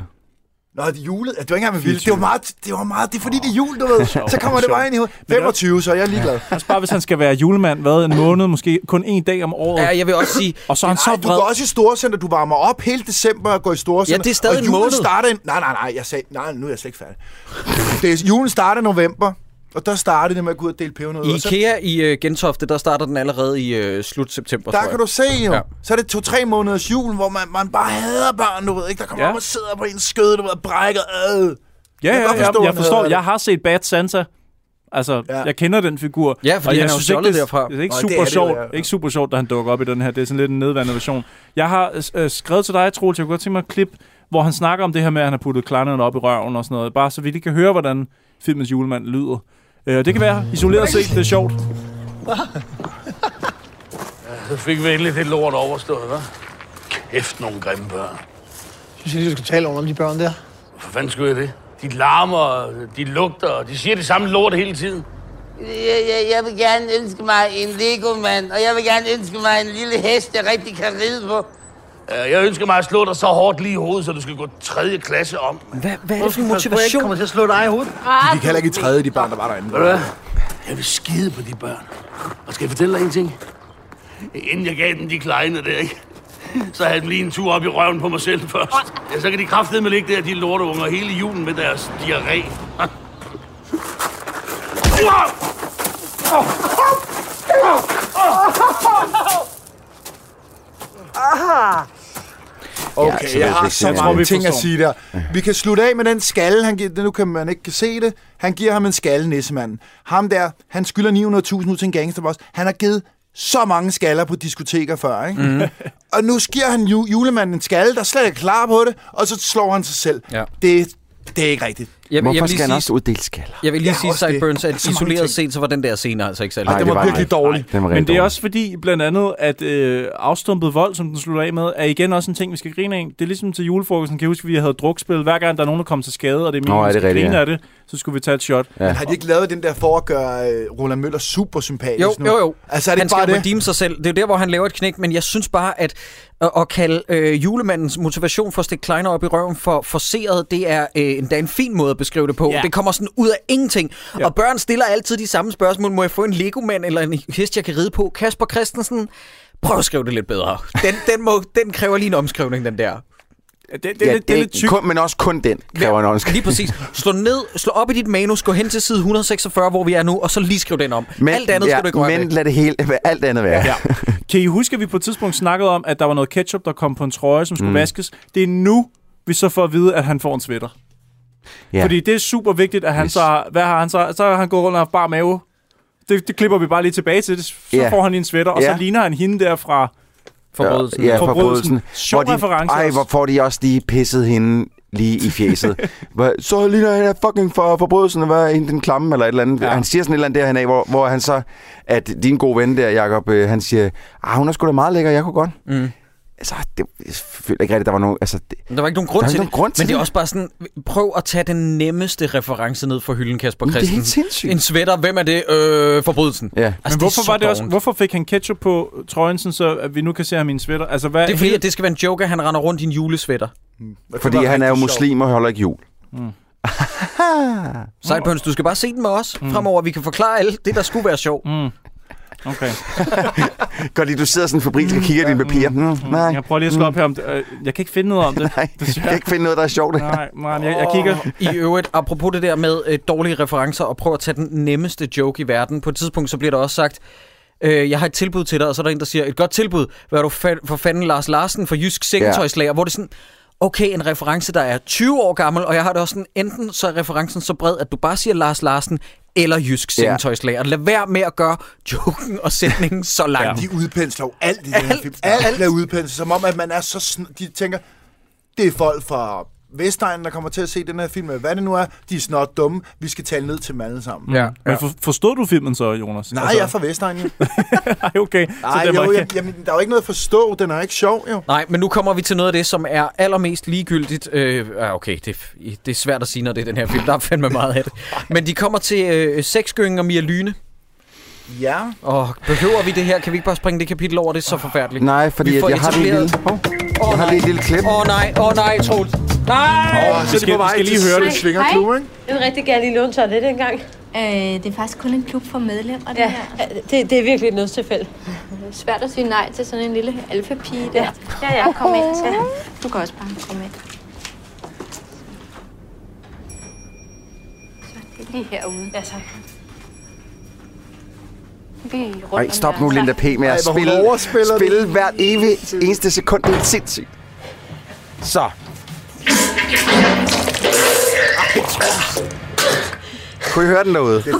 Nå, det er julet. Ja, Det var ikke engang med vilje. Det var meget, det var meget, det er fordi, det er jul, du ved. Så kommer det bare ind i hovedet. 25, så jeg er ligeglad.
Også bare, hvis han skal være julemand, hvad, en måned, måske kun en dag om året.
Ja, jeg vil også sige,
Og så er han
Nej,
så
du går
vred.
også i storcenter. Du varmer op hele december og går i storcenter.
Ja, det er stadig
og
en
julen
måned.
starter... i- Nej, nej, nej. Jeg sagde... Nej, nu er jeg slet ikke færdig. Det er, julen starter i november, og der starter det med at gå ud og dele peberne ud.
i
og så
IKEA i øh, Gentofte, der starter den allerede i øh, slut september, tror
Der
jeg.
kan du se jo.
Ja.
Ja. Så er det to-tre måneders jul, hvor man, man bare hader børn, du ved ikke. Der kommer
Ja.
ja. op og sidder på en skød, du ved, og brækker. Øh.
Ja, ja,
kan
jeg,
godt
jeg,
forstå,
jeg
han
forstår.
hader det.
Jeg har set Bad Santa. Altså, ja.
Ja.
jeg kender den figur.
Ja, fordi
og jeg
han er jo
synes ikke,
stjålet
det,
derfra.
Det er ikke
Nå, det
super
er det jo,
sjovt,
ja.
ikke super sjovt, da han dukker op i den her. Det er sådan lidt en nedværende version. Jeg har øh, skrevet til dig, Troels, jeg kunne godt tænke mig et klip, hvor han snakker om det her med, at han har puttet kleinerne op i røven og sådan noget. Bare så vi lige kan høre, hvordan filmens julemand lyder. Øh, og det kan være isoleret set, det er sjovt.
Så fik vi endelig det lort overstået, hva'? Kæft, nogle grimme børn.
synes jeg lige, du skal tale om de børn der.
For fanden skulle jeg det? De larmer, og de lugter, og de siger det samme lort hele tiden.
Jeg, jeg, jeg vil gerne ønske mig en Lego-mand, og jeg vil gerne ønske mig en lille hest, jeg rigtig kan ride på.
Øh, Jeg ønsker mig at slå dig så hårdt lige i hovedet, så du skal gå tredje klasse om.
Hvad, hvad er det for en motivation?
til at slå dig i hovedet.
De kan heller ikke i tredje, de børn, der var derinde.
Ved du hvad? Jeg vil skide på de børn. Og skal jeg fortælle dig en ting? Inden jeg gav dem de kleine der, ikke? Så havde jeg dem lige en tur op i røven på mig selv først. Ja, så kan de kraftedeme ligge der, de lorteunger, hele julen med deres diarré.
Ja,
Okay,
så ved
ja, jeg
jeg
har
ikke, det
så
er
mange
meget.
ting at
forstår.
sige der. Vi kan slutte af med den skalle, han giver, nu kan man ikke kan se det. Han giver ham en skalle, nissemanden. Ham der, han skylder 900.000 ud til en gangsterboss. Han har givet så mange skaller på diskoteker før, ikke? Mm. og nu giver han ju- julemanden en skalle, der slet ikke er klar på det, og så slår han sig selv.
Ja.
Det, det er ikke rigtigt.
Jeg, Hvorfor
vil
jeg
lige
skal han
sige-
også uddele skaller?
Jeg vil lige
Ja,
ja, sige,
også det.
Sideburns,
Der er
at
så mange ting.
isoleret set, så var den der scene altså ikke særlig
Ej,
god.
det var virkelig
dårlig.
Den var
Men
rigtig
det er
dårlig.
også fordi, blandt andet, at øh, afstumpet vold, som den slutter af med, er igen også en ting, vi skal grine af. Det er ligesom til julefrokosten, kan jeg huske, at vi havde drukspil. Hver gang der er nogen, der kom til skade, og det er
Nå,
min,
er
vi
det
skal
rigtigt,
grine
ja.
af det, så skulle vi tage et shot.
Ja.
Har de ikke lavet den der for at gøre øh, Roland Møller super sympatisk
Jo,
nu?
jo, jo.
Altså er det
han
ikke bare
skal jo
det?
redeeme sig selv. Det er jo der, hvor han laver et knæk, men jeg synes bare, at at, at kalde øh, julemandens motivation for at stikke Kleiner op i røven for forseret, det er øh, endda en fin måde at beskrive det på.
Ja.
Ja. Det kommer sådan ud af ingenting. Ja. Og børn stiller altid de samme spørgsmål. Må jeg få en legomand eller en hest, jeg kan ride på? Kasper Christensen, prøv at skrive det lidt bedre. Den, den, må, den kræver lige en omskrivning, den der.
Ja, Det, det, ja, det, det er lidt tykt.
kun, men også kun den kræver en åndskab.
Lige præcis. Slå ned, slå op i dit manus, gå hen til side 146, hvor vi er nu, og så lige skriv den om. Men, Alt andet ja, skal du ikke røre
Men
men...
lad det hele, alt andet være. Ja.
Kan I huske, at vi på et tidspunkt snakkede om, at der var noget ketchup, der kom på en trøje, som skulle mm. vaskes? Det er nu, vi så får at vide, at han får en sweater.
Ja.
Ja. Fordi det er super vigtigt, at han
Yes.
yes. så... har- Hvad har han så? Så har han gået rundt og haft bar mave. Det, det klipper vi bare lige tilbage til. Det- Så
Ja.
yeah. får han lige en sweater, og
Ja.
så ligner han hende der fra...
Forbrydelsen.
Ja,
Forbrydelsen.
forbrydelsen.
Sjov
Hvor de,
reference
Ej,
også.
hvor får de også lige pisset hende lige i fjeset. Hvor- så ligner han er fucking for forbrydelsen, var en den klamme eller et eller andet. Ja.
Ja.
Han siger sådan et eller andet der, han af, hvor, hvor han så, at din gode ven der, Jacob, øh, han siger, ah, hun er sgu da meget lækker, jeg kunne godt. Mm. Altså, det, jeg føler ikke rigtigt, der var nogen... Altså, det,
Der var ikke nogen grund
Der er
til
ikke nogen
det.
grund til
men det er
det.
også bare sådan, prøv at tage den nemmeste reference ned fra hylden, Kasper
Men det er
Christensen.
helt sindssygt.
En sweater, hvem er det? Øh, forbrydelsen.
Ja. Men
Altså, men
er
hvorfor,
så
var det også,
dovent.
hvorfor fik han ketchup på trøjen, sådan så at vi nu kan se ham i en sweater? Altså, hvad
Det er fordi, at det skal være en joke, at han render rundt i en julesvætter.
fordi han er jo muslim og holder ikke jul.
Sidepunch, du skal bare se den med os mm. fremover. Vi kan forklare alt det, der skulle være sjovt. Mm.
Okay.
Godt lige, du sidder sådan fabrilsk og kigger i dine papirer. Mm, nej,
Jeg prøver lige at slå op her om det. Øh, Jeg kan ikke finde noget om det.
nej, jeg kan
desværre.
ikke finde noget, der er sjovt.
Nej, nej, men jeg, jeg kigger.
I øvrigt, apropos det der med øh, dårlige referencer, og prøv at tage den nemmeste joke i verden. På et tidspunkt, så bliver der også sagt, øh, jeg har et tilbud til dig, og så er der en, der siger, et godt tilbud, hvad er du fa- for fanden Lars Larsen for Jysk Sengetøjslager, ja. hvor det er sådan, okay, en reference, der er 20 år gammel, og jeg har det også sådan, enten så er referencen så bred, at du bare siger Lars Larsen, eller Jysk
Ja.
Sengetøjslager. Lad være med at gøre joken og sætningen så lang. Ja.
De udpensler jo alt i den her
Alt,
film.
alt.
Alt er udpenslet, som om, at man er så... Sn- de tænker, det er folk fra Vestegnen, der kommer til at se den her film, eller hvad det nu er. De er snart dumme. Vi skal tale ned til dem alle sammen.
Ja.
Men for, forstod du filmen så, Jonas?
Nej,
Altså-
jeg er fra Vestegnen. jo.
Ej, okay.
Nej,
så det var
jo,
ikke...
jeg, jamen, der er jo ikke noget at forstå. Den er ikke sjov, jo.
Nej, men nu kommer vi til noget af det, som er allermest ligegyldigt. Øh, ah, okay, det, det er svært at sige, når det er den her film. Der er fandme meget af det. Men de kommer til øh, sexgyngen og Mia Lyne.
Ja.
Og behøver vi det her? Kan vi ikke bare springe det kapitel over? Det er så forfærdeligt.
Nej, fordi
Vi
at
får
jeg har lige en
etableret-
lille... Hov,
Åh,
jeg har
nej.
lige et lille klip.
Åh oh, nej, åh oh, nej, Troels. Nej!
Og så
vi
er de
skal-
på
vi
vej
skal lige
til
høre
høre
det.
Svingerklub, ikke?
Jeg vil rigtig gerne lige låne toilet en gang.
Øh, det er faktisk kun en klub for medlemmer, det
Ja,
her.
det, det er virkelig et nødstilfælde.
Svært at sige nej til sådan en lille alfapige der. Ja,
Ja, ja.
ja kom ind. Ja. Du kan også bare komme ind. Så det er lige herude. Ja, tak. Vi er rundt
Ej,
om
stop nu,
hjørnet.
Linda P. med at
Ej, hvor hun
spille,
overspiller det.
spille hvert evigt eneste sekund. Det er sindssygt. Så. Kunne I høre den derude?
Vil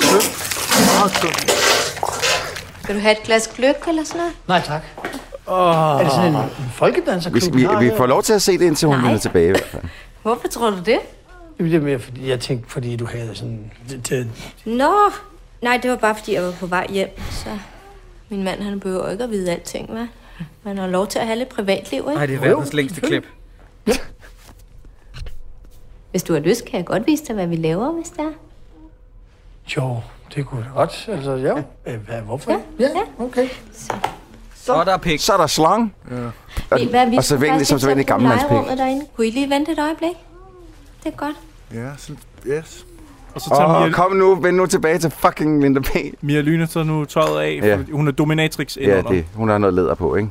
du have et glas gløk eller sådan noget?
Nej, tak. Oh. Er det sådan en, en
Vi,
folkedanserklub?
vi,
har
vi
her?
får lov til at se det, indtil hun vender tilbage. i hvert fald.
Hvorfor tror du det?
Jamen, det er mere, fordi jeg tænkte, fordi du havde sådan... Det, det,
Nå, nej, det var bare fordi, jeg var på vej hjem, så... Min mand, han behøver ikke at vide alting, hva'? Man har lov til at have lidt privatliv, ikke?
Nej, det er verdens længste klip.
Hvis du har lyst, kan jeg godt vise dig, hvad vi laver, hvis der.
jo, det kunne det godt. Altså, jo. Øh, Hvad, hvorfor? Ja, ja okay.
Og der er pik.
Så er der slang. Og, og så vanligt som så vanligt gammelmandspik.
derinde. Kunne I lige vente et øjeblik? Det er godt.
Ja, så, yes.
Og så tager
Og
Mia,
kom nu, vend nu tilbage til fucking Linda P.
Mia Lyne så nu tøjet af.
Ja.
Ja. Hun er dominatrix
Ja,
indenunder.
det, hun har noget læder på, ikke?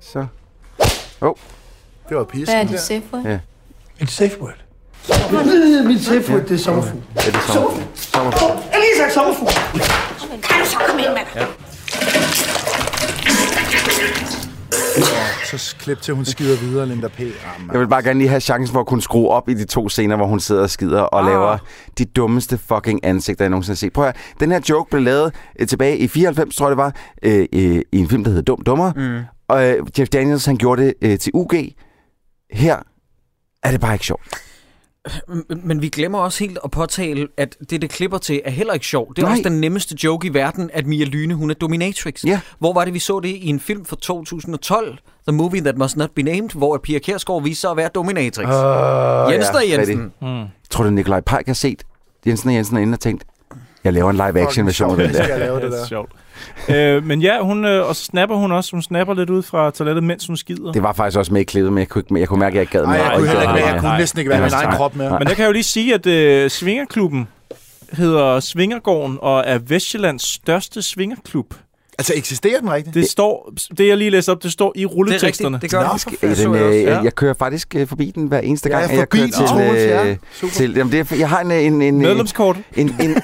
Så.
Det var pisken.
Hvad er
der.
det, Sefra?
Ja.
Mit safe word. Mit safe word, det er sommerfugl.
Er det sommerfugl? Sommerfugl.
Jeg har lige sagt sommerfugl.
Så klip til, hun skider videre, Linda P. Ah,
Jeg
mand.
vil bare gerne lige have chancen for at kunne skrue op i de to scener, hvor hun sidder og skider og ah. laver de dummeste fucking ansigter, jeg nogensinde har set. Prøv at høre, den her joke blev lavet øh, tilbage i 94, tror jeg det var, øh, øh, i en film, der hed Dum Dummer. Mm. Og øh, Jeff Daniels, han gjorde det øh, til UG. Her er det bare ikke sjovt.
Men vi glemmer også helt at påtale, at det, det klipper til, er heller ikke sjovt. Det er Nej.
Nej.
også den nemmeste joke i verden, at Mia Lyne, hun er dominatrix.
Ja.
Hvor var det, vi så det i en film fra 2012, The Movie That Must Not Be Named, hvor Pia Kjærsgaard viste sig at være dominatrix.
Øh, Åh,
Jensen og Jensen.
rigtigt. Tror du, Nikolaj Pajk har set Jensen og Jensen er inde og tænkt, jeg laver en live-action-version af den der.
Det er sjovt. Øh, men ja, hun, øh, og så snapper hun også. Hun snapper lidt ud fra toilettet, mens hun skider.
Det var faktisk også med i klippet, men jeg kunne, ikke, jeg kunne mærke, at jeg ikke gad
Nej,
mere.
jeg
Og
kunne heller
gad
ikke være-
mere.
jeg kunne
Nej.
næsten
ikke være
Nej,
min egen
nej,
krop mere.
nej.
Men der kan jeg jo lige sige, at øh, Svingerklubben hedder Svingergården og er Vestjyllands største svingerklub.
Altså eksisterer den rigtigt?
Det står, det jeg lige læste op, det står i rulleteksterne.
Det gør det.
Ja, den, øh, jeg, jeg kører faktisk øh, forbi den hver eneste
Ja,
gang,
jeg
at jeg
forbi
kører
den, Troels,
til...
ja.
Øh, til jamen det er, jeg har en, øh, en, en øh,
Medlemskort.
En, en,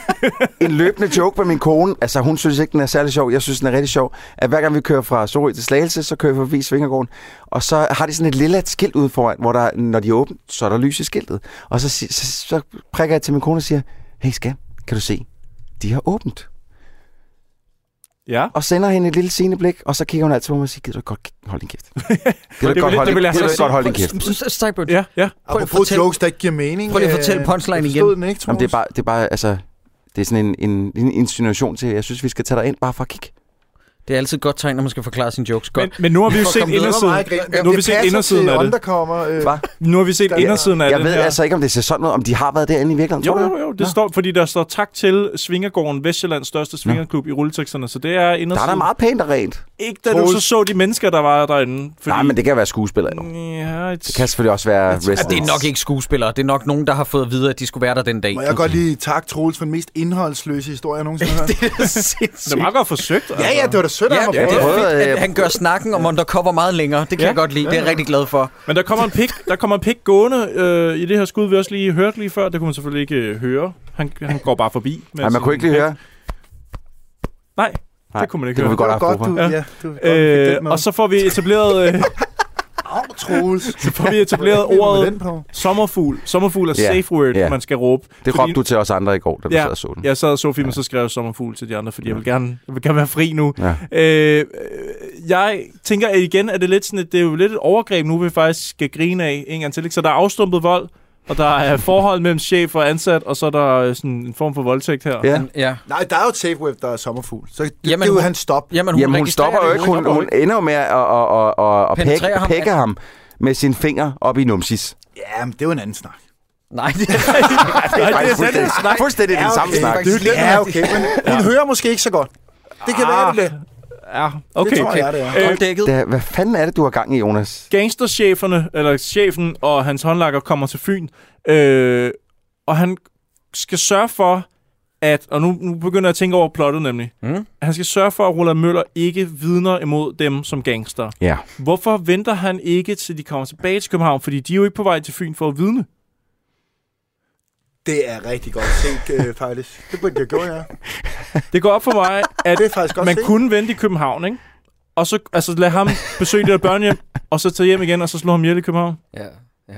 en løbende joke med min kone. Altså, hun synes ikke, den er særlig sjov. Jeg synes, den er rigtig sjov. At hver gang vi kører fra Sorø til Slagelse, så kører vi forbi Svingergården. Og så har de sådan et lille skilt ude foran, hvor der, når de er åbent, så er der lys i skiltet. Og så, si- så, så prikker jeg til min kone og siger, hey skat, kan du se? De har åbent.
Ja.
Og sender hende et lille sigende blik, og så kigger hun altid på mig og siger, gider du ikke godt holde din kæft? Gider du ikke godt holde, gider du
Altså,
ikke godt holde din kæft?
Steinberg.
Ja, ja.
Prøv
Apropos fortæl, jokes, der ikke giver mening.
prøv lige at
øh,
fortælle punchline
jeg
igen.
forstod Den ikke, Troels.
Jamen, det er bare, det er bare altså, det er sådan en, en, en insinuation til, at jeg synes, vi skal tage dig ind bare for at kigge.
Det er altid et godt tegn, når man skal forklare sine jokes godt.
Men, men nu har vi jo
For
set
kom videre,
indersiden.
hvor meget grin-
Nu har vi
Det
set
passer
indersiden
til
af det.
undercover, øh,
Hva?
Nu har vi set indersiden af
jeg
det
ved
her.
altså ikke, om det ser sådan ud, om de har været derinde i virkeligheden.
Jo,
tror du
jo, jo. Det står, fordi der står tak til Svingergården, Vestjyllands største svingerklub i rulleteksterne, så det er
Der
indersiden.
er da meget pænt og rent.
Ikke da du så så de mennesker, der var derinde. Fordi...
Nej, men det kan være skuespillere nu.
Ja, et...
Det kan selvfølgelig også være
Ja, det
wrestling.
er nok ikke skuespillere. Det er nok nogen, der har fået at vide, at de skulle være der den dag.
Må jeg godt lige takke Troels for den mest indholdsløse historie, jeg nogensinde har hørt.
det er sindssygt.
Det var godt forsøgt. altså.
Ja, ja, det var da sødt af
Ja,
ham at
det, det
prøve.
er
prøve,
fint, at
øh,
han gør snakken om undercover meget længere. Det kan ja.
Ja.
jeg godt lide. Det er jeg rigtig glad for.
Men der kommer en pik, der kommer en pik gående øh, i det her skud, vi også lige hørte lige før. Det kunne man selvfølgelig ikke øh, høre. Han, han går bare forbi. med
Nej, man
sin
kunne ikke lige
pik.
høre.
Nej,
Nej,
det kunne man ikke
det kunne
høre.
vi
Godt,
godt have haft brug
du,
for.
ja.
Ja.
du fik
Øh,
den med.
og så får vi etableret, øh,
Au, Troels.
så får vi etableret
Hvordan blev den
ordet
på?
sommerfugl. Sommerfugl er
Ja,
safe word,
ja.
man skal råbe.
Det råbte du til os andre i går, da du sad
Ja,
og så den.
jeg sad og så filmen, så skrev jeg sommerfugl til de andre, fordi jeg vil gerne, jeg vil gerne være fri nu.
Ja.
Øh, øh, jeg tænker at igen, at det, er lidt sådan, et, det er jo lidt et overgreb nu, vi faktisk skal grine af en gang til. Ikke? Så der er afstumpet vold, og der er forhold mellem chef og ansat, og så er der øh, sådan en form for voldtægt her.
Ja.
Ja.
Nej, der er jo et safe web, der er sommerfugl. Så det,
Jamen,
det er jo
hun-
hans stop.
Jamen, hun,
Jamen, hun
registrerer
stopper jo
det.
ikke. Hun,
stopper
hun
jo
ender jo med at, at, at, at,
Penetrere
at pække,
ham. altså?
pække ham med sin finger op i numsis.
Jamen, det er jo en anden snak.
Nej, det er
Det er faktisk
den
fuldstændig,
snak.
fuldstændig den samme snak.
Det er jo ja, okay, men hun hører måske ikke så godt. Det kan være, det er det.
Ja, Ah, okay.
tror jeg, det er.
Øh,
Godt dækket.
Da, hvad fanden er det, du har gang i, Jonas?
gangstercheferne, eller chefen og hans håndlakker kommer til Fyn, øh, og han skal sørge for, at, og nu, nu begynder jeg at tænke over plottet nemlig,
Mm.
han skal sørge for, at Roland Møller ikke vidner imod dem som gangster.
Ja.
Hvorfor venter han ikke, til de kommer tilbage til København? Fordi de er jo ikke på vej til Fyn for at vidne.
Det er rigtig godt set, øh, faktisk. Det burde jeg gøre, ja.
Det går op for mig, at
Det er faktisk godt
man
set.
kunne vente i København, ikke? Og så altså, lad ham besøge det der børnehjem, og så tage hjem igen, og så slå ham ihjel i København.
Ja, ja.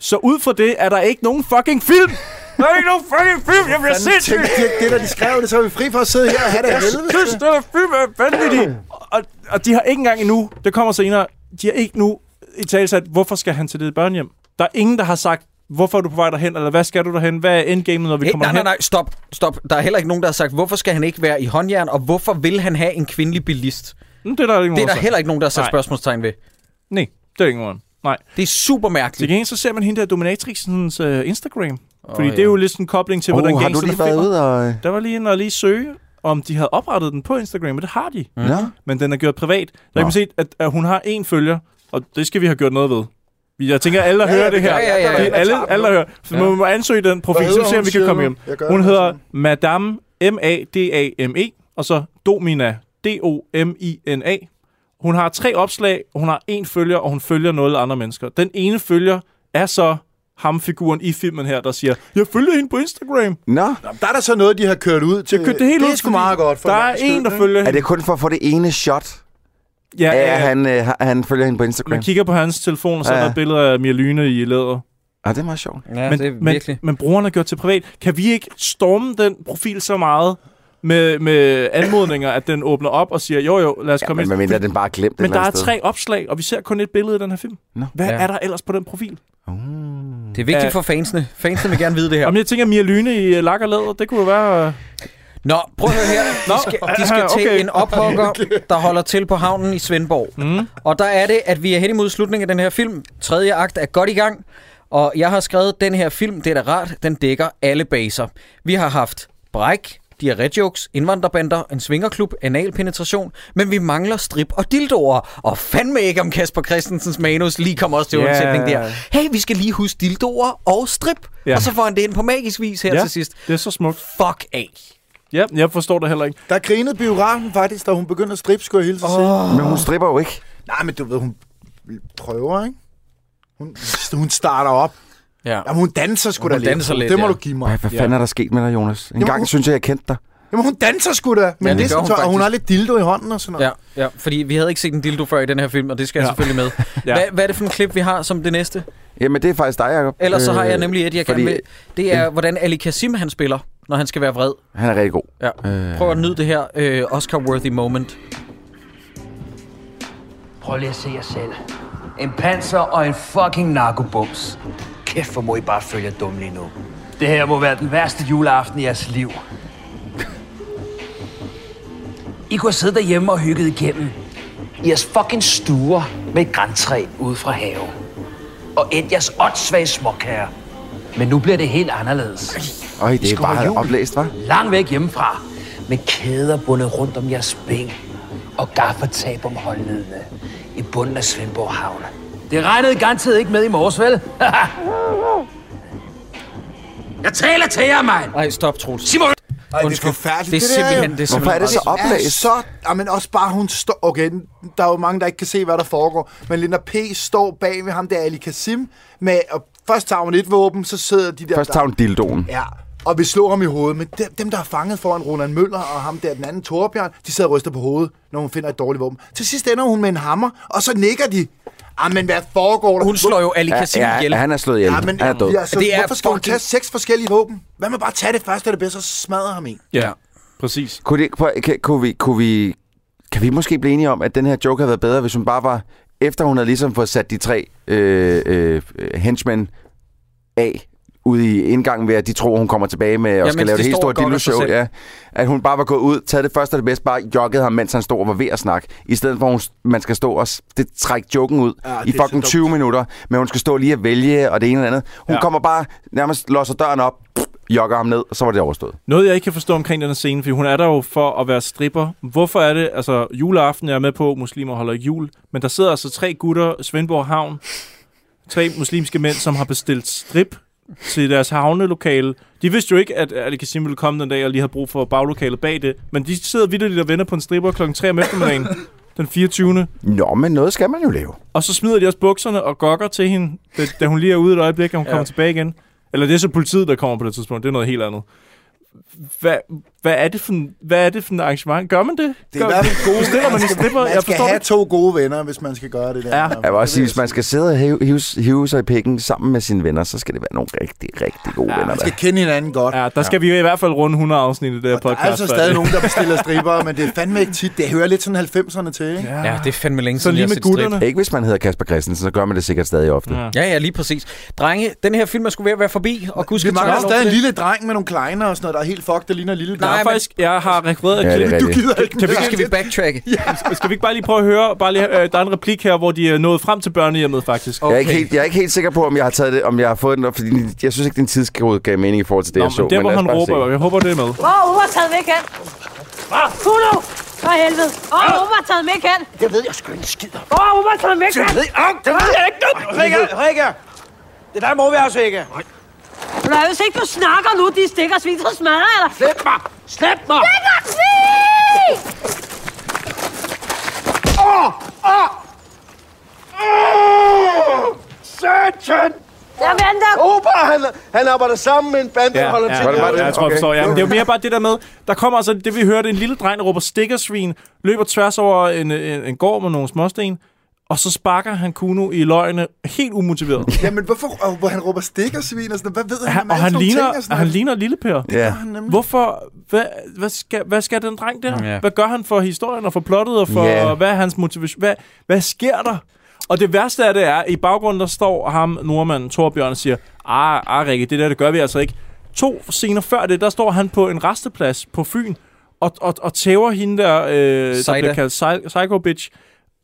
Så ud fra det er der ikke nogen fucking film! Der er ikke nogen fucking film! Jeg bliver sindssyg!
Tænk, det, det der, de skrev det, så er vi fri for at sidde her og have det af helvede.
Synes, det er film er vanvittig! Og, og de har ikke engang endnu, det kommer senere, de har ikke nu i talsat, hvorfor skal han til det børnehjem? Der er ingen, der har sagt, hvorfor er du på vej derhen, eller hvad skal du derhen, hvad er endgamet, når vi
Hey,
kommer
nej, nej,
derhen?
nej, stop, stop. Der er heller ikke nogen, der har sagt, hvorfor skal han ikke være i håndjern, og hvorfor vil han have en kvindelig bilist?
nej. Mm, Det er der, ikke
Det er
nogen,
der heller ikke nogen, der har sat
Nej.
spørgsmålstegn ved.
Nej, det er ikke nogen. Nej.
Det er super
Til
mærkeligt.
gengæld så ser man hende der dominatrixens uh, Instagram.
Åh,
Fordi det
ja.
er jo lidt sådan en kobling til, hvordan
Oh, har du
gangsterne
lige været
finder-
ude og...
Der var lige en og lige søge, om de havde oprettet den på Instagram, men det har de.
Mm. Ja.
Men den er gjort privat. Der
Nå.
kan man se, at, at hun har én følger, og det skal vi have gjort noget ved. Jeg tænker, alle, der
Ja, ja,
hører det
det
her,
gør
jeg, ja, ja.
det er alle, alle, der hører, så
Ja.
man må ansøge den profil,
Hvad
så
hedder
ser vi,
hun,
vi kan
siger
komme
du?
hjem.
Jeg gør
Hun
det
hedder
også.
Madame M-A-D-A-M-E, E, og så Domina, D-O-M-I-N-A. Hun har tre opslag, og hun har én følger, og hun følger noget andre mennesker. Den ene følger er så ham-figuren i filmen her, der siger, jeg følger hende på Instagram.
Nå,
Der er der så noget, de har kørt ud til.
kørt det hele
Øh, det
ud,
er sgu
fordi
meget godt for
der er
langs skyld,
en, der
ikke?
følger
er
hende.
det kun for at få det ene shot,
Ja,
at
ja, ja.
han, øh, har- han følger hende på Instagram?
Man kigger på hans telefon, og så
Ja,
er der
ja.
et billede af Mia Lyne i læder.
Ah, det er meget sjovt.
Ja,
men, men, men brugeren er gjort til privat. Kan vi ikke storme den profil så meget med, med anmodninger, at den åbner op og siger, jo jo, lad os ja, komme
men
ind.
medmindre den bare er glemt et
Men
eller
der er
andet sted.
tre opslag, og vi ser kun et billede i den her film.
Nå.
Hvad
Ja.
ja. er der ellers på den profil?
Det er vigtigt
Ja.
for fansene. Fansene vil gerne vide det her.
Jamen, jeg tænker, Mia Lyne i øh, lak og læder, det kunne jo være... øh,
Nå, prøv at høre her. De skal, de skal til okay. en ophugger, der holder til på havnen i Svendborg. Mm. Og der er det, at vi er hen imod slutningen af den her film. Tredje akt er godt i gang. Og jeg har skrevet, den her film, det er da rart, den dækker alle baser. Vi har haft bræk, diarré-jokes, indvandrerbander, en svingerklub, analpenetration, men vi mangler strip og dildoer. Og fandme ikke om Kasper Christensens manus lige kommer også til
Ja.
yeah. undsætning der. Hey, vi skal lige huske dildoer og strip.
Ja.
Og så får han det ind på magisk vis her
Ja,
til sidst.
det er så smukt.
Fuck af.
Ja, jeg forstår det heller ikke.
Der grinede biografen faktisk, da hun begyndte at strippe, skulle jeg hilse oh. sige.
Men hun stripper jo ikke.
Nej, men du ved, hun prøver, ikke? Hun, hun starter op.
Ja.
Jamen, hun danser sgu
Hun
da lidt.
danser lidt,
Det må
ja.
du give mig.
Hvad, hvad fanden er der sket med dig, Jonas? En
Jamen,
gang
hun-
synes jeg, jeg kendte dig.
Jamen, hun danser sgu da. Men
Ja, det
det, det
gør hun
hun, og hun
faktisk.
har lidt dildo i hånden og sådan noget.
Ja, ja, fordi vi havde ikke set en dildo før i den her film, og det skal ja. jeg selvfølgelig med.
Ja.
Hvad, hvad er det for en klip, vi har som det næste?
Jamen, det er faktisk dig, Jacob. Øh,
Ellers så har jeg nemlig et, jeg
fordi
gerne vil. Det er, hvordan Ali Kasim han spiller, når han skal være vred.
Han er rigtig god.
Ja. Prøv at nyde det her øh, Oscar-worthy moment.
Prøv lige at se jer selv. En panser og en fucking narkobums. Kæft, hvor må I bare følge jer dumme lige nu. Det her må være den værste juleaften i jeres liv. I kunne have siddet derhjemme og hygget igennem. I jeres fucking stuer med et græntræ ude fra haven. Og et jeres åndssvage småkager. Men nu bliver det helt anderledes.
Øj,
I
det er
skulle
bare
have jul.
oplæst, var?
Langt væk hjemmefra. Med kæder bundet rundt om jeres ben. Og gaffertab om håndledene. I bunden af Svendborg Havn. Det regnede garanteret ikke med i morges, vel? Jeg taler til jer, mand!
Nej, stop, Troels.
Simon!
Ej, det er
Undskyld.
forfærdeligt.
Det er
der,
simpelthen-
jo.
det er Hvorfor simpelthen er det så
er
oplæst?
Så, ja, men også bare hun står... Okay, der er jo mange, der ikke kan se, hvad der foregår. Men Linda P. står bag ved ham, der er Ali Kasim, med... Og først tager hun et våben, så sidder de der...
Først tager hun dildoen.
Ja, og vi slår ham i hovedet. Men dem, dem, der er fanget foran Roland Møller og ham der, den anden Torbjørn, de sidder og ryster på hovedet, når hun finder et dårligt våben. Til sidst ender hun med en hammer, og så nikker de. Ah, men hvad foregår der?
Hun slår jo Ali Kasim
ja,
ihjel.
han er slået ihjel.
Ja, men
Han er død.
Ja, så
Det
det
er
er hvorfor skal hun
fucking-
tage seks forskellige våben? Hvad med bare at tage det første, der bedste, og smadre ham i?
Ja, præcis.
Kunne, det, ikke- prøv, kan, kunne, vi, kunne vi, kan vi måske blive enige om, at den her joke havde været bedre, hvis hun bare var, efter hun havde ligesom fået sat de tre øh, øh, henchmen af ude i indgangen ved, at de tror, hun kommer tilbage med og
Ja,
ja, skal
mens
lave
de
det helt
står
store
og gokker sig
dildo-show.
selv.
Ja. At hun bare var gået ud, taget det første og det bedste, bare joggede ham, mens han stod og var ved at snakke. I stedet for, at hun, man skal stå og s- det, trække joken ud
Ja,
ja,
det
i
er så
fucking
dumt.
20 minutter, men hun skal stå lige og vælge og det ene eller andet. Hun
Ja.
ja. kommer bare nærmest låser døren op, pff, jogger ham ned, og så var det overstået.
Noget, jeg ikke kan forstå omkring den her scene, fordi hun er der jo for at være stripper. Hvorfor er det, altså juleaften, jeg er med på, muslimer holder ikke jul, men der sidder altså tre gutter, Svendborg Havn, tre muslimske mænd, som har bestilt strip til deres havnelokale. De vidste jo ikke, at Ali Kassim ville komme den dag, og lige havde brug for baglokalet bag det, men de sidder vitterligt og venter på en stripper klokken 3 om eftermiddagen, den 24.
Nå, men noget skal man jo lave.
Og så smider de også bukserne og gokker til hende, da, da hun lige er ude et øjeblik, og hun ja. kommer tilbage igen. Eller det er så politiet, der kommer på det tidspunkt. Det er noget helt andet. Hvad, hvad, er, det for, en- hvad er det for en arrangement? Gør man det?
Det er i
Gør,
hvert fald gode
bestiller man en stripper?
Man
Jeg
skal
forstår
have
det.
to gode venner, hvis man skal gøre det der.
Ja.
Jeg vil også sige, hvis man skal sidde og hive, hive, hive sig i pikken sammen med sine venner, så skal det være nogle rigtig, rigtig gode ja, venner.
Man
Der.
skal kende hinanden godt.
Ja, der skal ja. vi jo i hvert fald runde 100 afsnit i det her
Der er
podcast.
altså
for
stadig
det.
nogen, der bestiller stripper, men det er fandme ikke tit. Det hører lidt sådan 90'erne til, ikke?
Ja, det er fandme længe
Så
siden,
lige
jeg har
med
set strip.
gutterne.
Ikke hvis man hedder Kasper Christensen, så gør man det sikkert stadig ofte. Ja.
Ja, ja, lige præcis. Drenge, den her film er skulle ved at være forbi, og gud
Vi
skal
mangler stadig en lille dreng med nogle kleiner og sådan noget, der er helt fucked, der ligner en lille
Der
dreng.
er faktisk, jeg har rekvireret
Ja,
et
det er
klip.
rigtigt.
gider ikke
Kan vi,
mere.
skal vi backtracke?
Skal vi ikke bare lige prøve at høre? Bare lige, øh, der er en replik her, hvor de er nået frem til børnehjemmet, faktisk.
Jeg, er ikke helt, jeg er ikke helt sikker på, om jeg har taget det, om jeg har fået den, fordi jeg synes ikke, din tidskode gav mening i forhold til det, jeg så.
men der, hvor
lad os
han
bare se.
råber, jeg håber, det er med.
Hvor er Uber taget væk hen? Kulo! For helvede! Hvor er Uber taget væk hen?
Det ved jeg sgu ikke en skid om.
Hvor er Uber taget væk hen?
Det ved jeg, Au, det ved jeg ikke noget. om.
Rikke,
Rikke. Det er dig, mor, vi også, Rikke.
Nå, hvis ikke du snakker nu, de stikker svin, så smadrer jeg dig.
Slip mig. Slip mig.
Stikker svin!
Åh, åh. Åh, Satan.
Jeg venter.
Opa, han, han arbejder sammen med en bande, der holder
ja,
til.
Ja,
bare det?
ja, jeg tror, jeg
Okay.
forstår. Ja. Men det er jo mere bare det der med, der kommer altså det, vi hørte, en lille dreng, der råber stikkersvin, løber tværs over en, en, en gård med nogle småsten, Og så sparker han Kuno i løgene helt umotiveret.
Jamen, hvorfor og, hvor han råber stikker svin og sådan noget? Hvad ved han,
Han,
om
og
alle sådan
han
nogle
ligner,
ting og sådan
han
noget?
ligner Lille Per.
Ja.
Hvorfor? Hvad, hvad, skal, hvad skal den dreng der?
Ja.
Hvad gør han for historien og for plottet og for
Ja.
hvad er hans motivation? Hvad, hvad sker der? Og det værste af det er, at i baggrunden der står ham, nordmanden Torbjørn, og siger, ah, ah Rikke, det der, det gør vi altså ikke. To scener før det, der står han på en resteplads på Fyn og, og, og tæver hende der, øh, der
Seida.
bliver kaldt psy- Psycho Bitch,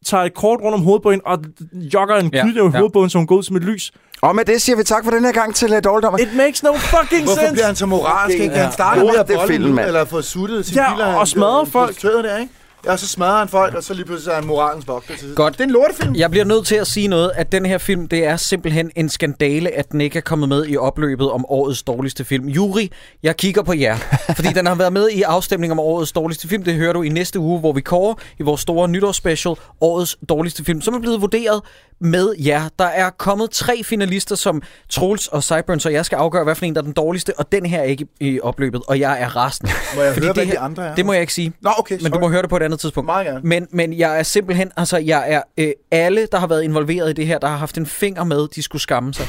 tager et kort rundt om hovedet på hende og jogger en
Ja,
knytnæve i
ja.
hovedet på hende, så hun går ud som et lys.
Og med det siger vi tak for den her gang til øh, Dårligdommer.
It makes no fucking
Hvorfor
sense.
bliver han så moralsk? Ikke?
Ja.
Han starter med
Lort,
at
det er
bolle
filmen,
ud,
mand.
eller få suttet sin
Ja,
biler.
og
han-
smadrer
øh,
folk.
prostitueret Der, ikke? Ja, og så smadrer han folk, og så lige pludselig er han moralens vogter. til sidst.
Godt. Det
er en lortefilm.
Jeg bliver nødt til at sige noget, at den her film, det er simpelthen en skandale, at den ikke er kommet med i opløbet om årets dårligste film. Juri, jeg kigger på jer, fordi den har været med i afstemningen om årets dårligste film. Det hører du i næste uge, hvor vi kårer i vores store nytårsspecial årets dårligste film, som er blevet vurderet med jer. Der er kommet tre finalister, som Troels og Cyburns, og jeg skal afgøre, hvad for en der er den dårligste, og den her er ikke i opløbet, og jeg er resten.
Må jeg
Fordi
høre,
det
hvad de
her-
andre er?
Det må jeg ikke sige.
Nå, okay,
Men du
sorry.
må høre det på et andet tidspunkt.
Meget gerne.
Men, men jeg er simpelthen, altså jeg er, øh, alle der har været involveret i det her, der har haft en finger med, de skulle skamme sig.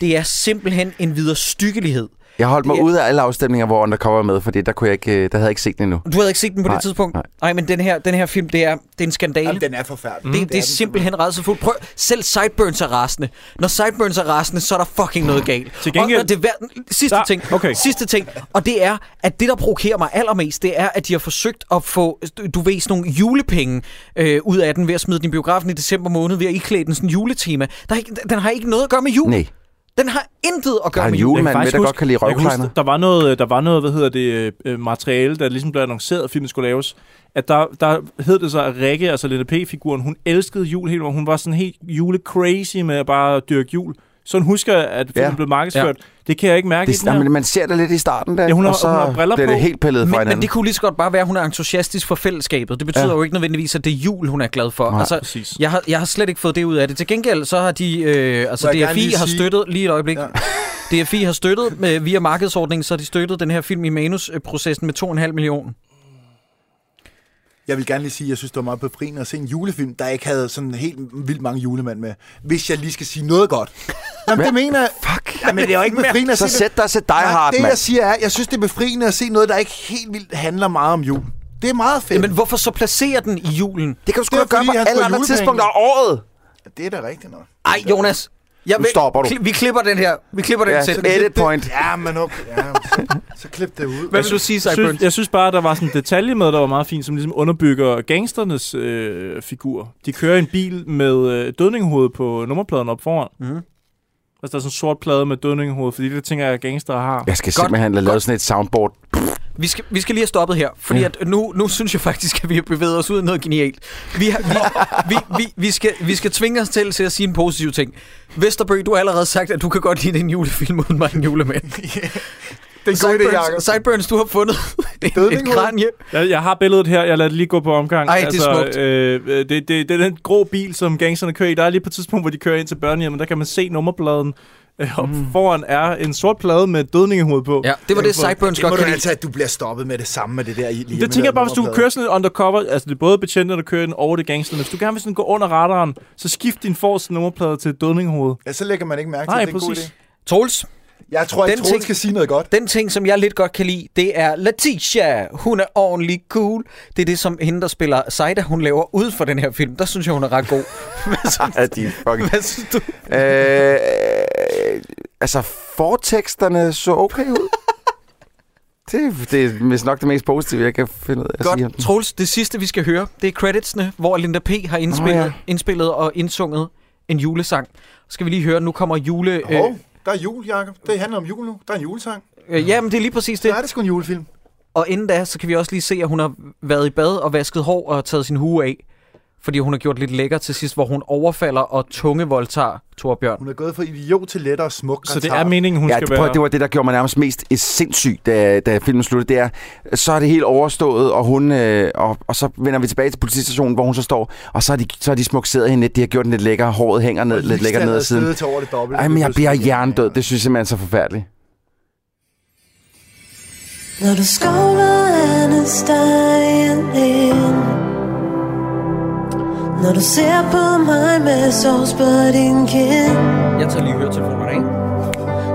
Det er simpelthen en videre styggelighed.
Jeg holdt mig
Det er-
ude af alle afstemninger, hvor Undercover er med, fordi der, kunne jeg ikke, øh, der havde jeg ikke set den endnu.
Du havde ikke set den på
Nej,
det tidspunkt?
nej.
Nej, men den her, den her film, det er, det er en skandale.
Jamen, den er forfærdelig.
Mm.
Det, det, det er simpelthen rædselsfuldt. Prøv, selv Sideburns er rasende. Når Sideburns er rasende, så er der fucking noget galt.
Til gengæld-
Og, og det vær- sidste,
Der-
ting,
okay.
sidste ting, og det er, at det, der provokerer mig allermest, det er, at de har forsøgt at få, du ved, sådan nogle julepenge øh, ud af den, ved at smide den i biografen i december måned, ved at iklæde den sådan en juletema. Der er ikke, den har ikke noget at gøre med jul.
Nej.
Den har intet at gøre
Der er
med
en
jul.
julemand
faktisk
med, der godt kan lide
jeg kan
røvkleiner.
huske, Der var noget, øh, der var noget, hvad hedder det, øh, øh, materiale, der ligesom blev annonceret, at filmen skulle laves. At der, der hed det så, at Rikke, altså Lene P-figuren, hun elskede jul helt, og hun var sådan helt jule-crazy med at bare dyrke jul. Sådan husker jeg, at filmen
Ja.
ja. blev markedsført. Ja. Det kan jeg ikke mærke i
Det,
den her.
jamen, man ser det lidt i starten der,
Ja, hun har-
og så
hun har briller
bliver det
på.
helt pillet fra
Men, men
hinanden.
det kunne lige så godt bare være, at hun er entusiastisk for fællesskabet. Det betyder
Ja.
ja. jo ikke nødvendigvis, at det er jul, hun er glad for.
Nej,
altså,
præcis.
jeg, har, jeg har slet ikke fået det ud af det. Til gengæld så har de, øh, altså
Må jeg gerne
DFI
lige
har
sige-
støttet, lige et øjeblik, ja. DFI har støttet øh, via markedsordningen, så har de støttet den her film i manusprocessen med 2,5 millioner.
Jeg vil gerne lige sige, at jeg synes, det var meget befriende at se en julefilm, der ikke havde sådan helt vildt mange julemænd med. Hvis jeg lige skal sige noget godt. Jamen, det mener jeg... Fuck. Jamen, det er jo ikke befriende at
Så
se det.
sæt dig og sæt dig
Nej,
hard,
Det,
mand.
jeg siger er, jeg synes, det er befriende at se noget, der ikke helt vildt handler meget om jul. Det er meget fedt.
Jamen, hvorfor så placere den i julen?
Det kan du sgu
Det er
da gøre
fordi,
på
han
alle
får
andre
julepenge.
tidspunkter af året.
Det er da rigtigt nok.
Ej, Jonas. Jeg
Nu stopper du.
Kli- vi klipper den her. Vi klipper den
Ja,
selv.
edit point.
Ja, men okay. Ja, så, så klip det ud.
Hvad vil du sige, Cyburns?
synes, jeg synes bare, der var sådan en detalje med, der var meget fint, som ligesom underbygger gangsternes øh, figur. De kører i en bil med øh, dødninghoved på nummerpladen op foran. Mm.
Mhm.
Altså, der er sådan en sort plade med dødninghoved, fordi det tænker jeg, at gangster har.
Jeg skal simpelthen lave sådan et soundboard.
Vi skal, vi skal lige have stoppet her, fordi ja. at nu, nu synes jeg faktisk, at vi har bevæget os ud i noget genialt. Vi, har, vi, vi, vi, vi, skal, vi skal tvinge os til, til at sige en positiv ting. Vesterbø, du har allerede sagt, at du kan godt lide en julefilm uden mig en julemand.
Det er en god idé, Jacob.
Sideburns, Sideburns, du har fundet et, et
Dødninghoved.
kranje.
Jeg, jeg har billedet her, jeg lader det lige gå på omgang.
Ej, det er smukt.
Øh, øh, det, det, det er den grå bil, som gangsterne kører i. Der er lige på et tidspunkt, hvor de kører ind til børnehjemmet, der kan man se nummerpladen. Øh, og foran er en sort plade med et dødningehoved på.
Mm.
Øh,
Ja, det var det, Sideburns
Det må
godt
du
kan lide.
altså, at du bliver stoppet med det samme med det der. i-
Det tænker jeg bare, hvis du kører sådan et undercover, altså det er både betjente, der kører den over det gangsterne. Hvis du gerne vil sådan gå under radaren, så skift din forreste nummerplade til et dødninghoved.
Ja, så lægger man ikke mærke til,
Nej,
at det er en god
præcis.
idé.
Troels,
Jeg tror ikke,
Den
Troels
ting-
skal sige noget godt.
Den ting, som jeg lidt godt kan lide, det er Letitia. Hun er ordentlig cool. Det er det, som hende, der spiller Saida, hun laver ud for den her film. Der synes jeg, hun er ret god. Hvad synes,
Ja, Ah, de er fucking...
hvad synes du?
øh, altså, forteksterne så okay ud. det, det er vist nok det mest positive, jeg kan finde ud af at sige. om
Godt,
den.
Troels, det sidste vi skal høre, det er creditsene, hvor Linda P. har indspillet,
Nå,
oh,
ja.
ja. indspillet og indsunget en julesang. Skal vi lige høre, nu kommer jule...
Øh.
Hov, der er jul, Jacob. Det handler om jul nu. Der er en julesang.
øh, ja, men det er lige præcis
Så
det.
er det sgu en julefilm.
Og inden da, så kan vi også lige se, at hun har været i bad og vasket hår og taget sin hue af. Fordi hun har gjort lidt lækker til sidst, hvor hun overfalder og tunge voldtager Torbjørn.
Hun er gået fra idiot til lettere smuk.
Så det er meningen, hun
Ja,
skal
det, prøv,
være.
at- det var det, der gjorde mig nærmest mest eh, sindssyg, da, da filmen sluttede. Det er, så er det helt overstået, og, hun, øh, og, og så vender vi tilbage til politistationen, hvor hun så står, og så har de, så har de smukseret hende lidt. De har gjort den lidt lækker, håret hænger ned, lidt lækker ned ad siden.
Til over det dobbelte.
Ej, men jeg
Det
bliver
er sådan-
jerndød. Det synes jeg simpelthen er så forfærdeligt.
Når du skovler andet steg end
Når du ser på mig med sovs på din kind
Jeg tager lige høretelefonerne af.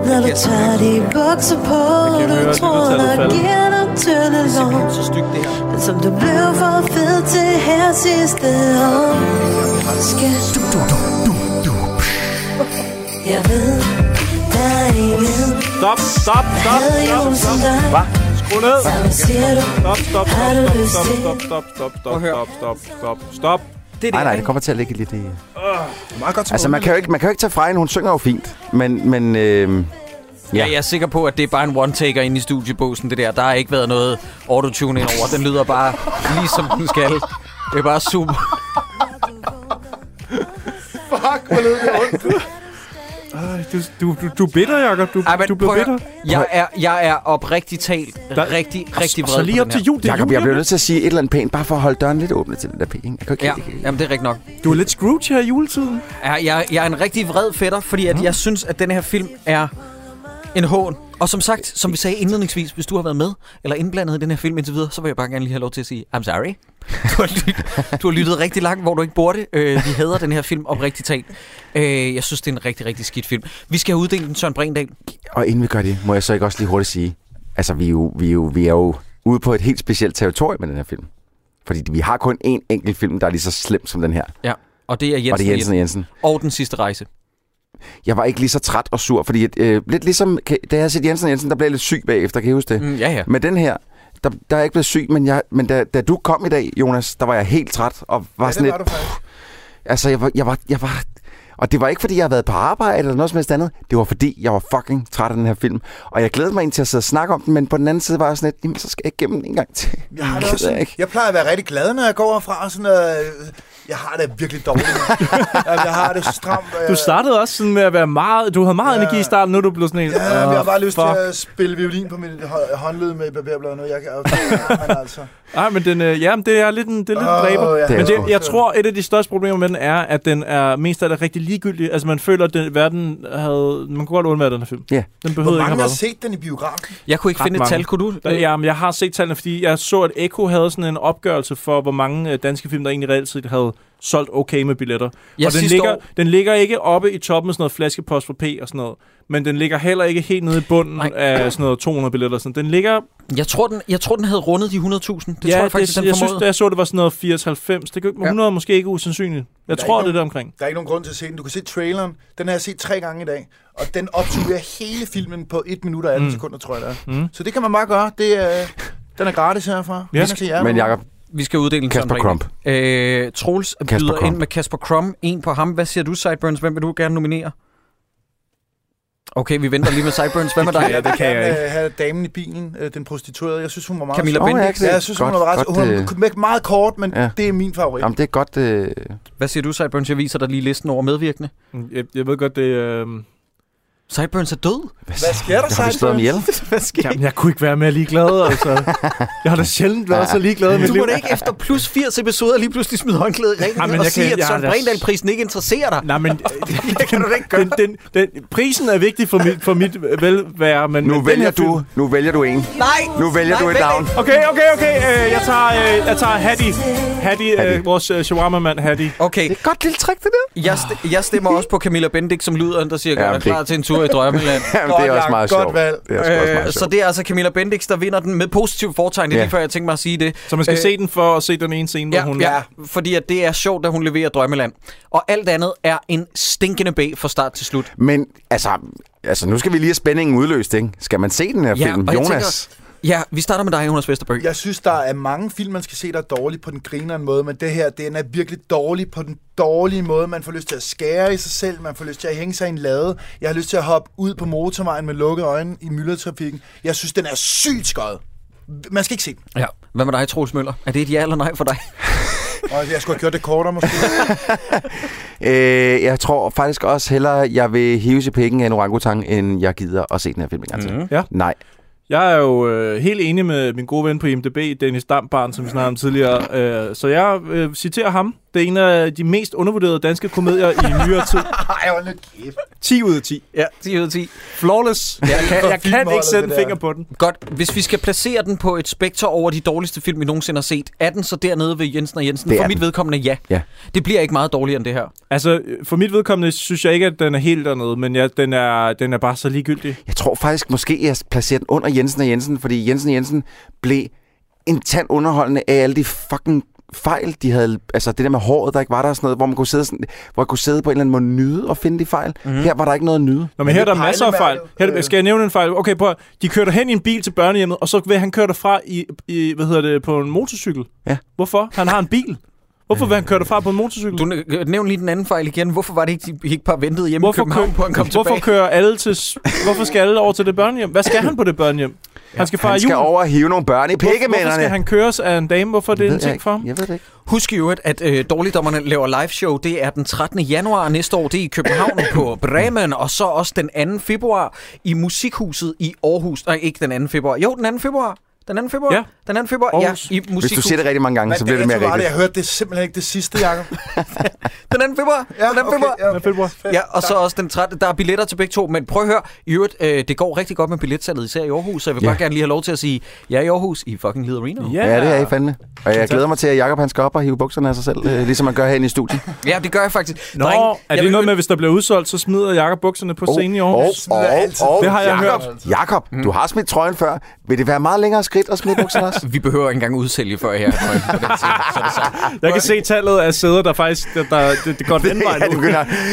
Når du tager de bukser på,
kan
du
høre, at
tror,
lyttertallet
der
falder.
giver dig tynde lår Men som du blev for fed til her sidste år Skal du, du, du, du, du Jeg ved, der er ingen
Stop, stop, stop, stop, stop. Hvad? Skru ned. Stop, stop, stop, stop, stop, stop, stop, stop, stop, stop, stop, stop.
Det nej, nej, det kommer til at ligge lidt i...
Meget godt
Altså, man kan, jo ikke, man kan jo ikke tage fra hende. Hun synger jo fint. Men, men øh,
Ja. Jeg er sikker på, at det er bare en one-taker inde i studiebosen, det der. Der har ikke været noget autotune ind over. Den lyder bare lige som den skal. Det er bare super.
Fuck, hvor lød det ondt.
Ej, Du, du, du, du er bitter, Jacob. Du,
Ej, Ah, men
du blev
prøv at
bitter.
høre. Jeg er, jeg er oprigtigt talt der, rigtig, rigtig vred på den her.
Jacob, jeg bliver nødt til at sige et eller andet pænt, bare for at holde døren lidt åbne til den der pæn. Jeg kan ikke
Ja,
ja.
jamen det er rigtigt nok.
Du er lidt Scrooge her i juletiden.
Ja, jeg, jeg er en rigtig vred fætter, fordi at jeg synes, at den her film er en hån. Og som sagt, som vi sagde indledningsvis, hvis du har været med eller indblandet i den her film indtil videre, så vil jeg bare gerne lige have lov til at sige, I'm sorry. Du har, lyt, du har lyttet rigtig langt, hvor du ikke burde. Øh, vi hader den her film oprigtigt talt. Øh, jeg synes, det er en rigtig, rigtig skidt film. Vi skal have uddelt den Søren Brindal.
Og inden vi gør det, må jeg så ikke også lige hurtigt sige, altså vi er jo, vi er jo, vi er jo ude på et helt specielt territorium med den her film. Fordi vi har kun én enkelt film, der er lige så slem som den her.
Ja, og det er Jensen
og det er Jensen og Jensen.
Og den sidste rejse.
Jeg var ikke lige så træt og sur, fordi øh, lidt ligesom, kan, da jeg har set Jensen og Jensen, der blev jeg lidt syg bagefter, kan I huske det?
Mm, ja, ja.
Men den her, der, der er jeg ikke blevet syg, men, jeg, men da, da du kom i dag, Jonas, der var jeg helt træt og var
Ja, det
sådan
var du
lidt...
faktisk.
altså, jeg var, jeg, var, jeg var... Og det var ikke, fordi jeg havde været på arbejde eller noget som helst andet. Det var, fordi jeg var fucking træt af den her film. Og jeg glædede mig ind til at sidde og snakke om den, men på den anden side var jeg sådan lidt, jamen, så skal jeg ikke gennem den en gang til.
Jeg, har det
Gider
også sådan,
ikke.
jeg, plejer at være rigtig glad, når jeg går herfra. og Sådan, øh, jeg har det virkelig dårligt. Jamen, jeg har det stramt. og
Du
Jeg,
startede også sådan med at være meget... Du havde meget energi i starten, nu er du blevet sådan en...
ja, jeg har bare lyst til
fuck.
at spille violin på min hå- håndled med barberblad og noget. Jeg kan, men altså.
Nej, men den, øh, ja, men det er lidt en, det er lidt
Åh,
oh, dræber.
ja.
Ja.
Det er
Men
sgu.
det, jeg tror, et af de største problemer med den er, at den er mest af det rigtig ligegyldig. Altså, man føler, at den, verden havde... Man kunne godt undvære den her film.
Ja.
Den behøvede
Hvor
ikke have
mange har
været.
set den i biografen?
Jeg kunne ikke
Ret
finde et
mange.
tal, kunne du?
Der, jamen, jeg har set tallene, fordi jeg så, at Eko havde sådan en opgørelse for, hvor mange øh, danske film, der egentlig reelt set havde solgt okay med billetter.
Ja,
og den
sidste
ligger,
år.
den ligger ikke oppe i toppen med sådan noget flaskepost for P og sådan noget, men den ligger heller ikke helt nede i bunden Nej. af sådan noget 200 billetter. og Sådan. Den ligger...
Jeg tror, den, jeg tror, den havde rundet de 100.000. Det
ja,
tror jeg faktisk,
det,
den
jeg synes,
formåede.
da jeg så, det var sådan noget 80-90. Det kan, ja. 100 er måske ikke usandsynligt. Jeg
Der er
tror,
ikke
det er
nogen-
der omkring.
Der er ikke nogen grund til at se den. Du kan se traileren. Den har jeg set tre gange i dag. Og den opsummerer hele filmen på 1 minut og 18
Mm.
sekunder, tror jeg det er.
Mm.
Så det kan man bare gøre. Det, er, den er gratis herfra.
Ja.
Den er til jer.
Men Jacob,
Vi skal uddele en
Kasper
Søren Brink. Øh, Troels
Kasper
byder
Crumb.
ind med Kasper Crumb. En på ham. Hvad siger du, Sideburns? Hvem vil du gerne nominere? Okay, vi venter lige med Sideburns. Hvad med dig?
Jeg vil gerne, øh, have damen i bilen, øh, den prostituerede. Jeg synes, hun var meget
Camilla
sød.
Bendix. Åh, ja,
Ja, jeg synes,
godt-
hun var ret
godt,
hun
øh,
er me- meget kort, men
ja.
det er min favorit.
Jamen, det er godt... Øh...
Hvad siger du, Sideburns? Jeg viser dig lige listen over medvirkende.
Mm, Jeg, jeg ved godt, det... Øh...
Sideburns er død.
Hvad sker der,
Jeg har vi slået ham ihjel.
Hvad sker
Jamen, jeg kunne ikke være mere ligeglad, altså. Jeg har da sjældent været så ligeglad med
du må da ikke efter plus 80 episoder lige pludselig smide håndklædet i ringen
Ej, men
og
jeg
sige,
kan-
at
jeg
Søren
er da-
Brindahl-prisen ikke interesserer dig.
Nej, men
det kan du da ikke gøre.
den, den, den, prisen er vigtig for mit, for mit øh, velvære, men...
Nu
men den
vælger,
her
du,
Film.
nu vælger du en.
Nej!
Nu vælger
Nej,
du et
vælg
navn.
Okay, okay, okay. Øh, jeg tager, øh, jeg tager Hattie. Hattie, Hattie. Øh, vores øh, shawarma-mand Hattie.
Okay,
Et godt lille trick, det der.
jeg, st- jeg stemmer også på Camilla Bendik som lyder, der siger, at jeg
Jamen,
er klar
det-
til en tur i drømmeland.
Jamen, det er også meget
godt
sjovt.
valg.
Det er sgu også meget
Øh,
sjovt.
så det er altså Camilla Bendix, der vinder den med positiv fortegn. Det er
Ja.
lige før, jeg tænkte mig at sige det.
Så man skal øh,
Øh,
se den for at se den ene scene, hvor
Ja,
hun...
hun... ja, fordi at det er sjovt, at hun leverer Drømmeland. Og alt andet er en stinkende B fra start til slut.
Men altså, altså, nu skal vi lige have spændingen udløst, ikke? Skal man se den her
Ja,
film?
og jeg
Jonas,
Ja, vi starter med dig, Jonas Vesterbøg. Ja.
Jeg synes, der er mange film, man skal se, der er dårlige på den grinerende måde, men det her, den er virkelig dårlig på den dårlige måde. Man får lyst til at skære i sig selv, man får lyst til at hænge sig i en lade. Jeg har lyst til at hoppe ud på motorvejen med lukkede øjne i myldretrafikken. Jeg synes, den er sygt skød. Man skal ikke se den.
ja. Hvad med dig, Troels Møller? Er det et ja eller nej for dig?
Og jeg skulle have gjort det kortere, måske.
øh, jeg tror faktisk også hellere, jeg vil hive sig penge af en orangutang, end jeg gider at se den her film en gang til.
Mhm.
Ja.
Nej.
Jeg er jo øh, helt enig med min gode ven på IMDb, Dennis Dambarn, som vi snakkede om tidligere. Øh, så jeg øh, citerer ham. Det er en af de mest undervurderede danske komedier i nyere tid.
Ej, hold nu kæft.
10 ud af 10.
Ja.
10 ud af 10. Flawless.
Ja.
Jeg kan, jeg kan ikke sætte en finger på den.
Godt. Hvis vi skal placere den på et spekter over de dårligste film, vi nogensinde har set, er den så dernede ved Jensen og Jensen?
Det er
For mit
den.
vedkommende, ja.
Ja.
Det bliver ikke meget dårligere end det her.
Altså, for mit vedkommende synes jeg ikke, at den er helt dernede, men ja, den, er, den er bare så ligegyldig.
Jeg tror faktisk måske, jeg placerer den under Jensen og Jensen, fordi Jensen og Jensen blev en tand underholdende af alle de fucking fejl, de havde. Altså det der med håret, der ikke var der og sådan noget, hvor man kunne sidde, sådan, hvor jeg kunne sidde på en eller anden måde og nyde og finde de fejl.
Mhm.
Mm. Her var der ikke noget at nyde.
Nå, men her er der masser af fejl. Her, er- skal jeg nævne en fejl? Okay, prøv at- De kørte hen i en bil til børnehjemmet, og så vil han køre derfra i, i, hvad hedder det, på en motorcykel.
Ja.
Hvorfor? Han har en bil. Hvorfor vil han køre derfra på en motorcykel?
Du næ- nævn lige den anden fejl igen. Hvorfor var det ikke, de ikke bare ventede hjemme
Hvorfor
i København
kø-
på, at han kom
hvorfor
tilbage?
kører alle til... s- Hvorfor skal alle over til det børnehjem? Hvad skal han på det børnehjem? Han skal, fejre
Han skal
jul.
over og hive nogle børn i
Hvor, hvorfor skal
pikkemænderne.
han køres af en dame? Hvorfor er det en ting for ham?
Jeg ved det ikke.
Husk i øvrigt, at øh, Dårligdommerne laver live show. Det er den 13. januar næste år. Det er i København på Bremen, og så også den 2. februar i Musikhuset i Aarhus. Nej, ikke den 2. februar. Jo, den 2. februar. Den 2. februar? Ja. Den 2. februar,
Aarhus.
ja, i
Hvis du
Musikhuset.
siger det rigtig mange gange, så bliver det mere
rigtigt.
rigtigt.
Jeg hørte det simpelthen ikke det sidste, Jacob.
Den 2. februar.
Ja,
den 2. februar.
Okay, ja, okay.
Ja, og så også den 13. Der er billetter til begge to, men prøv at høre. I øvrigt, øh, det går rigtig godt med billetsalget, især i Aarhus, så jeg vil
Ja.
bare gerne lige have lov til at sige, jeg er i Aarhus, I fucking Lider Reno.
Ja, det er I fandme. Og jeg glæder mig til, at Jacob han skal op og hive bukserne af sig selv, øh, ligesom man gør herinde i studiet.
Ja, det gør jeg faktisk.
Nå, Dreng, er det noget med, at hvis der bliver udsolgt, så smider Jakob bukserne på scenen i Aarhus?
Og, og, og,
det har jeg
Jacob,
hørt. Mm.
Jakob, du har smidt trøjen før. Vil det være meget længere skridt at smide bukserne også?
Vi behøver ikke engang udsælge før her.
Jeg kan se tallet af sæder, der faktisk der, der, det, det går den vej nu.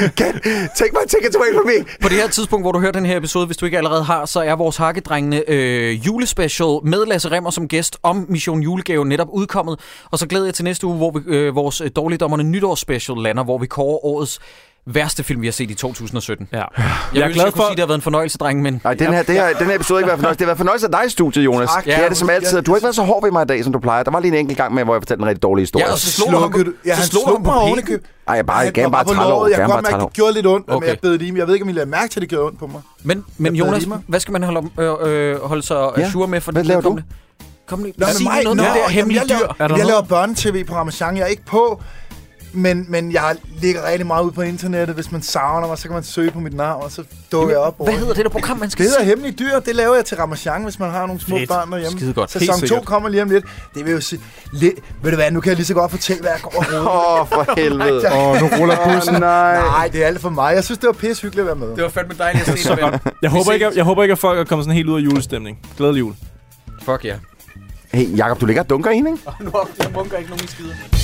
Take my ticket away from me.
På det her tidspunkt, hvor du hører den her episode, hvis du ikke allerede har, så er vores Hakkedrengene øh, julespecial med Lasse Remmer som gæst om Mission Julegave netop udkommet. Og så glæder jeg til næste uge, hvor vi, øh, vores øh, dårligdommerne nytårsspecial lander, hvor vi kårer årets værste film, vi har set i 2017.
Ja. Jeg,
jeg er glad for... Kunne sige, det har været en fornøjelse, dreng, men...
Nej, den her, det her, den her episode har ikke været fornøjelse. Det har været fornøjelse af dig i studiet, Jonas.
Tak.
det er det som altid. Du har ikke været så hård ved mig i dag, som du plejer. Der var lige en enkelt gang med, hvor jeg fortalte en rigtig dårlig historie.
Ja, og så slog du ham på-
Ja,
så
han
slog du
slog
ham på
mig oven i
pikken.
købet.
Ej, jeg bare, jeg
Han
gav ham
var
bare
på
30 år.
låret. Jeg
Gav ham
kunne
bare
godt
30
mærke,
år.
det gjorde lidt ondt, okay.
Okay.
men jeg bed det i mig. Jeg ved ikke, om I lagde mærke til, at det gjorde ondt på mig.
Men, men
Jeg
Jonas,
bedre lige mig.
hvad skal man holde, øh, øh, holde sig ja.
Ja,
sure med for
hvad laver du?
vedkommende? Kom lige,
Nå, men
sig
mig,
mig, noget
nå,
om det der
jamen,
hemmelige
jeg
dyr.
Laver, jeg laver børnetv på Ramachan. Jeg er ikke på, men, men jeg ligger rigtig meget ud på internettet. Hvis man savner mig, så kan man søge på mit navn, og så dukker jeg op. over
Hvad hedder det der program, man skal
Det hedder
se?
Hemmelige Dyr. Det laver jeg til Ramachan, hvis man har nogle små
Fedt.
børn derhjemme.
Skidegodt. Helt
Sæson 2
sikkert.
kommer lige om lidt. Det vil jo sige... Lidt, ved du hvad, nu kan jeg lige så godt fortælle, hvad jeg går og
Åh, oh, for helvede.
Åh, nu ruller bussen.
nej. nej, det er alt for mig. Jeg synes, det var pisse hyggeligt at være med.
Det var fandme dejligt at se dig, ven.
Jeg håber, ikke, at, jeg håber ikke, at folk er kommet sådan helt ud af julestemning. Glædelig jul.
Fuck ja.
Hey, Jacob, du ligger og dunker ind, ikke?
Nu har jeg munker ikke nogen skider.